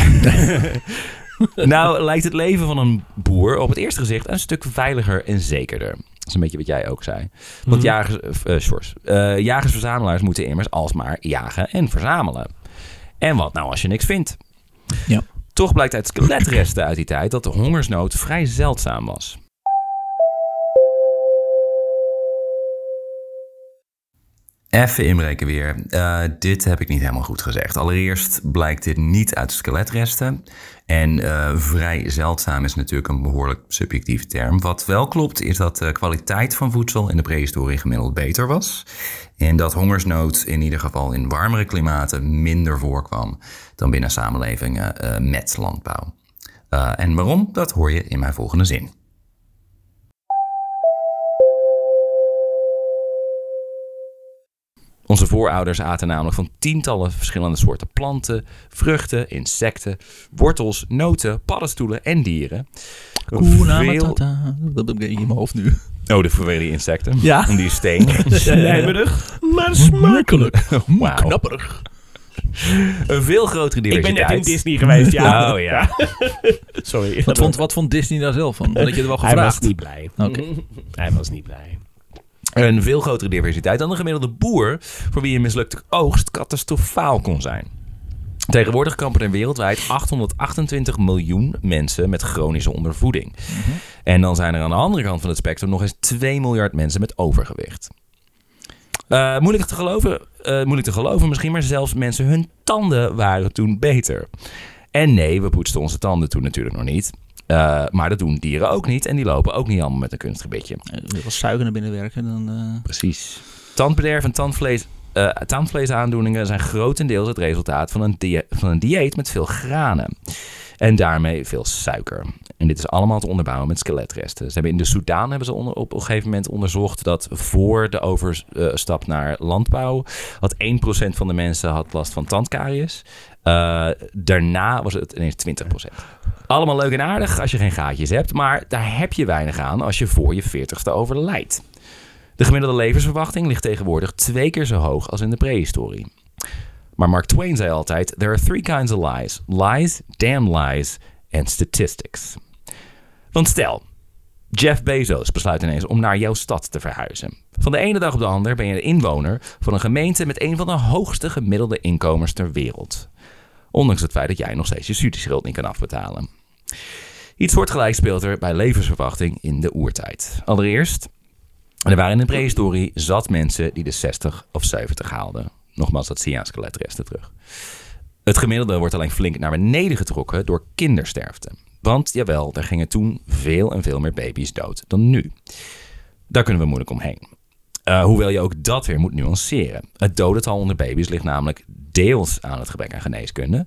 S6: Nou, lijkt het leven van een boer op het eerste gezicht een stuk veiliger en zekerder. Dat is een beetje wat jij ook zei. Want jagers, eh, eh, sorry, eh, jagers-verzamelaars moeten immers alsmaar jagen en verzamelen. En wat nou als je niks vindt?
S2: Ja.
S6: Toch blijkt uit skeletresten uit die tijd dat de hongersnood vrij zeldzaam was.
S1: Even inbreken weer. Eh, dit heb ik niet helemaal goed gezegd. Allereerst blijkt dit niet uit skeletresten. En eh, vrij zeldzaam is natuurlijk een behoorlijk subjectieve term. Wat wel klopt is dat de kwaliteit van voedsel in de prehistorie gemiddeld beter was. En dat hongersnood in ieder geval in warmere klimaten minder voorkwam dan binnen samenlevingen eh, met landbouw. Eh, en waarom? Dat hoor je in mijn volgende zin.
S6: Onze voorouders aten namelijk van tientallen verschillende soorten planten, vruchten, insecten, wortels, noten, paddenstoelen en dieren.
S2: Kuna
S6: Veel-
S2: matata. Dat heb ik in mijn hoofd nu.
S6: Oh, de vanwege die insecten.
S2: Ja.
S6: En die steen.
S5: Eh, Lijmerig, maar smakelijk.
S6: Wauw.
S2: Knapperig.
S6: Een veel grotere
S5: Ik ben
S6: diversiteit.
S5: net in Disney geweest, ja.
S6: Oh ja.
S5: Sorry.
S2: Wat vond, wat vond Disney daar zelf van? Dat je er wel
S5: Hij was
S2: gevraagd.
S5: niet blij.
S2: Oké.
S5: Hij was niet blij.
S6: Een veel grotere diversiteit dan de gemiddelde boer... voor wie een mislukte oogst catastrofaal kon zijn. Tegenwoordig kampen er wereldwijd 828 miljoen mensen met chronische ondervoeding. En dan zijn er aan de andere kant van het spectrum nog eens 2 miljard mensen met overgewicht. Eh, moeilijk, te geloven, eh, moeilijk te geloven misschien, maar zelfs mensen hun tanden waren toen beter. En nee, we poetsten onze tanden toen natuurlijk nog niet. Eh, maar dat doen dieren ook niet en die lopen ook niet allemaal met een kunstgebitje.
S2: Als suiker naar binnen werken, dan... eh,
S6: Precies. Tandbederf en tandvlees, eh, tandvleesaandoeningen zijn grotendeels het resultaat van een, die- van een dieet met veel granen. En daarmee veel suiker. En dit is allemaal te onderbouwen met skeletresten. Ze hebben in de Soedan hebben ze onder, op een gegeven moment onderzocht dat voor de overstap naar landbouw had 1% van de mensen had last van tandkaries. Eh, daarna was het ineens 20%. Allemaal leuk en aardig als je geen gaatjes hebt, maar daar heb je weinig aan als je voor je 40ste overlijdt. De gemiddelde levensverwachting ligt tegenwoordig twee keer zo hoog als in de prehistorie. Maar Mark Twain zei altijd: There are three kinds of lies: lies, damn lies en statistics. Want stel, Jeff Bezos besluit ineens om naar jouw stad te verhuizen. Van de ene dag op de ander ben je een inwoner van een gemeente met een van de hoogste gemiddelde inkomens ter wereld. Ondanks het feit dat jij nog steeds je studieschuld niet kan afbetalen.
S1: Iets soortgelijks speelt er bij levensverwachting in de oertijd. Allereerst, er waren in de prehistorie zat mensen die de 60 of 70 haalden. Nogmaals, dat zie je aan skeletresten terug. Het gemiddelde wordt alleen flink naar beneden getrokken door kindersterfte. Want jawel, er gingen toen veel en veel meer baby's dood dan nu. Daar kunnen we moeilijk omheen. Eh, hoewel je ook dat weer moet nuanceren. Het dodental onder baby's ligt namelijk deels aan het gebrek aan geneeskunde.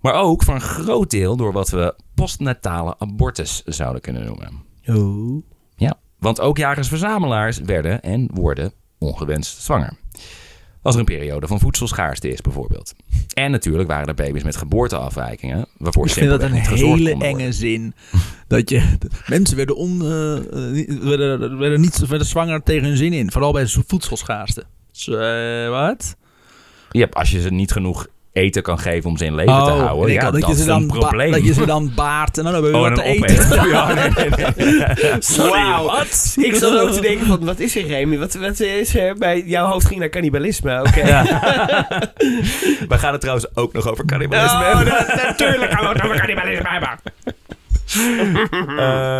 S1: Maar ook voor een groot deel door wat we postnatale abortus zouden kunnen noemen.
S2: Oh.
S1: Ja, want ook jagers-verzamelaars werden en worden ongewenst zwanger. Als er een periode van voedselschaarste is bijvoorbeeld. En natuurlijk waren er baby's met geboorteafwijkingen. Waarvoor
S2: Ik vind dat een
S1: simpelweg niet gezorgd
S2: hele
S1: kon worden.
S2: enge zin. Dat je, mensen werden, on, eh, eh, niet- werden, werden, niet, werden zwanger tegen hun zin in. Vooral bij zo- voedselschaarste. Dus, eh, wat?
S1: Ja, als je ze niet genoeg eten kan geven om ze in leven te houden.
S2: en Oh, ik
S1: ja,
S2: had
S1: dat,
S2: je
S1: is
S2: ze
S1: een
S2: dan ba-
S1: probleem.
S2: dat je ze dan baart en dan hebben we
S1: Oh, en
S2: wat te
S1: dan
S2: eten.
S1: opeten. Ja, nee, nee, nee. Sorry, wat?
S5: Ik zat ook te denken van, wat is er Remy? Wat, wat is er bij jouw hoofd ging naar cannibalisme? Oké.
S1: We gaan het trouwens ook nog over cannibalisme
S5: Oh,
S1: hebben.
S5: dat- natuurlijk gaan we het over cannibalisme hebben.
S6: Eh,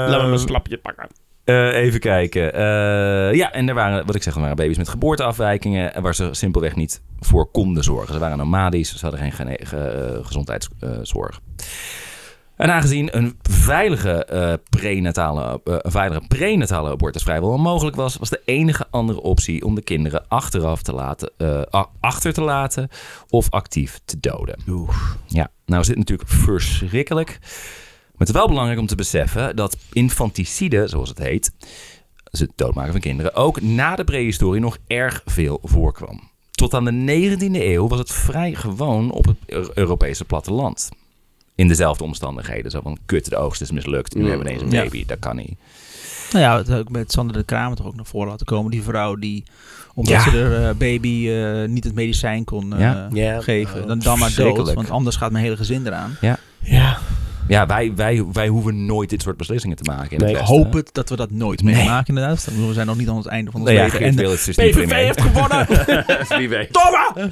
S5: Laten we een slapje pakken.
S1: Eh, even kijken. Eh, ja, en er waren, wat ik zeg, er waren baby's met geboorteafwijkingen. eh, Waar ze simpelweg niet voor konden zorgen. Ze waren nomadisch, ze hadden geen gene- ge- eh, gezondheidszorg. En aangezien een veilige, eh, prenatale, eh, een veilige prenatale abortus vrijwel onmogelijk was, was de enige andere optie om de kinderen achteraf te laten, eh, a- achter te laten of actief te doden. Ja, nou is dit natuurlijk verschrikkelijk. Maar het is wel belangrijk om te beseffen dat infanticide, zoals het heet, dus het doodmaken van kinderen, ook na de prehistorie nog erg veel voorkwam. Tot aan de 19e eeuw was het vrij gewoon op het Eu- Europese platteland. In dezelfde omstandigheden. Zo van, kut, de oogst is mislukt.
S6: Mm.
S1: Nu hebben we ineens een
S2: Mm. Ja.
S1: baby. Dat kan niet.
S2: Nou ja, dat heb ik met Sander de Kramer toch ook naar voren laten komen. Die vrouw die, omdat
S1: Ja.
S2: ze haar eh, baby eh, niet het medicijn kon eh,
S1: Ja.
S5: Ja.
S2: geven, dan, dan maar dood.
S1: Verschrikkelijk.
S2: Want anders gaat mijn hele gezin eraan.
S5: Ja.
S1: Ja, wij, wij, wij hoeven nooit dit soort beslissingen te maken. In
S5: Nee,
S1: het
S2: Ik
S1: Westen.
S2: hoop het dat we dat nooit
S1: Nee.
S2: meemaken inderdaad. Ik bedoel, We zijn nog niet aan het einde van ons
S1: Nee, ja,
S2: leven.
S1: Geert
S2: En de-
S1: Wilders is niet premier.
S2: gewonnen!
S1: Domme!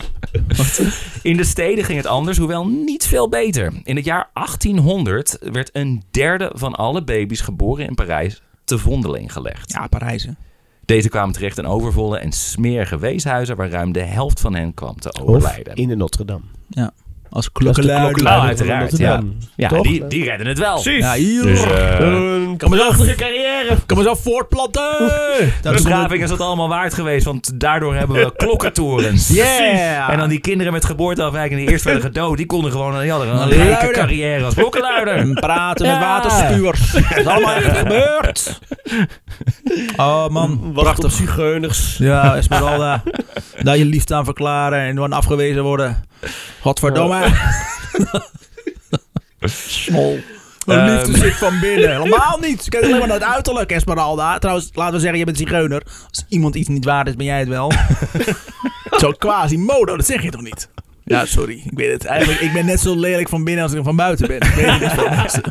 S1: In de steden ging het anders, hoewel niet veel beter. In het jaar 1800 werd een derde van alle baby's geboren in Parijs te vondeling gelegd.
S2: ja, Parijs hè.
S1: Deze kwamen terecht in overvolle en smerige weeshuizen waar ruim de helft van hen kwam te overlijden.
S5: in de Notre Dame.
S2: Als klokkenluider.
S1: Oh, uiteraard, ja. Ja,
S5: Toch?
S1: die, die redden het wel.
S2: Ja, hier.
S1: Dus, eh,
S5: Een prachtige carrière.
S2: Kan me zo voortplanten!
S1: de beschaving is dat allemaal waard geweest, want daardoor hebben we klokkentorens.
S2: Yeah!
S1: En dan die kinderen met geboorteafwijking die eerst werden gedood, die konden gewoon die hadden een
S2: Luiden.
S1: rijke carrière als klokkenluider.
S2: En praten met
S1: Ja.
S2: waterspuwers. Dat is allemaal echt gebeurd. Oh man,
S5: Wacht op zigeuners.
S2: Ja, Esmeralda. Daar eh, je liefde aan verklaren en dan afgewezen worden. Godverdomme. Smol. Mijn
S1: Ehm.
S2: liefde zit van binnen. Helemaal niet. Ik ken alleen maar naar het uiterlijk, Esmeralda. Trouwens, laten we zeggen, je bent zigeuner. Als iemand iets niet waard is, ben jij het wel. zo quasi-modo, dat zeg je toch niet? Ja, sorry. Ik weet het. Eigenlijk, ik ben net zo lelijk van binnen als ik van buiten ben. Ik weet het niet van mensen.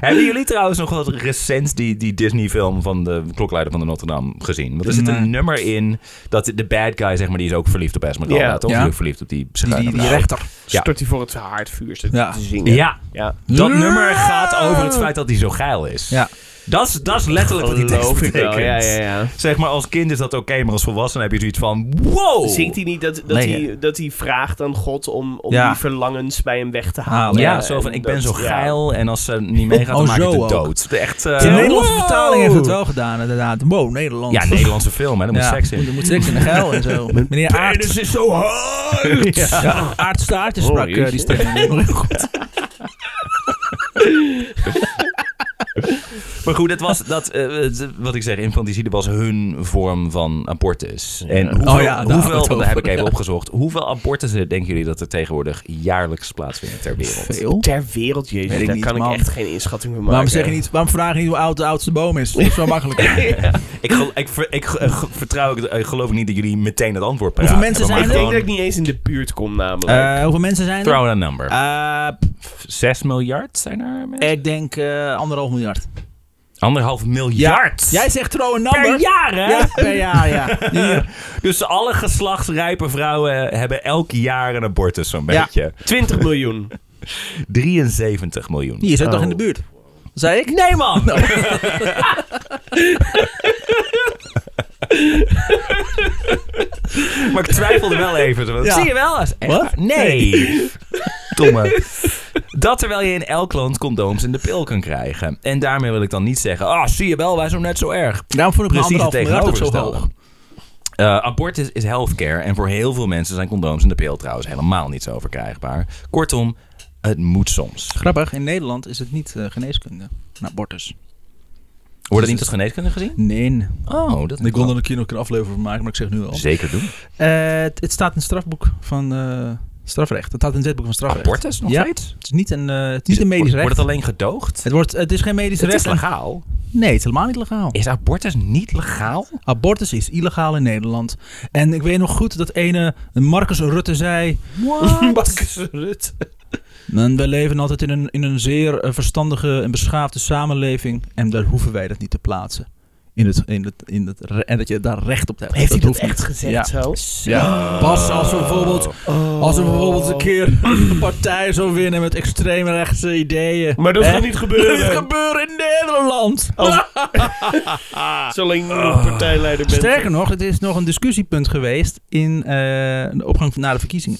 S1: Hebben jullie trouwens nog wat recent die, die Disney-film van de klokluider van de Notre Dame gezien? Want er zit een
S2: Nee.
S1: nummer in dat de bad guy, zeg maar, die is ook verliefd op Esmeralda,
S5: Ja.
S1: toch?
S2: Ja.
S1: Die is ook verliefd op die
S2: Die, die, die
S1: vrouw.
S2: rechter.
S1: Ja.
S5: Stort hij voor het haardvuur zit
S2: Ja.
S5: te zingen.
S1: Ja,
S5: Ja.
S1: dat nummer gaat over het feit dat hij zo geil is.
S2: Ja.
S1: Dat is- dat is letterlijk wat die tekst
S5: Geloof ik wel.
S1: betekent.
S5: Ja, ja, ja.
S1: Zeg maar, als kind is dat oké, maar als volwassen heb je zoiets van... Wow!
S5: Zingt hij niet dat, dat,
S1: Nee.
S5: hij, dat hij vraagt aan God om, om
S2: Ja. Ah,
S5: die verlangens bij hem weg te halen?
S1: Ja, zo van,
S5: en
S1: ik ben
S5: dat-
S1: zo
S5: ja.
S1: geil en als ze niet meegaat, Nou, dan
S2: Oh,
S1: maak ik
S2: zo
S1: de
S2: ook. Oh.
S1: dood. Echt, eh,
S2: De Nederlandse
S1: wow!
S2: vertaling heeft het wel gedaan, inderdaad. Wow, Nederland.
S1: Ja, Nederlandse film, hè. Daar moet seks in.
S2: Er moet seks in de geil en zo. Meneer Aarts. is zo hard. Ja. Aarts Staartje sprak
S1: Oh,
S5: Holy
S2: eh, die stem. Heel goed.
S1: Maar goed, dat was dat, eh, het- wat ik zeg, infanticide was hun vorm van abortus. En hoeveel,
S2: Oh ja, daar hadden we
S1: hoeveel
S2: het
S1: want daar heb ik
S2: over,
S1: even
S2: ja.
S1: opgezocht, hoeveel abortussen denken jullie dat er tegenwoordig jaarlijks plaatsvinden ter wereld?
S2: Veel.
S5: Ter wereld,
S2: Weet
S5: jezus.
S2: ik
S5: Daar
S2: niet,
S5: kan
S2: man.
S5: ik echt geen inschatting van maken.
S2: Waarom, zeg je niet, waarom vraag je niet hoe oud de oudste boom is? Dat is wel makkelijk. Eh,
S1: Ik, gel- ik, ver- ik ge- ge- vertrouw, ik eh, geloof niet dat jullie meteen het antwoord paraat
S2: Hoeveel mensen
S1: hebben,
S5: Ik
S1: maar
S5: denk
S1: gewoon-
S5: dat ik niet eens in de buurt kom namelijk.
S2: Eh, hoeveel mensen zijn er?
S1: Throw out a number.
S2: Eh,
S1: 6 miljard zijn er mensen?
S2: ik denk eh, anderhalf miljard.
S1: Anderhalf miljard!
S2: Jij zegt trouw een
S1: per
S2: number.
S1: jaar, hè?
S2: Ja, per jaar, ja. Hier.
S1: Dus alle geslachtsrijpe vrouwen hebben elk jaar een abortus, zo'n
S2: Ja.
S1: beetje.
S5: 20 miljoen.
S1: 73 miljoen.
S2: Je zit toch in de buurt? Zei ik?
S1: Nee, man! maar ik twijfelde wel even. zo van,
S2: Ja.
S1: Zie je wel? Is echt
S2: Wat?
S1: waar. Nee. Domme. Dat terwijl je in elk land condooms in de pil kan krijgen. En daarmee wil ik dan niet zeggen... Ah, zie je wel, wij zijn net zo erg.
S2: Daarom vond ik mijn
S1: Precies het
S2: anderhalf miljard ook zo
S1: tegenovergestelde.
S2: hoog.
S1: Eh, abortus is healthcare. En voor heel veel mensen zijn condooms in de pil trouwens helemaal niet zo verkrijgbaar. Kortom, het moet soms.
S2: Grappig, in Nederland is het niet eh, geneeskunde. Een abortus.
S1: Wordt dat niet als geneeskunde gezien?
S2: Nee.
S1: Oh, dat
S2: Ik wil er een keer nog een aflevering van maken, maar ik zeg nu al.
S1: Zeker doen.
S2: Eh, het, het staat in het strafboek van eh, strafrecht. Het staat in het wetboek van strafrecht.
S1: Abortus nog
S2: Ja.
S1: steeds?
S2: Het is niet een, eh, het is niet een medisch
S1: Wordt-
S2: recht.
S1: Wordt het alleen gedoogd?
S2: Het, wordt, het is geen medisch
S1: Het is
S2: recht.
S1: legaal.
S2: Nee, het is helemaal niet legaal.
S1: Is abortus niet legaal?
S2: Abortus is illegaal in Nederland. En ik weet nog goed dat ene Marcus Rutte zei...
S1: Marcus Rutte.
S2: "Men, We leven altijd in een, in een zeer eh, verstandige en beschaafde samenleving. En daar hoeven wij dat niet te plaatsen. In het, in het, in het, re- en dat je daar recht op hebt.
S5: Heeft hij dat
S2: hoeft
S5: echt
S2: niet.
S5: gezegd
S2: Ja.
S5: zo?
S2: Ja. Pas als we bijvoorbeeld,
S1: Oh.
S2: als we bijvoorbeeld een keer een partij zou winnen met extreemrechtse ideeën.
S5: Maar dat
S2: Hè?
S5: gaat niet
S2: Dat gaat
S5: gebeuren.
S2: gebeuren in Nederland.
S1: Oh,
S5: Zolang je nog partijleider bent.
S2: Sterker nog, het is nog een discussiepunt geweest in eh, de opgang van- na de verkiezingen.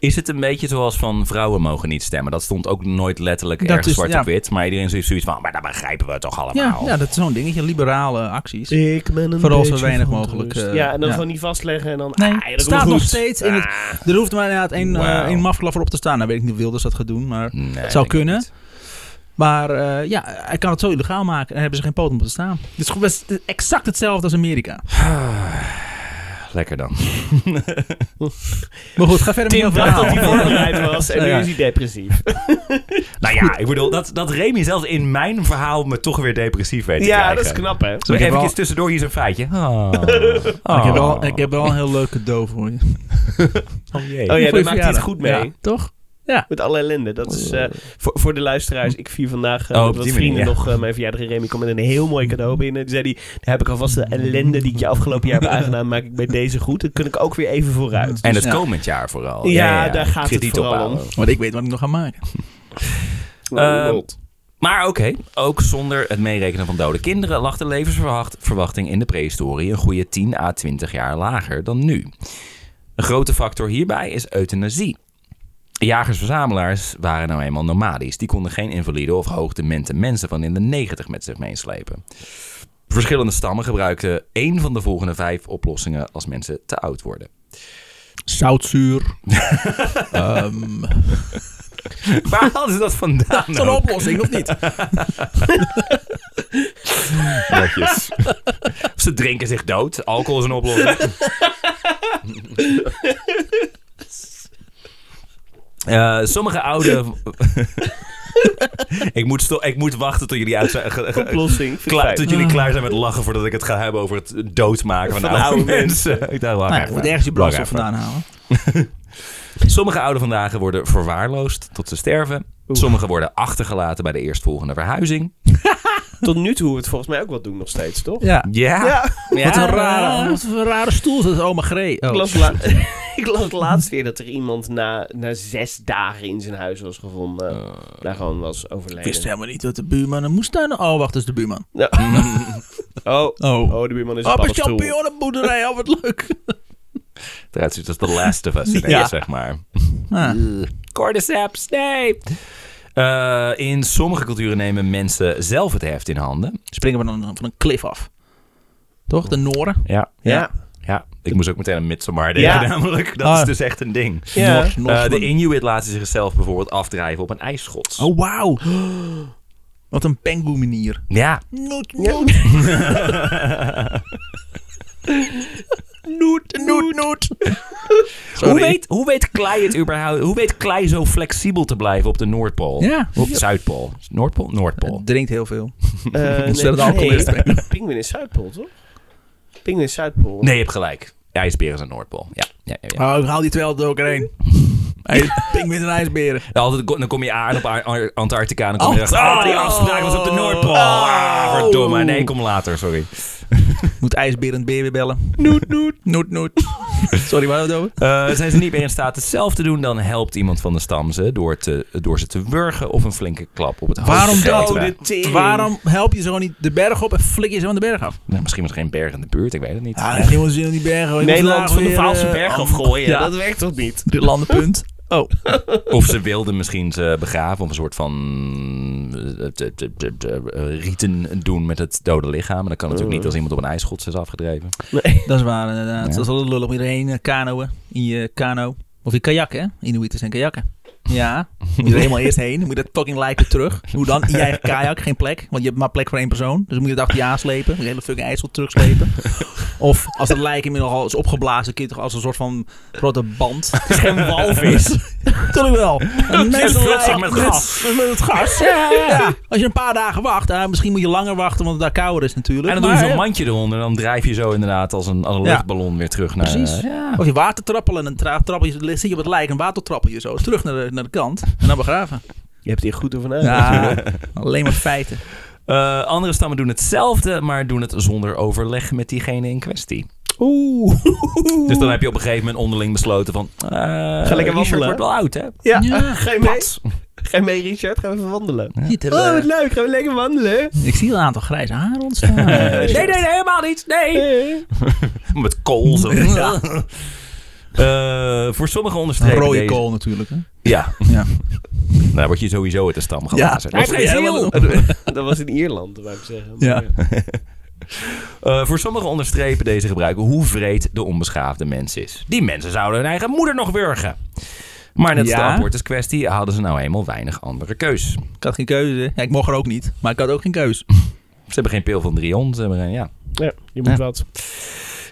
S1: Is het een beetje zoals van vrouwen mogen niet stemmen? Dat stond ook nooit letterlijk
S2: Dat
S1: erg
S2: is-
S1: zwart
S2: ja.
S1: op wit. Maar iedereen zoiets zoiets van, "Oh, maar dat begrijpen we toch
S2: Ja,
S1: allemaal.
S2: ja, dat is zo'n dingetje, liberale acties.
S5: Ik ben een
S2: Vooral zo
S5: beetje
S2: weinig
S5: verontrust.
S2: mogelijk, eh,
S5: ja, en dan
S2: ja.
S5: gewoon niet vastleggen en dan...
S2: Nee,
S5: ah, ja,
S2: het
S5: dat
S2: staat
S5: komt
S2: nog
S5: goed.
S2: steeds in het...
S5: Ah,
S2: Er hoeft maar inderdaad één, eh,
S1: Wauw.
S2: één mafklaffer op te staan. Nou weet ik niet of Wilders dat gaat doen, maar...
S1: Nee, denk
S2: zou
S1: ik
S2: kunnen.
S1: niet.
S2: Maar eh, ja, hij kan het zo illegaal maken en daar hebben ze geen poot om te staan. Het is gewoon best- exact hetzelfde als Amerika.
S1: Lekker dan.
S2: Maar goed, ga verder met
S5: Tim
S2: jouw
S5: dacht dat hij
S2: verhaal.
S5: voorbereid was en nu
S2: Ja.
S5: is hij depressief.
S1: Nou ja, ik bedoel, dat, dat Remy zelfs in mijn verhaal me toch weer depressief weet te
S5: Ja,
S1: krijgen.
S5: dat is knap, hè?
S1: Zo,
S2: Ik heb
S1: even
S2: wel-
S1: tussendoor hier zo'n feitje. Oh.
S2: Ik heb, wel, ik heb wel een heel leuke cadeau voor je.
S1: Oh jee.
S5: Oh ja,
S2: Voor je
S5: daar maakt hij het
S2: verjaardag.
S5: goed mee.
S2: Ja, toch?
S5: Met alle ellende. Dat is
S2: Oh.
S5: eh, voor, voor de luisteraars. Ik vier vandaag eh,
S1: Oh,
S5: met
S1: op
S5: wat
S1: die
S5: vrienden
S1: manier, ja.
S5: nog eh, mijn verjaardag. En Remy kwam met een heel mooi cadeau binnen. Toen zei hij, daar heb ik alvast de ellende die ik je afgelopen jaar heb aangedaan. Maak ik bij deze goed. Dan kun ik ook weer even vooruit.
S1: En het
S2: Ja.
S1: komend jaar vooral.
S5: Ja, daar gaat het
S1: Krediet
S5: vooral
S1: opbouwen.
S5: om.
S2: Want ik weet wat ik nog ga maken. Eh,
S1: Ehm, maar oké, ook zonder het meerekenen van dode kinderen lag de levensverwachting in de prehistorie een goede 10 à 20 jaar lager dan nu. Een grote factor hierbij is euthanasie. Jagers-verzamelaars waren nou eenmaal nomadisch. Die konden geen invalide of hoogdemente mensen van in de 90 met zich meeslepen. Verschillende stammen gebruikten één van de volgende vijf oplossingen als mensen te oud worden.
S2: Zoutzuur. Ehm, Nou.
S1: Waar hadden ze dat vandaan?
S2: Zo'n
S1: ook?
S2: oplossing, of niet?
S1: Netjes. Of ze drinken zich dood. Alcohol is een oplossing. Eh, sommige oude... ik, moet sto- ik moet wachten tot jullie, uit zijn, ge- ge-
S5: Oplossing.
S1: klaar-
S5: Klaar,
S1: tot jullie
S2: Ah.
S1: klaar zijn met lachen voordat ik het ga hebben over het doodmaken van,
S5: Van
S1: oude,
S5: oude
S1: mensen. ik dacht, wacht
S2: Nou ja,
S1: even.
S2: goed, ergens je
S1: Wacht
S2: brandstof
S1: even.
S2: vandaan halen.
S1: Sommige ouden vandaag worden verwaarloosd tot ze sterven. Sommigen worden achtergelaten bij de eerstvolgende verhuizing.
S5: Tot nu toe hoe we het volgens mij ook wel doen nog steeds, toch?
S2: Ja. nou.
S1: Ja.
S2: Wat een rare, wat een rare stoel is dat, oma Gree. Oh.
S5: Ik las, la- ik las laatst weer dat er iemand na, na zes dagen in zijn huis was gevonden. daar gewoon was
S2: Ik wist
S5: overleden.
S2: helemaal niet dat de buurman een moestuin... Oh, wacht, dat is de buurman. Oh.
S5: Oh, oh, de buurman is een
S2: Oh, op een
S5: paddenstoel.
S2: champignonenboerderij, oh wat leuk.
S1: Eruit ziet als The Last of Us ineens,
S2: Ja.
S1: zeg maar.
S2: Ah.
S1: Cordyceps, nee! Eh, in sommige culturen nemen mensen zelf het heft in handen.
S2: Springen we dan van een klif af. Toch? De Noren?
S1: Ja.
S5: Ja. Eh,
S1: Ja, ik moest ook meteen aan Midsommar denken
S5: Ja.
S1: namelijk. Dat
S2: Ah.
S1: is dus echt een ding.
S5: Ja.
S2: Nors, Nors,
S1: Eh, de
S2: man.
S1: Inuit laten zichzelf bijvoorbeeld afdrijven op een ijsschots.
S2: Oh, wauw. Wat een penguin manier.
S1: Ja.
S2: Noet, noet. noet, noet, noet.
S1: Hoe weet, hoe weet klei het überhaupt? Hoe weet klei zo flexibel te blijven op de Noordpool?
S2: Ja.
S1: Op de Zuidpool. Noordpool? Noordpool.
S2: Het drinkt heel veel.
S5: Eh, nee,
S2: zullen het alcoholist
S5: nee. Pinguïn is Zuidpool, toch? Pinguïn is Zuidpool.
S1: Nee, je hebt gelijk. IJsberen zijn Noordpool. Ja. ja, ja, ja.
S2: Oh, ik haal die twee altijd doorheen. Hey, pinguïn en ijsberen.
S1: Ja, Altijd, ko- dan kom je aan op Ar- Ar- Antarctica en dan kom je
S2: Oh.
S1: erachter, ah, die afspraak was op de Noordpool. Ah, verdomme. Nee, kom later, sorry.
S2: Moet ijsberend beer weer bellen. Noet, noet. Noet, noet. Sorry, waar hebben we het over?
S1: Eh, zijn ze niet meer in staat het zelf te doen, dan helpt iemand van de stam ze door, te, door ze te wurgen of een flinke klap op het hoofd.
S2: Waarom
S1: te
S2: dat?
S1: geven.
S5: Oh, de tering.
S2: Waarom help je ze gewoon niet de berg op en flik je ze van de berg af?
S1: Nou, misschien was er geen berg in de buurt, ik weet het niet.
S2: Ja, dat geen zin om die bergen. hoor. Ik moet
S5: Nou, Nederland
S2: vandaag
S5: van de
S2: weer,
S5: Vaalse
S2: eh,
S5: berg
S2: am-
S5: afgooien?
S2: Ja,
S5: Dat werkt toch niet?
S2: de landenpunt. Oh,
S1: Of ze wilden misschien ze begraven of een soort van eh, te- te- te- te- eh, rieten doen met het dode lichaam. En dat kan natuurlijk niet als iemand op een ijsgods is afgedreven.
S2: dat is waar inderdaad.
S1: Ja.
S2: Dat is altijd lullig om iedereen eh, kanoën in je kano. Of in kajak, hè? Inuiters en kajakken. Ja, moet je er helemaal eerst heen. Dan moet je dat fucking lijk weer terug. Hoe dan? In je eigen kajak, geen plek. Want je hebt maar plek voor één persoon. Dus dan moet je het achter je aanslepen. Moet je hele fucking IJssel terugslepen. Of als het lijk inmiddels al is opgeblazen, kun je toch als een soort van grote band. Het is geen walvis. Tuurlijk wel. Een
S1: vult zich
S2: mensenlijk
S1: met
S2: met,
S1: gas.
S2: met, het gas. Ja, ja. Als je een paar dagen wacht, ah, misschien moet je langer wachten, want het daar kouder is natuurlijk.
S1: En dan doen
S2: Maar-
S1: ze een mandje eronder en dan drijf je zo inderdaad als een, als een
S2: Ja.
S1: luchtballon weer terug naar... eh,
S2: Precies. Of je watertrappelen en dan tra- trappel je, zit je op het lijk en watertrappel je zo terug naar de, naar de kant en dan begraven.
S5: Je hebt hier goed over
S2: Ja, alleen maar feiten.
S1: Eh, andere stammen doen hetzelfde, maar doen het zonder overleg met diegene in kwestie.
S2: Oeh.
S1: Dus dan heb je op een gegeven moment onderling besloten van... eh, Richard
S5: wandelen, hè?
S1: wordt wel oud, hè?
S5: Ja,
S2: Ja.
S5: ga je mee? Ga je mee, Richard? Gaan we even wandelen?
S2: Niet te-
S5: Oh, wat leuk. Gaan we lekker wandelen?
S2: eh, Ik zie een aantal grijze haren ontstaan.
S1: nee, nee, nee, helemaal niet. Nee.
S5: Hey.
S1: Met kool zo. Eh, voor sommigen
S2: Een
S1: onderstrepen
S2: rode
S1: deze-
S2: kool natuurlijk. Hè?
S1: Ja.
S2: Ja.
S1: Nou, dan word je sowieso uit de stam gelazerd.
S2: Ja,
S1: Dat is geen
S2: helemaal
S1: ziel.
S5: Dat was in Ierland, wou ik zeggen.
S2: Ja.
S1: Eh, voor sommigen onderstrepen deze gebruiken hoe vreed de onbeschaafde mens is. Die mensen zouden hun eigen moeder nog wurgen. Maar net als de
S2: Ja.
S1: abortuskwestie hadden ze nou eenmaal weinig andere keus.
S2: Ik had geen keuze. Ja, ik mocht er ook niet, maar ik had ook geen keuze.
S1: Ze hebben geen pil van Drion. Ze hebben geen, ja.
S5: Ja, je moet wat.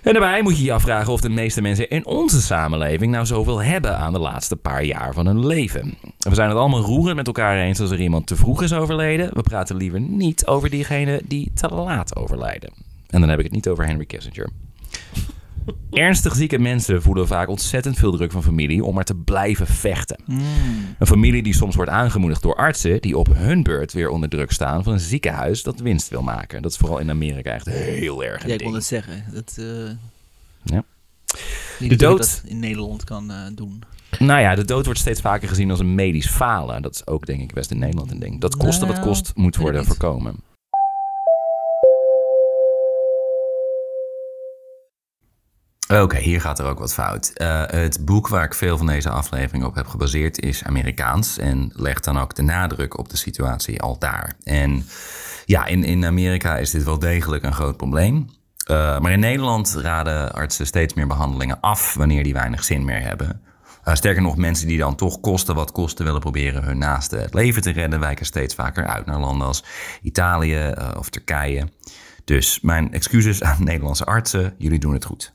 S1: En daarbij moet je je afvragen of de meeste mensen in onze samenleving nou zoveel hebben aan de laatste paar jaar van hun leven. We zijn het allemaal roerend met elkaar eens als er iemand te vroeg is overleden. We praten liever niet over diegenen die te laat overlijden. En dan heb ik het niet over Henry Kissinger. Ernstig zieke mensen voelen vaak ontzettend veel druk van familie om maar te blijven vechten. Een familie die soms wordt aangemoedigd door artsen die op hun beurt weer onder druk staan van een ziekenhuis dat winst wil maken. Dat is vooral in Amerika echt heel erg een
S2: Ja, ik
S1: ding.
S2: wil het zeggen. Dat, eh,
S1: Ja.
S2: niet
S1: De
S2: dat ik
S1: dood-
S2: dat in Nederland kan eh, doen.
S1: Nou ja, de dood wordt steeds vaker gezien als een medisch falen. Dat is ook denk ik best in Nederland een ding. Dat kosten wat
S2: Nou,
S1: kost moet
S2: ik
S1: worden
S2: niet.
S1: voorkomen.
S6: Oké, hier gaat er ook wat fout. Eh, het boek waar ik veel van deze aflevering op heb gebaseerd is Amerikaans en legt dan ook de nadruk op de situatie al daar. En ja, in, in Amerika is dit wel degelijk een groot probleem. Eh, maar in Nederland raden artsen steeds meer behandelingen af wanneer die weinig zin meer hebben. Eh, sterker nog, mensen die dan toch kosten wat kosten willen proberen hun naasten het leven te redden, wijken steeds vaker uit naar landen als Italië eh, of Turkije. Dus mijn excuses aan Nederlandse artsen, jullie doen het goed.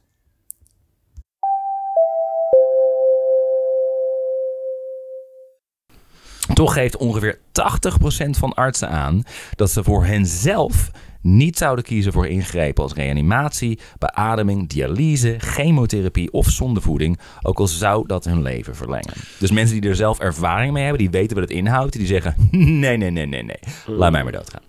S1: Toch geeft ongeveer 80% van artsen aan dat ze voor henzelf niet zouden kiezen voor ingrepen als reanimatie, beademing, dialyse, chemotherapie of zondevoeding, ook al zou dat hun leven verlengen. Dus mensen die er zelf ervaring mee hebben, die weten wat het inhoudt, die zeggen nee, nee, nee, nee, nee, laat mij maar doodgaan.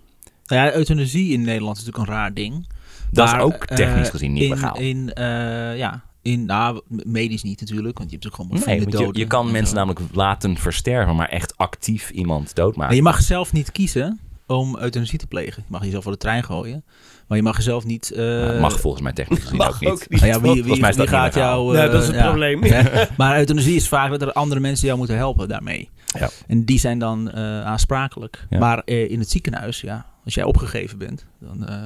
S2: Nou ja, euthanasie in Nederland is natuurlijk een raar ding.
S1: Dat is
S2: Maar,
S1: ook technisch
S2: eh,
S1: gezien niet
S2: in,
S1: legaal.
S2: In, eh, ja, in, nou, medisch niet natuurlijk, want je hebt natuurlijk gewoon
S1: Nee,
S2: bevriende
S1: want je,
S2: doden
S1: je kan
S2: en
S1: mensen nou-
S2: zo.
S1: namelijk laten versterven, maar echt actief iemand
S2: Maar
S1: doodmaken.
S2: je mag zelf niet kiezen om euthanasie te plegen. Je mag jezelf voor de trein gooien, maar je mag jezelf niet... eh,
S1: Dat mag volgens mij technisch gezien ook niet.
S2: nou ja, wie, wie,
S1: Volgens mij is
S2: wie
S1: dat niet
S2: gaat
S1: legaal.
S2: jou...
S5: Nou,
S2: eh,
S5: dat is het
S2: ja.
S5: probleem.
S2: Hè? maar euthanasie is vaak dat er andere mensen jou moeten helpen daarmee.
S1: Ja.
S2: En die zijn dan eh, aansprakelijk.
S1: Ja.
S2: Maar eh, in het ziekenhuis, ja, als jij opgegeven bent, dan eh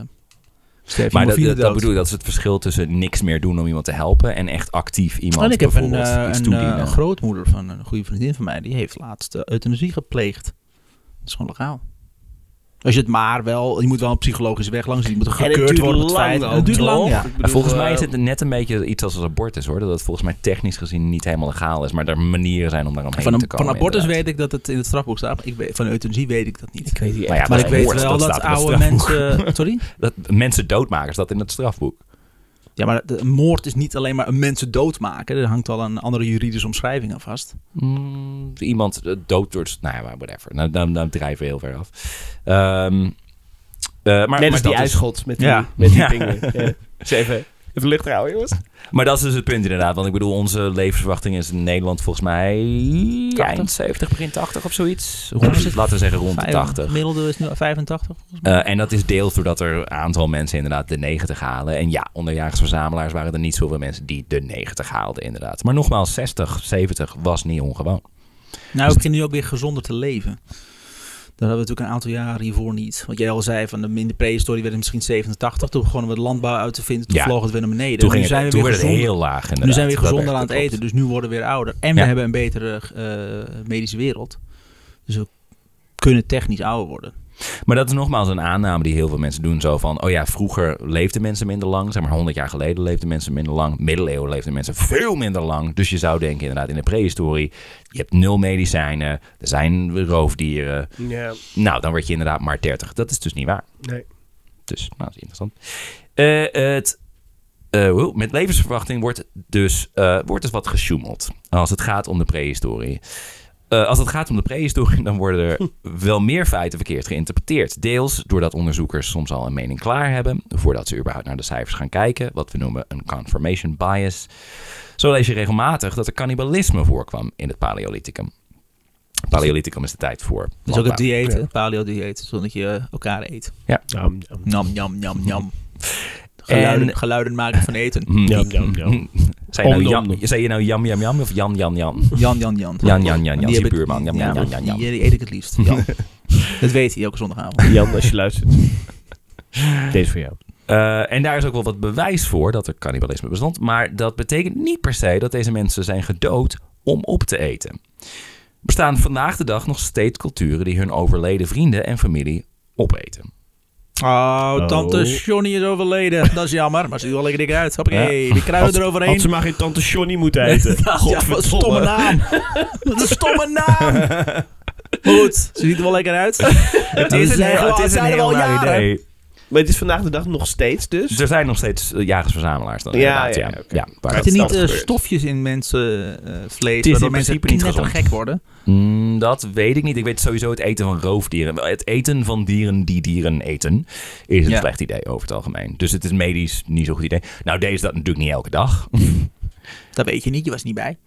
S2: sterf je
S1: Maar dat,
S2: morfine
S1: dat, dat
S2: dood.
S1: bedoel ik, dat is het verschil tussen niks meer doen om iemand te helpen en echt actief iemand
S2: En ik heb een,
S1: bijvoorbeeld
S2: eh,
S1: iets
S2: een,
S1: toedienen.
S2: eh, grootmoeder van een goede vriendin van mij. Die heeft laatst eh, euthanasie gepleegd. Dat is gewoon legaal. Als je het maar wel... Je moet wel een psychologische weg langs. Je moet
S5: En het
S2: gekeurd
S5: duurt
S2: worden op het
S5: lang
S2: feit. en
S5: ook,
S2: Het duurt lang,
S5: toch?
S2: ja.
S5: Ik
S1: Maar
S5: bedoel,
S1: volgens mij
S5: eh,
S1: is het net een beetje iets als een abortus hoor. Dat het volgens mij technisch gezien niet helemaal legaal is. Maar er manieren zijn om daar omheen
S2: Van,
S1: te
S2: een,
S1: komen.
S2: van abortus
S1: inderdaad.
S2: weet ik dat het in het strafboek staat. maar Ik weet, van euthanasie weet ik dat niet.
S5: Ik weet niet
S1: Maar ja,
S5: echt.
S2: maar
S1: dat
S2: ik
S1: is
S2: weet
S1: moord,
S2: wel dat,
S1: staat in het
S2: oude
S1: strafboek.
S2: mensen... Sorry?
S1: Dat mensen doodmaken, staat in het strafboek.
S2: Ja, maar de, moord is niet alleen maar een mensen doodmaken. Er hangt al een andere juridische omschrijving aan vast.
S1: Mm, iemand eh, dood door... Nou ja, maar whatever. Nou, dan, dan drijven we heel ver af. Ehm, eh, maar, maar
S5: Net als
S1: dat is-
S5: die
S2: dus
S5: ijsschot met die,
S2: Ja.
S5: met die
S1: Ja.
S5: dingen. Ja. Eens even. Even licht houden, jongens.
S6: Maar dat is dus het punt inderdaad. Want ik bedoel, onze levensverwachting is in Nederland volgens mij... Eind 70, begin 80 of zoiets. Rond, laten we zeggen rond de 80.
S2: Gemiddelde is nu 85.
S6: Eh, en dat is deels doordat er een aantal mensen inderdaad de 90 halen. En ja, onder verzamelaars waren er niet zoveel mensen die de 90 haalden inderdaad. Maar nogmaals, 60, 70 was niet ongewoon.
S2: Nou, we beginnen nu ook weer gezonder te leven. Dat hadden we natuurlijk een aantal jaren hiervoor niet. Want jij al zei, van de, in de prehistorie werden het misschien 87. Toen begonnen we de landbouw uit te vinden. Toen
S6: Ja.
S2: vloog het weer naar beneden.
S6: Toen,
S2: Nu
S6: ging het-
S2: zijn we
S6: toen
S2: weer
S6: werd het
S2: gezonder.
S6: heel laag inderdaad.
S2: Nu zijn we weer
S6: Dat
S2: gezonder
S6: werkt,
S2: aan het
S6: dat
S2: eten,
S6: klopt.
S2: dus nu worden we weer ouder. En we
S6: Ja.
S2: hebben een betere eh, medische wereld. Dus we kunnen technisch ouder worden.
S6: Maar dat is nogmaals een aanname die heel veel mensen doen. Zo van, oh ja, vroeger leefden mensen minder lang. Zeg maar 100 jaar geleden leefden mensen minder lang. Middeleeuwen leefden mensen veel minder lang. Dus je zou denken inderdaad in de prehistorie. Je hebt nul medicijnen. Er zijn roofdieren.
S5: Ja,
S6: Nou, dan word je inderdaad maar 30. Dat is dus niet waar.
S5: nee.
S6: Dus, nou, dat is interessant. Eh, het, eh, hoe- met levensverwachting wordt dus eh, wordt dus wat gesjoemeld. Als het gaat om de prehistorie. Eh, als het gaat om de prehistorie, dan worden er
S2: Hm.
S6: wel meer feiten verkeerd geïnterpreteerd. Deels doordat onderzoekers soms al een mening klaar hebben, voordat ze überhaupt naar de cijfers gaan kijken, wat we noemen een confirmation bias. Zo lees je regelmatig dat er cannibalisme voorkwam in het Paleolithicum. Paleolithicum is de tijd voor.
S2: Dus ook het
S6: landbouw.
S2: dieet, hè, paleo-dieet, zodat je eh, elkaar eet.
S5: Jam, jam,
S2: Nam, nam, nam, nam. Geluiden,
S6: En-
S2: geluiden maken van eten.
S6: Mm.
S5: jam, jam, jam.
S6: Zei je, nou
S5: Om de
S6: jam,
S2: Hm.
S5: om de-
S6: zei je nou jam jam jam of jan jan jan?
S2: Jan, Jan, Jan.
S6: Jan, Jan, Jan, Jan,
S2: Die
S6: is je
S2: heb ik-
S6: buurman. Jan, Jan, Jan, Jan, Jan.
S2: Die, die eet ik het liefst. Jan. dat weet hij elke zondagavond.
S5: Jan, als je luistert. Deze is voor jou.
S6: Eh, en daar is ook wel wat bewijs voor dat er cannibalisme bestond. Maar dat betekent niet per se dat deze mensen zijn gedood om op te eten. Er bestaan vandaag de dag nog steeds culturen die hun overleden vrienden en familie opeten.
S2: Oh, tante
S5: Oh.
S2: Johnny is overleden. Dat is jammer, maar ze ziet er wel lekker dik uit. Hoppakee, die kruiden eroverheen.
S5: Had ze maar geen tante Johnny moeten eten.
S2: Ja, wat een stomme naam. Wat een stomme naam. Maar Goed, ze ziet er wel lekker uit. Het
S6: naar idee.
S5: maar het is vandaag de dag nog steeds dus.
S6: Er zijn nog steeds eh, jagersverzamelaars dan
S5: Ja,
S6: inderdaad.
S5: ja,
S6: Ja,
S5: oké.
S6: ja, waar
S2: Zitten
S6: dat-
S2: niet
S6: dat
S2: eh,
S6: gebeurt.
S2: stofjes in mensen eh, vlees,
S6: Het is
S2: waardoor
S6: in
S2: mensen
S6: principe niet gezond.
S2: gek worden?
S6: Mm, dat weet ik niet. Ik weet sowieso het eten van roofdieren. Wel, Het eten van dieren die dieren eten is een
S2: Ja.
S6: slecht idee over het algemeen. Dus het is medisch niet zo'n goed idee. Nou, deze dat natuurlijk niet elke dag.
S2: Dat weet je niet, je was niet bij.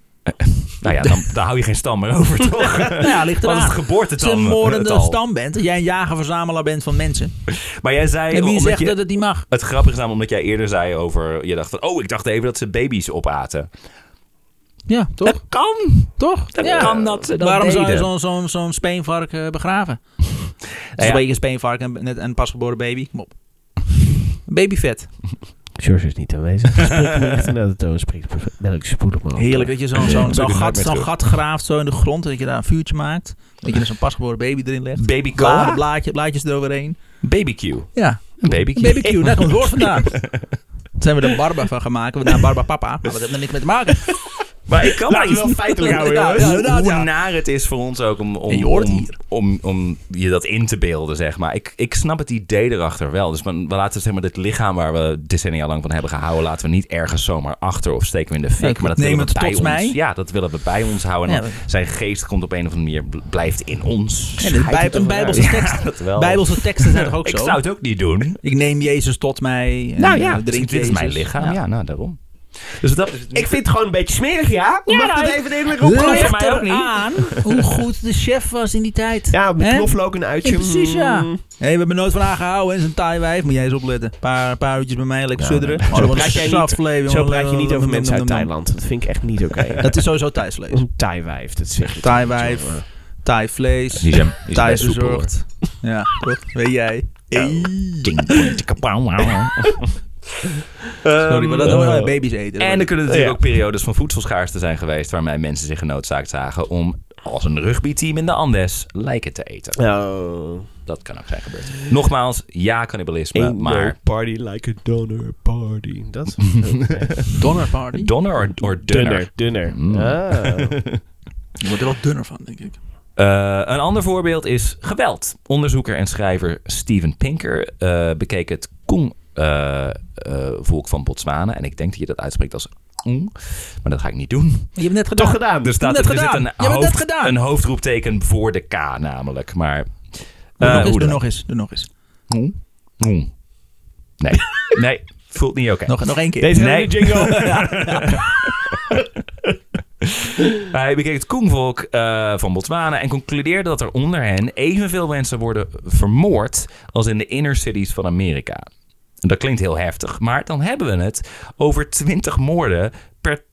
S6: nou ja, dan, dan hou je geen stam meer over toch?
S2: Nou ja, ligt
S6: Als het
S2: eraan. Als je
S6: geboortetal.
S2: een
S6: het
S2: moordende
S6: al.
S2: stam bent, als jij een jager-verzamelaar bent van mensen.
S6: Maar jij zei
S2: En wie
S6: omdat
S2: zegt
S6: je-
S2: dat het niet mag?
S6: het grappige is namelijk omdat jij eerder zei over je dacht van oh, ik dacht even dat ze baby's opaten.
S2: Ja, toch?
S6: Dat kan.
S2: Toch?
S6: Dat
S2: Ja.
S6: kan dat ze dat
S2: Waarom zou je
S6: deden.
S2: zo'n zo'n zo'n speenvarken eh, begraven? Het is
S6: ja.
S2: een beetje een speenvarken en net een pasgeboren baby. Kom op. Babyvet.
S5: George is niet aanwezig. Echt naar de toon spreekt. Melk spoel op mijn
S2: Heerlijk dat je zo'n
S6: Ja,
S2: zo'n
S6: dat
S2: zo'n
S6: doe ik
S2: gat,
S6: nooit meer
S2: zo'n
S6: terug.
S2: gat graaft zo in de grond. en Dat je daar een vuurtje maakt. Dat je er zo'n pasgeboren baby erin legt.
S6: Baby
S2: Bladen,
S6: cola,
S2: blaadje, blaadjes eroverheen.
S6: BBQ.
S2: Ja,
S6: Een BBQ.
S2: barbecue, daar komt het woord Nou, vandaan. Daar zijn we er barba van gaan maken. We naam barba papa. Maar dat heeft er niks mee te maken.
S6: Maar ik kan
S5: Laat
S6: niet-
S5: het wel feitelijk houden,
S2: Ja,
S5: jongens.
S2: ja,
S6: hoe,
S2: inderdaad,
S6: hoe
S2: ja.
S6: naar het is voor ons ook om, om,
S2: En je hoort
S6: om,
S2: hier.
S6: om, om je dat in te beelden, zeg maar. Ik, ik snap het idee erachter wel. Dus we we laten zeg maar, dit lichaam waar we decennia lang van hebben gehouden, laten we niet ergens zomaar achter of steken we in de fik.
S2: ik
S6: maar dat
S2: neem
S6: willen we
S2: het
S6: bij
S2: tot
S6: ons.
S2: mij.
S6: Ja, dat willen we bij ons houden. En
S2: Ja,
S6: dan zijn geest komt op een of andere manier, bl- blijft in ons.
S2: En de bij, een bijbelse tekst.
S6: dat wel.
S2: Bijbelse teksten zijn toch ook
S6: ik
S2: zo?
S6: zou het ook niet doen.
S2: Ik neem Jezus tot mij. en,
S6: nou ja,
S2: eh, drink
S6: dit is mijn
S2: Jezus.
S6: lichaam. Ja,
S2: Ja.
S6: nou daarom. Dus dat is
S5: Ik vind het gewoon een beetje smerig, ja? Mag
S2: nou,
S5: dat
S2: ik-
S5: even eerlijk opkomen?
S2: Ligt
S6: voor mij ook
S2: er
S6: niet.
S2: aan hoe goed de chef was in die tijd.
S5: Ja, met
S2: Hè?
S5: knoflook en uitje.
S2: Ja, precies, ja.
S5: Mm.
S2: Hé, we hebben nooit van aangehouden. hè. is een taai wijf. Moet jij eens opletten. Paar, paar uurtjes bij mij, lekker sudderen. Oh,
S5: Zo
S2: wat
S5: praat
S2: een
S5: jij niet-
S2: safvlees, jongen.
S5: Zo praat je niet over
S2: Nom,
S5: mensen uit
S2: nom, nom, nom.
S5: Thailand. Mm. Dat vind ik echt niet oké.
S2: Dat is sowieso Thais-vlees.
S5: Een Thai-wijf, dat zeg je.
S2: Thai-wijf, Thai-vlees,
S6: Die zijn, die zijn
S2: Thais
S6: best soepel, hoor.
S2: bezorgd. Ja, toch? Weet jij.
S5: Ehm,
S6: Ding, ding, tikka, pauw, wauw.
S2: Sorry, maar
S5: Oh.
S2: dat horen wij baby's eten.
S6: En er kunnen natuurlijk
S5: Ja.
S6: ook periodes van voedselschaarste zijn geweest... waarmee mensen zich genoodzaakt zagen om als een rugbyteam in de Andes lijken te eten.
S5: Oh.
S6: Dat kan ook zijn gebeurd. Nogmaals, ja, cannibalisme,
S5: Ain't no
S6: maar...
S5: party like a donor party. Dat Oh,
S2: Donner party.
S6: Donner or, or dunner?
S5: Dunner, dunner.
S6: Mm.
S5: Ah.
S2: Je wordt er wel dunner van, denk ik.
S6: Eh, een ander voorbeeld is geweld. Onderzoeker en schrijver Steven Pinker eh, bekeek het Kong eh, eh, volk van Botswana. En ik denk dat je dat uitspreekt als Kong, maar dat ga ik niet doen.
S2: Je hebt net gedaan.
S5: Toch gedaan.
S6: Er, staat,
S2: Net
S6: er zit
S2: gedaan.
S6: een,
S2: Je hebt het net
S6: hoofd-
S2: gedaan.
S6: een hoofdroepteken voor de K namelijk. Maar
S2: Doe
S6: eh,
S2: nog eens,
S6: hoe
S2: doe
S6: dan?
S2: nog eens, doe nog eens.
S6: Hm? Hm. Nee. nee. Voelt niet oké.
S2: Nog, nog één keer.
S5: Deze
S6: Nee.
S5: hele jingle.
S6: Maar Hij bekeek het Koenvolk eh, van Botswana en concludeerde dat er onder hen evenveel mensen worden vermoord als in de inner cities van Amerika. En Dat klinkt heel heftig, maar dan hebben we het over 20 moorden per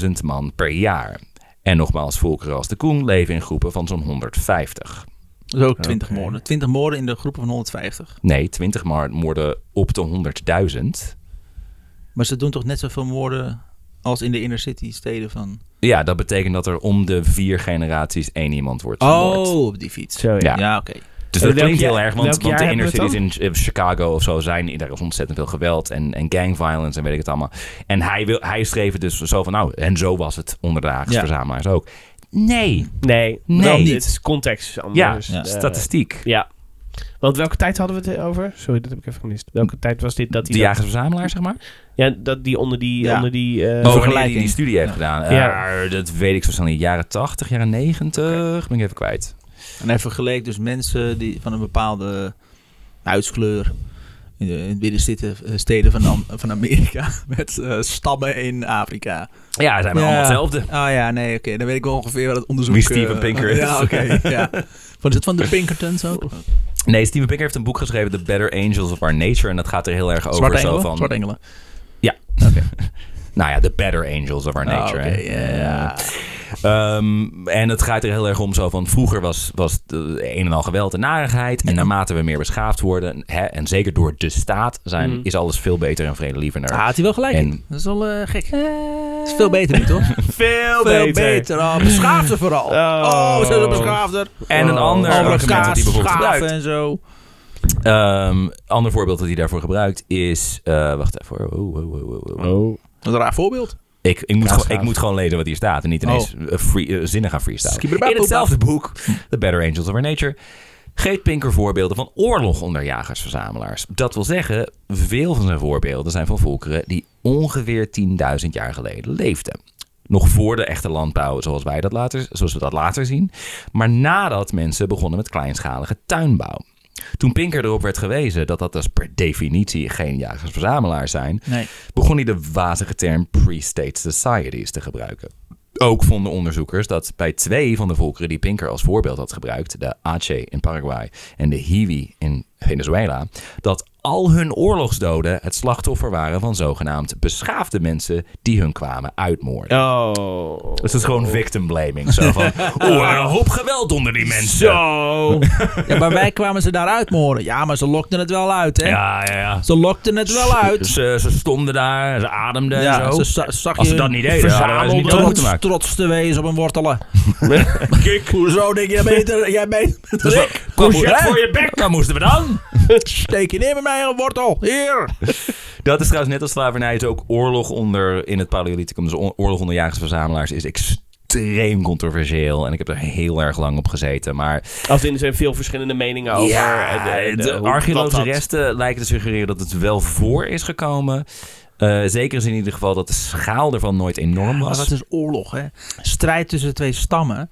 S6: 100.000 man per jaar. En nogmaals, volkeren als de Koen leven in groepen van zo'n 150.
S2: Dat is ook 20 moorden. 20 moorden in de groepen van 150.
S6: Nee, 20 maar- moorden op de 100.000.
S2: Maar ze doen toch net zoveel moorden als in de inner city steden van...
S6: Ja, dat betekent dat er om de vier generaties één iemand wordt vermoord.
S2: Oh, op die fiets.
S5: Zo, ja.
S6: Ja.
S2: Ja, oké.
S6: Dus
S5: En
S6: dat
S5: welk
S6: klinkt heel
S5: jaar-
S6: erg, want,
S5: welk
S6: want de
S5: jaar
S6: inner
S5: hebben we
S6: cities in eh, Chicago of zo zijn, daar is ontzettend veel geweld en, en gang violence en weet ik het allemaal. En hij, wil, hij schreef het dus zo van, nou, en zo was het onder de Haagse
S2: Ja.
S6: verzamelaars ook. Nee,
S5: Nee,
S6: Nee.
S5: dan Dit is context is anders.
S6: ja,
S5: Eh,
S6: statistiek.
S5: ja. Want welke tijd hadden we het over? Sorry, dat heb ik even gemist. Welke tijd was dit dat
S6: De
S5: die, dat-
S6: Jaagse verzamelaar, zeg maar.
S5: ja, dat die onder die,
S2: Ja.
S5: onder die eh,
S6: Oh, wanneer hij
S2: vergelijking.
S6: die studie heeft gedaan. Eh,
S5: Ja.
S6: dat weet ik zo snel niet. Jaren 80, jaren 90, ben ik even kwijt.
S2: En hij vergeleek dus mensen die van een bepaalde huidskleur in de, in de binnensteden- eh, steden van, Am- van Amerika met eh, stammen in Afrika.
S6: Ja, zijn we
S2: Ja.
S6: allemaal hetzelfde.
S2: Ah ja, nee, oké. Dan weet ik wel ongeveer wat het onderzoek...
S6: Wie Steven
S2: eh,
S6: Pinker is.
S2: Ja, oké. ja. Van, is het van de Pinkertons ook?
S6: Nee, Steven Pinker heeft een boek geschreven, The Better Angels of Our Nature. En dat gaat er heel erg over
S2: Zwarte
S6: zo
S2: engelen?
S6: van...
S2: Zwarte engelen.
S6: Nou ja, The Better Angels of Our
S2: Ah,
S6: Nature.
S2: oké,
S6: hè.
S2: ja, ja.
S6: Ehm, en het gaat er heel erg om zo van... vroeger was, was de een en al geweld en narigheid. En naarmate we meer beschaafd worden... Hè, en zeker door de staat zijn...
S2: Mm.
S6: is alles veel beter en vredelievender.
S2: Daar had hij wel gelijk
S6: En-
S2: in. Dat is wel eh, gek. Dat is veel beter nu, toch?
S5: veel,
S2: veel
S5: beter.
S2: beter. Oh, beschaafder vooral.
S5: Oh.
S2: Oh, we zijn zo beschaafder. Oh,
S6: en een ander
S2: Andere
S6: argument dat
S2: kaas,
S6: hij bijvoorbeeld
S2: schaven
S6: gebruikt...
S2: en zo.
S6: Ehm, ander voorbeeld dat hij daarvoor gebruikt is... eh, wacht even. hoor. Oh, oh, oh, oh, oh.
S5: Oh.
S2: Dat is een raar voorbeeld.
S6: Ik, ik, moet gewoon,
S5: Kaasgaaf.
S6: ik moet gewoon lezen wat hier staat en niet ineens
S2: Oh.
S6: eh, free, eh, zinnen gaan freestylen.
S2: Skibberbaboe.
S6: In hetzelfde boek, The Better Angels of Our Nature, geeft Pinker voorbeelden van oorlog onder jagers-verzamelaars. Dat wil zeggen, veel van zijn voorbeelden zijn van volkeren die ongeveer 10.000 jaar geleden leefden. Nog voor de echte landbouw, zoals, wij dat later, zoals we dat later zien. Maar nadat mensen begonnen met kleinschalige tuinbouw. Toen Pinker erop werd gewezen dat dat dus per definitie geen jagers-verzamelaars zijn,
S2: Nee.
S6: begon hij de wazige term pre-state societies te gebruiken. Ook vonden onderzoekers dat bij twee van de volkeren die Pinker als voorbeeld had gebruikt, de Aceh in Paraguay en de Hiwi in Venezuela, dat al hun oorlogsdoden het slachtoffer waren van zogenaamd beschaafde mensen die hun kwamen uitmoorden.
S5: Oh.
S6: Dus dat is gewoon victim blaming. Zo van, oh, er een hoop geweld onder die mensen.
S5: Zo.
S2: Ja, maar wij kwamen ze daaruit moren. Ja, maar ze lokten het wel uit, hè?
S6: Ja, ja, ja.
S2: Ze lokten het wel uit.
S6: Ze, ze stonden daar, ze ademden
S2: Ja,
S6: en zo.
S2: ze za- zag
S6: Als
S2: je
S6: ze dat niet deden, hadden we
S2: verzameld
S6: ze niet dood moeten
S2: trots,
S6: maken.
S2: trots te wezen op een wortelen. Kijk, hoezo denk jij beter? Jij beter met
S6: Dus
S2: Rick?
S6: wat- wat-
S2: Proces
S6: hè?
S2: voor je
S6: Wat moesten we dan?
S2: Steek je neer met mij een wortel. Hier.
S6: Dat is trouwens net als slavernij. Het is ook oorlog onder, in het Paleolithicum, dus o- oorlog onder jagers-verzamelaars is extreem controversieel. En ik heb er heel erg lang op gezeten. Maar
S5: Als in er zijn veel verschillende meningen over. en,
S6: ja,
S5: eh,
S6: de,
S5: hoe-
S6: archeologische
S5: wat dat-
S6: resten lijken te suggereren dat het wel voor is gekomen. Eh, zeker is in ieder geval dat de schaal ervan nooit enorm
S2: Maar
S6: was.
S2: dat is dus oorlog, hè? Strijd tussen twee stammen.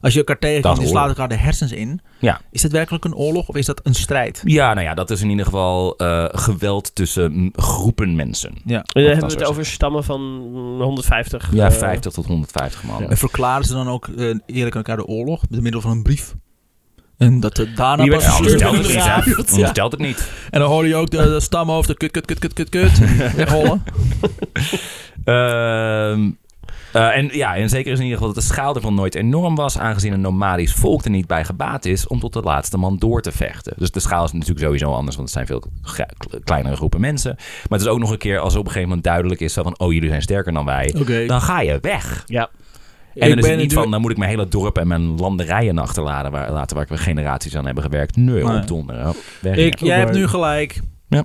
S2: Als je elkaar tegenkomt, je
S6: Dat is
S2: slaat
S6: oorlog.
S2: elkaar de hersens in.
S6: Ja.
S2: Is dat werkelijk een oorlog of is dat een strijd?
S6: Ja, nou ja, dat is in ieder geval eh, geweld tussen mm, groepen mensen.
S2: Ja.
S5: En
S6: Of
S5: dan hebben
S6: dat
S5: we
S6: soort-
S5: het over stammen van mm, 150.
S6: Ja,
S5: eh,
S6: 50 tot 150 man.
S2: En verklaren ze dan ook eh, eerlijk elkaar de oorlog door middel van een brief? En dat er daarna
S5: Wie werd
S2: pas
S6: Ja, anders
S5: Stuur
S6: telt het
S5: van
S6: niet,
S5: de
S6: hè?
S5: raad.
S6: Anders telt het niet.
S2: En dan hoor je ook de, de stamhoofden kut, kut, kut, kut, kut, kut. Wegrollen.
S6: Ehm, eh, en ja, en zeker is in ieder geval dat de schaal ervan nooit enorm was, aangezien een nomadisch volk er niet bij gebaat is om tot de laatste man door te vechten. Dus de schaal is natuurlijk sowieso anders, want het zijn veel gra- kle- kleinere groepen mensen. Maar het is ook nog een keer als op een gegeven moment duidelijk is zo van, oh jullie zijn sterker dan wij,
S2: Oké.
S6: dan ga je weg.
S5: Ja.
S6: En dan is
S2: ben
S6: het niet
S2: natuurlijk-
S6: van, dan moet ik mijn hele dorp en mijn landerijen achterlaten waar, laten waar ik generaties aan hebben gewerkt. Nee,
S2: Nee.
S6: op donderen. Weg, ja.
S2: Ik, jij hebt nu gelijk.
S6: Ja.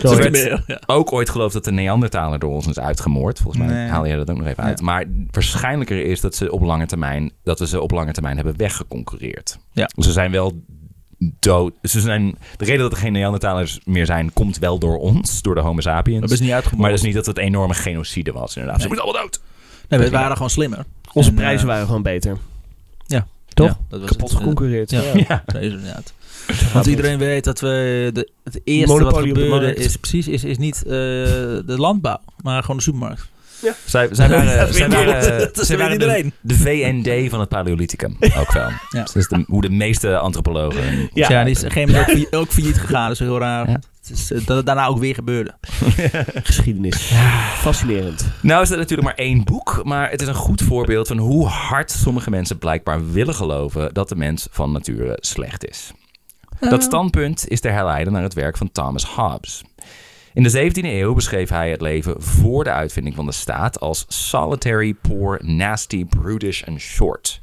S2: Zo
S6: Zo
S2: werd-
S6: werd-
S2: ja.
S6: ook ooit geloofd dat de Neandertaler door ons is uitgemoord. Volgens mij
S2: Nee.
S6: haal je dat ook nog even uit. Maar waarschijnlijker is dat, ze op lange termijn, dat we ze op lange termijn hebben weggeconcurreerd.
S2: Ja.
S6: Ze zijn wel dood. Ze zijn, de reden dat er geen Neandertalers meer zijn, komt wel door ons, door de Homo sapiens.
S2: Dat is niet uitgemoord.
S6: maar dat is niet dat het enorme genocide was, inderdaad. Ze
S2: Nee.
S6: moeten allemaal dood.
S2: Nee, we waren gewoon slimmer.
S5: Onze
S2: En, eh,
S5: prijzen waren gewoon beter.
S2: ja.
S5: Toch?
S2: Ja, dat was
S5: Kapot
S2: het. Eh,
S5: geconcureerd.
S2: Ja,
S5: Dus Ja.
S2: ja. deze inderdaad. Want iedereen weet dat we de, het eerste
S5: Monopolie op
S2: wat
S5: de
S2: gebeurde
S5: markt.
S2: is precies is, is niet eh, de landbouw, maar gewoon de supermarkt.
S6: Zij,
S2: Dat
S6: zij waren,
S2: weet
S6: zij
S2: iedereen.
S6: waren,
S2: Dat weet
S6: zij waren de,
S2: iedereen.
S6: de VND van het Paleolithicum ook wel.
S2: Ja.
S6: Dus dat is de, hoe de meeste antropologen.
S5: Ja.
S2: Ja, die is op een gegeven moment ook, failliet, ook failliet gegaan. Dat is heel raar.
S6: Ja.
S2: Het is, eh, dat het daarna ook weer gebeurde.
S5: Geschiedenis. Fascinerend.
S6: Nou is dat natuurlijk maar één boek, maar het is een goed voorbeeld van hoe hard sommige mensen blijkbaar willen geloven dat de mens van nature slecht is. Dat standpunt is te herleiden naar het werk van Thomas Hobbes. In de 17e eeuw beschreef hij het leven voor de uitvinding van de staat als solitary, poor, nasty, brutish en short.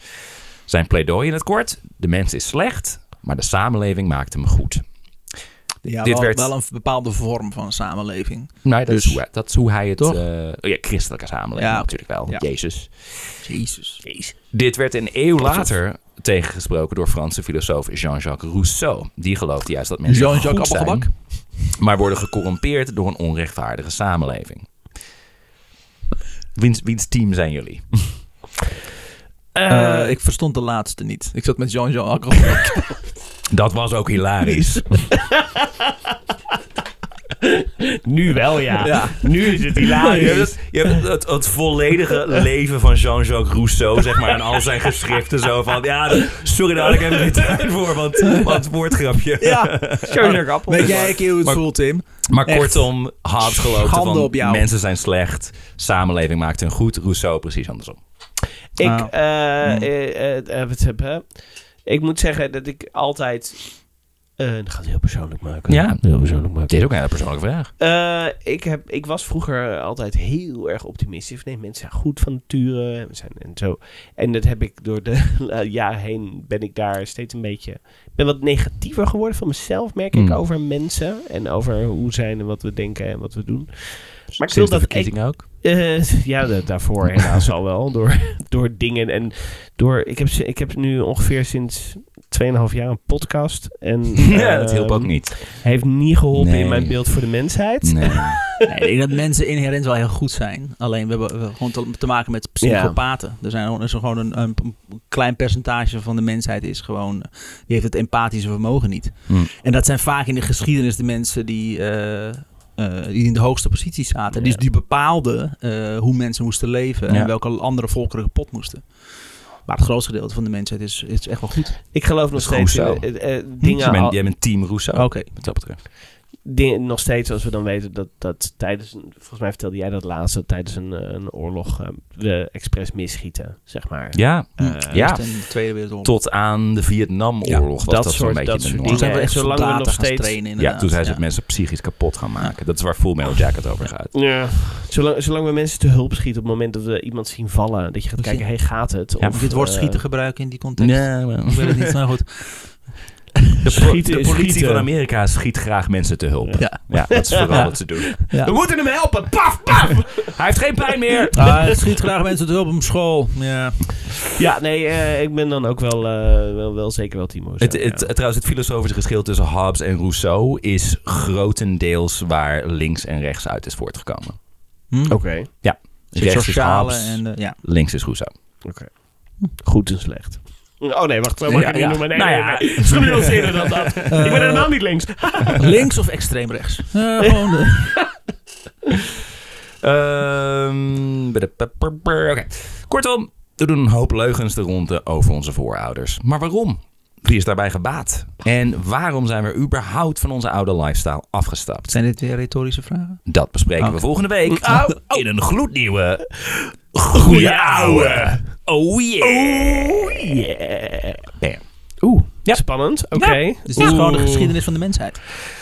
S6: Zijn pleidooi in het kort: de mens is slecht, maar de samenleving maakt hem goed.
S2: Ja,
S6: Dit
S2: wel,
S6: werd-
S2: wel een bepaalde vorm van samenleving.
S6: Nee, Nou, dat, is, hoe, dat is hoe hij het.
S2: Dus- Toch?
S6: eh, oh ja, christelijke samenleving
S2: Ja, oké.
S6: natuurlijk wel.
S2: Ja.
S6: Jezus.
S2: Jezus.
S6: Dit werd een eeuw later tegengesproken door Franse filosoof Jean-Jacques Rousseau. Oh, Die geloofde juist dat mensen
S2: Jean-Jacques
S6: goed zijn,
S2: Appelgebak?
S6: maar worden gecorrumpeerd door een onrechtvaardige samenleving. Wiens, wiens team zijn jullie?
S2: Eh, ik verstond de laatste niet. Ik zat met Jean-Jean Alcohol.
S6: Dat was ook hilarisch.
S5: Nu wel, ja.
S2: Ja.
S5: Nu is het
S6: Je hebt,
S5: hilarisch.
S6: het, je hebt het, het volledige leven van Jean-Jacques Rousseau, zeg maar, en al zijn geschriften zo van, ja, sorry, daar had ik even geen tijd voor, want, want woordgrapje.
S2: ja.
S5: Jean-Jacques Appel.
S2: Weet jij een keer hoe het
S6: Maar-
S2: voelt, Tim?
S6: Maar
S2: Echt.
S6: kortom, Hobbes geloofde
S2: Schande
S6: van
S2: op jou.
S6: mensen zijn slecht, samenleving maakt hun goed, Rousseau precies andersom.
S5: Ik,
S2: Ah.
S5: eh,
S2: Mm.
S5: eh, eh, eh, wat heb, hè? ik moet zeggen dat ik altijd. eh dat gaat heel persoonlijk maken.
S6: Ja.
S5: heel persoonlijk maken.
S6: Dit is ook een hele persoonlijke vraag.
S5: Eh, ik, heb, ik was vroeger altijd heel erg optimistisch. Nee, mensen zijn goed van nature en zijn en zo. En dat heb ik door de eh, jaren heen ben ik daar steeds een beetje. Ik ben wat negatiever geworden van mezelf, merk ik,
S6: Mm.
S5: over mensen en over hoe zijn en wat we denken en wat we doen. Maar ik wil
S6: Sinds de
S5: dat ik
S6: verkiezingen ook.
S5: eh, ja, da- daarvoor helaas al wel. Door, door dingen en door... Ik heb, ze- ik heb nu ongeveer sinds 2,5 jaar een podcast. En,
S6: ja, dat
S5: ehm,
S6: hielp ook niet.
S5: Heeft niet geholpen
S6: Nee.
S5: in mijn beeld voor de mensheid.
S6: Nee.
S2: Nee, ik denk dat mensen inherent wel heel goed zijn. Alleen we hebben we hebben gewoon te, te maken met psychopaten. Er zijn gewoon- er is gewoon een, een klein percentage van de mensheid is gewoon, die heeft het empathische vermogen niet.
S6: Hmm.
S2: En dat zijn vaak in de geschiedenis de mensen die, eh, eh, die in de hoogste posities zaten. Dus die bepaalden eh, hoe mensen moesten leven
S6: Ja.
S2: en welke andere volkeren kapot moesten. Maar het grootste gedeelte van de mensheid is, is echt wel goed.
S5: Ik geloof nog
S6: Dat is
S5: steeds in,
S6: Rousseau.
S5: eh, eh,
S6: Dus
S5: dingen,
S6: je, bent,
S5: al-
S6: jij bent team Rousseau,
S2: Oké.
S6: wat dat betreft.
S5: dingen nog steeds als we dan weten dat, dat tijdens, een- volgens mij vertelde jij dat laatst, dat tijdens een, eh, een oorlog eh, we expres misschieten, zeg maar.
S6: Ja,
S5: Eh,
S6: Ja.
S2: Eerst en de Tweede Wereldoorlog.
S6: tot aan de Vietnamoorlog was
S5: dat
S6: dat, zo'n
S5: soort-
S6: beetje
S5: dat
S6: de
S5: soort
S6: norm.
S2: Toen zijn we
S5: Ja,
S2: echt
S5: zolang we
S2: soldaten
S5: nog
S2: gaan
S5: steeds-
S2: trainen
S6: Ja,
S2: inderdaad.
S6: toen zijn ze mensen psychisch kapot gaan maken. Dat is waar Full Metal Jacket over gaat.
S5: Ja. Zolang, zolang we mensen te hulp schieten op het moment dat we iemand zien vallen, dat je gaat
S2: Moet je-
S5: kijken, hey, gaat het?
S6: Ja,
S2: Of dit woord
S5: eh,
S2: schieten gebruiken in die context.
S6: maar-
S2: Ik weet het niet, maar goed.
S6: De, pro-
S5: Schieten
S6: de
S5: is
S6: politie
S5: schieten.
S6: van Amerika schiet graag mensen te hulp.
S2: Ja.
S6: Ja, dat is vooral wat ze doen.
S2: Ja.
S6: We moeten hem helpen! Paf, paf! Hij heeft geen pijn meer!
S2: Ah, het schiet graag mensen te hulp op school. Ja.
S5: Ja, nee, eh, ik ben dan ook wel, eh, wel, wel zeker wel Timo.
S6: Het, het, het- trouwens, het filosofische verschil tussen Hobbes en Rousseau is grotendeels waar links en rechts uit is voortgekomen.
S2: Hm?
S5: Oké.
S2: Het
S6: Rechts is
S2: sociale
S6: Hobbes,
S2: en eh, ja.
S6: links is Rousseau.
S5: Goed en slecht. Oh nee, wacht, zo mag
S6: Ja,
S5: ik het
S6: ja.
S5: niet noemen. Nee,
S6: Nou
S5: nee,
S6: ja. Eh,
S5: nee. Ze nuanceren dat, dat. ik ben helemaal niet links.
S2: Links of extreem rechts? Eh, gewoon, eh,
S6: Ehm, bada- pa- pa- pa- Oké. Kortom, er doen een hoop leugens de ronde over onze voorouders. Maar waarom? Wie is daarbij gebaat? En waarom zijn we überhaupt van onze oude lifestyle afgestapt?
S2: Zijn dit weer retorische vragen?
S6: Dat bespreken we
S2: Oké.
S6: volgende week
S2: Oh.
S6: in een gloednieuwe Goeie Ouwe. Oh yeah.
S5: Yeah.
S6: Bam.
S5: Oeh, spannend. Oké.
S2: Dus dit is gewoon de
S5: Oeh.
S2: geschiedenis van de mensheid.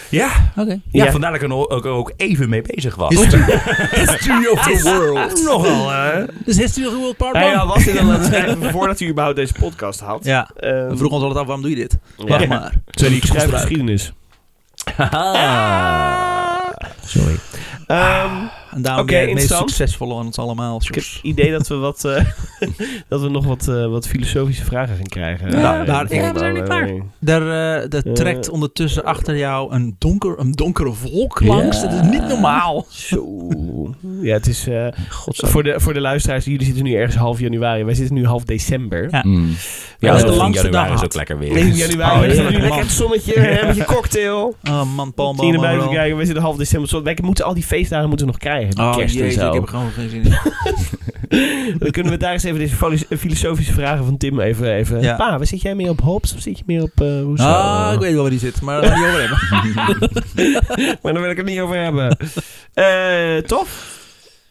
S6: Ja,
S2: Oké. Oh.
S6: ja,
S5: Ja.
S6: vandaar dat ik er ook, ook, ook even mee bezig was. History, of the world. Nogal, hè?
S2: Dus History of the World Part 1.
S5: Hij al was dit al aan het schrijven voordat u überhaupt deze podcast had.
S2: Ja.
S5: Ehm,
S2: We vroegen ons altijd af, waarom doe je dit?
S5: ja.
S2: Wacht maar.
S5: Sorry, ik schrijf
S2: gebruiken.
S5: geschiedenis.
S2: Ah.
S6: Haha.
S5: Ehm,
S2: Oké. en daarom
S5: Oké,
S2: ben jij het meest
S5: interessant.
S2: succesvolle aan ons allemaal.
S5: Ik heb
S2: Sjors.
S5: het idee dat we, wat, eh, dat we nog wat, eh, wat filosofische vragen gaan krijgen.
S2: Nou,
S5: Eh,
S2: daar-
S5: in de
S2: ik-
S5: volgende
S2: daar niet
S5: aflevering.
S2: Daar, eh, daar
S5: Eh.
S2: trekt ondertussen achter jou een, donker, een donkere wolk langs. Dat is niet normaal.
S5: Zo. Ja, het is... eh, voor, de, voor de luisteraars, jullie zitten nu ergens half januari. Wij zitten nu half december.
S2: Ja.
S1: Mm. Ja,
S2: is de
S1: dat is
S2: langste
S1: januari
S2: dag
S1: is ook lekker weer.
S5: In januari,
S2: Oh,
S5: we zitten nu
S2: heerlijk,
S5: lekker
S2: man.
S5: in het zonnetje, hè, met je cocktail.
S2: Oh man, Paul,
S5: Zie
S2: man,
S5: je naar buiten
S2: man.
S5: kijken, we zitten half december. Zo, Wij moeten al die feestdagen moeten we nog krijgen. Die
S2: Oh
S5: kerst
S2: jezus,
S5: en zo.
S2: ik heb er gewoon geen zin in.
S5: Dan kunnen we daar eens even deze fali- eh, filosofische vragen van Tim even... even.
S2: Ja.
S5: Pa, waar zit jij meer op Hobbes of zit je meer op eh Rousseau?
S2: Ah, ik weet wel waar die zit, maar daar gaan we niet over hebben.
S5: Maar daar wil ik het niet over hebben. Eh tof.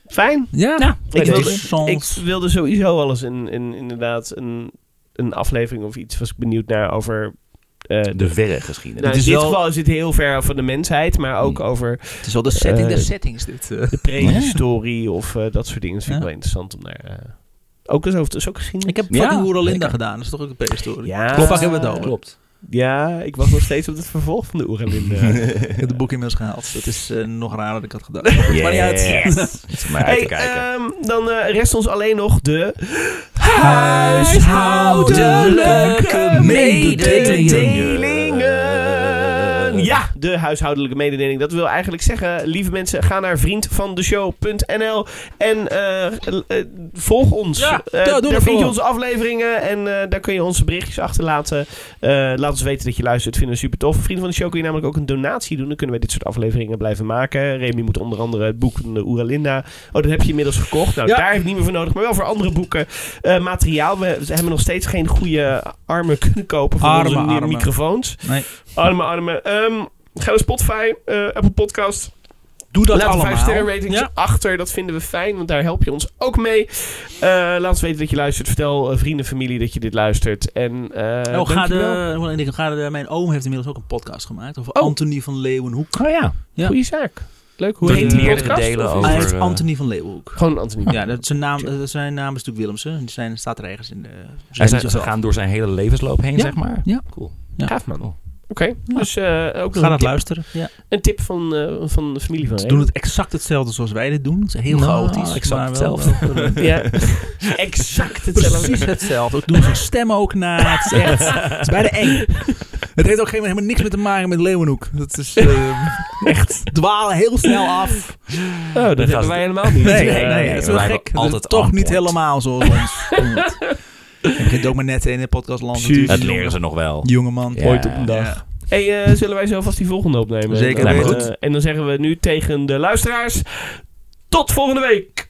S5: Fijn.
S2: Ja,
S5: Ik
S2: ik,
S5: wilde-
S2: soms,
S5: Ik wilde sowieso alles in, in, inderdaad een, een aflevering of iets. Was ik benieuwd naar over... eh,
S1: De verre geschiedenis.
S5: nou,
S2: is
S5: in dit
S2: wel- Hmm.
S5: geval is het heel ver van de mensheid, maar ook over
S2: het is wel de setting
S5: Eh,
S2: der settings dit. eh.
S5: de prehistorie of eh, dat soort dingen. Dat vind
S2: Ja.
S5: ik wel interessant om daar... eh, ook eens over te is ook geschiedenis.
S2: Ik heb
S1: Ja,
S2: fucking ja, Linda
S1: lekker.
S2: gedaan, dat is toch ook een prehistorie?
S5: Ja.
S2: Klopt, Fuck, hebben we het over.
S1: Klopt.
S5: Ja, ik was nog steeds op het vervolg van de Oeralinde.
S2: Ik heb het boek inmiddels gehaald. Dat is eh, nog raar dan ik had gedacht. Maar niet uit.
S1: Yes. Iets om maar uit te
S5: hey,
S1: kijken.
S5: ehm, dan eh, rest ons alleen nog de...
S2: Huishoudelijke
S5: mededelingen. Ja, de huishoudelijke mededeling. Dat wil eigenlijk zeggen, lieve mensen, ga naar vriendvandeshow.nl en eh, eh, volg ons.
S2: Ja,
S5: Eh,
S2: ja, doe dat
S5: daar vind je
S2: gewoon.
S5: onze afleveringen en eh, daar kun je onze berichtjes achterlaten. Eh, laat ons weten dat je luistert, vinden we super tof. Vrienden van de show kun je namelijk ook een donatie doen. Dan kunnen wij dit soort afleveringen blijven maken. Remy moet onder andere het boek van de Oeralinda. Oh, dat heb je inmiddels gekocht. Nou,
S2: Ja.
S5: daar heb ik niet meer voor nodig, maar wel voor andere boeken. eh, materiaal. We hebben nog steeds geen goede armen kunnen kopen voor
S2: Arme
S5: onze mi-
S2: armen.
S5: microfoons.
S2: Nee.
S5: Arme armen. Ehm, ga naar Spotify, eh, Apple Podcast.
S2: Doe dat
S5: Laat een
S2: allemaal.
S5: 5 sterren rating
S2: Ja.
S5: achter. Dat vinden we fijn, want daar help je ons ook mee. Eh, laat ons weten dat je luistert. Vertel eh, vrienden, familie dat je dit luistert. En eh
S2: oh, ga
S5: dankjewel.
S2: de, ik denk, ga de, mijn oom heeft inmiddels ook een podcast gemaakt over
S5: Oh.
S2: Anthony van Leeuwenhoek.
S1: Oh ja.
S2: Ja.
S5: Goeie zaak. Leuk. Hoe
S2: De
S5: heet die
S1: meerdere
S5: podcast?
S1: delen
S5: Of-
S1: over-
S2: Hij heet
S1: eh,
S2: Anthony van Leeuwenhoek.
S5: Gewoon Anthony.
S2: Ja, dat zijn, naam, dat zijn naam is natuurlijk Willemsen. Die zijn, staat er ergens in de...
S1: Hij
S2: zijn
S1: zei, ze gaan door zijn hele levensloop heen,
S2: Ja.
S1: zeg maar.
S2: Ja.
S1: Cool.
S2: Ja.
S5: Gaaf man.
S1: Cool.
S5: Oké, dus eh, ook
S2: Ga
S5: nog een
S2: dat
S5: tip,
S2: luisteren. Ja.
S5: een tip van, eh, van de familie van
S2: Ze
S5: Remy.
S2: doen het exact hetzelfde zoals wij dit doen. Het is heel
S1: Nou,
S2: chaotisch.
S1: exact
S2: maar wel- eh,
S1: hetzelfde.
S2: wel-
S5: Ja, exact hetzelfde.
S2: Precies hetzelfde. Ook doen ze stem ook na. Het is echt... Het is bijna eng. Het heeft ook geen, helemaal niks meer te maken met Leeuwenhoek. Dat is eh, echt... Dwalen heel snel af.
S5: Oh, dat hebben
S1: ze-
S5: wij helemaal niet.
S2: Nee,
S5: Eh,
S2: nee, nee. Dat is wel
S1: wij
S2: gek.
S1: hebben
S2: Dat is
S1: altijd
S2: toch niet
S1: antwoord.
S2: helemaal zoals ons. Het begint ook maar net in het podcastland
S5: Precies.
S2: natuurlijk.
S1: Dat leren ze nog wel.
S2: Jongeman.
S1: Ja. Ooit op een
S2: dag.
S5: Hey, eh, zullen wij zo vast die volgende opnemen?
S2: Zeker
S5: Dan,
S1: weten.
S5: eh, en dan zeggen we nu tegen de luisteraars: tot volgende week.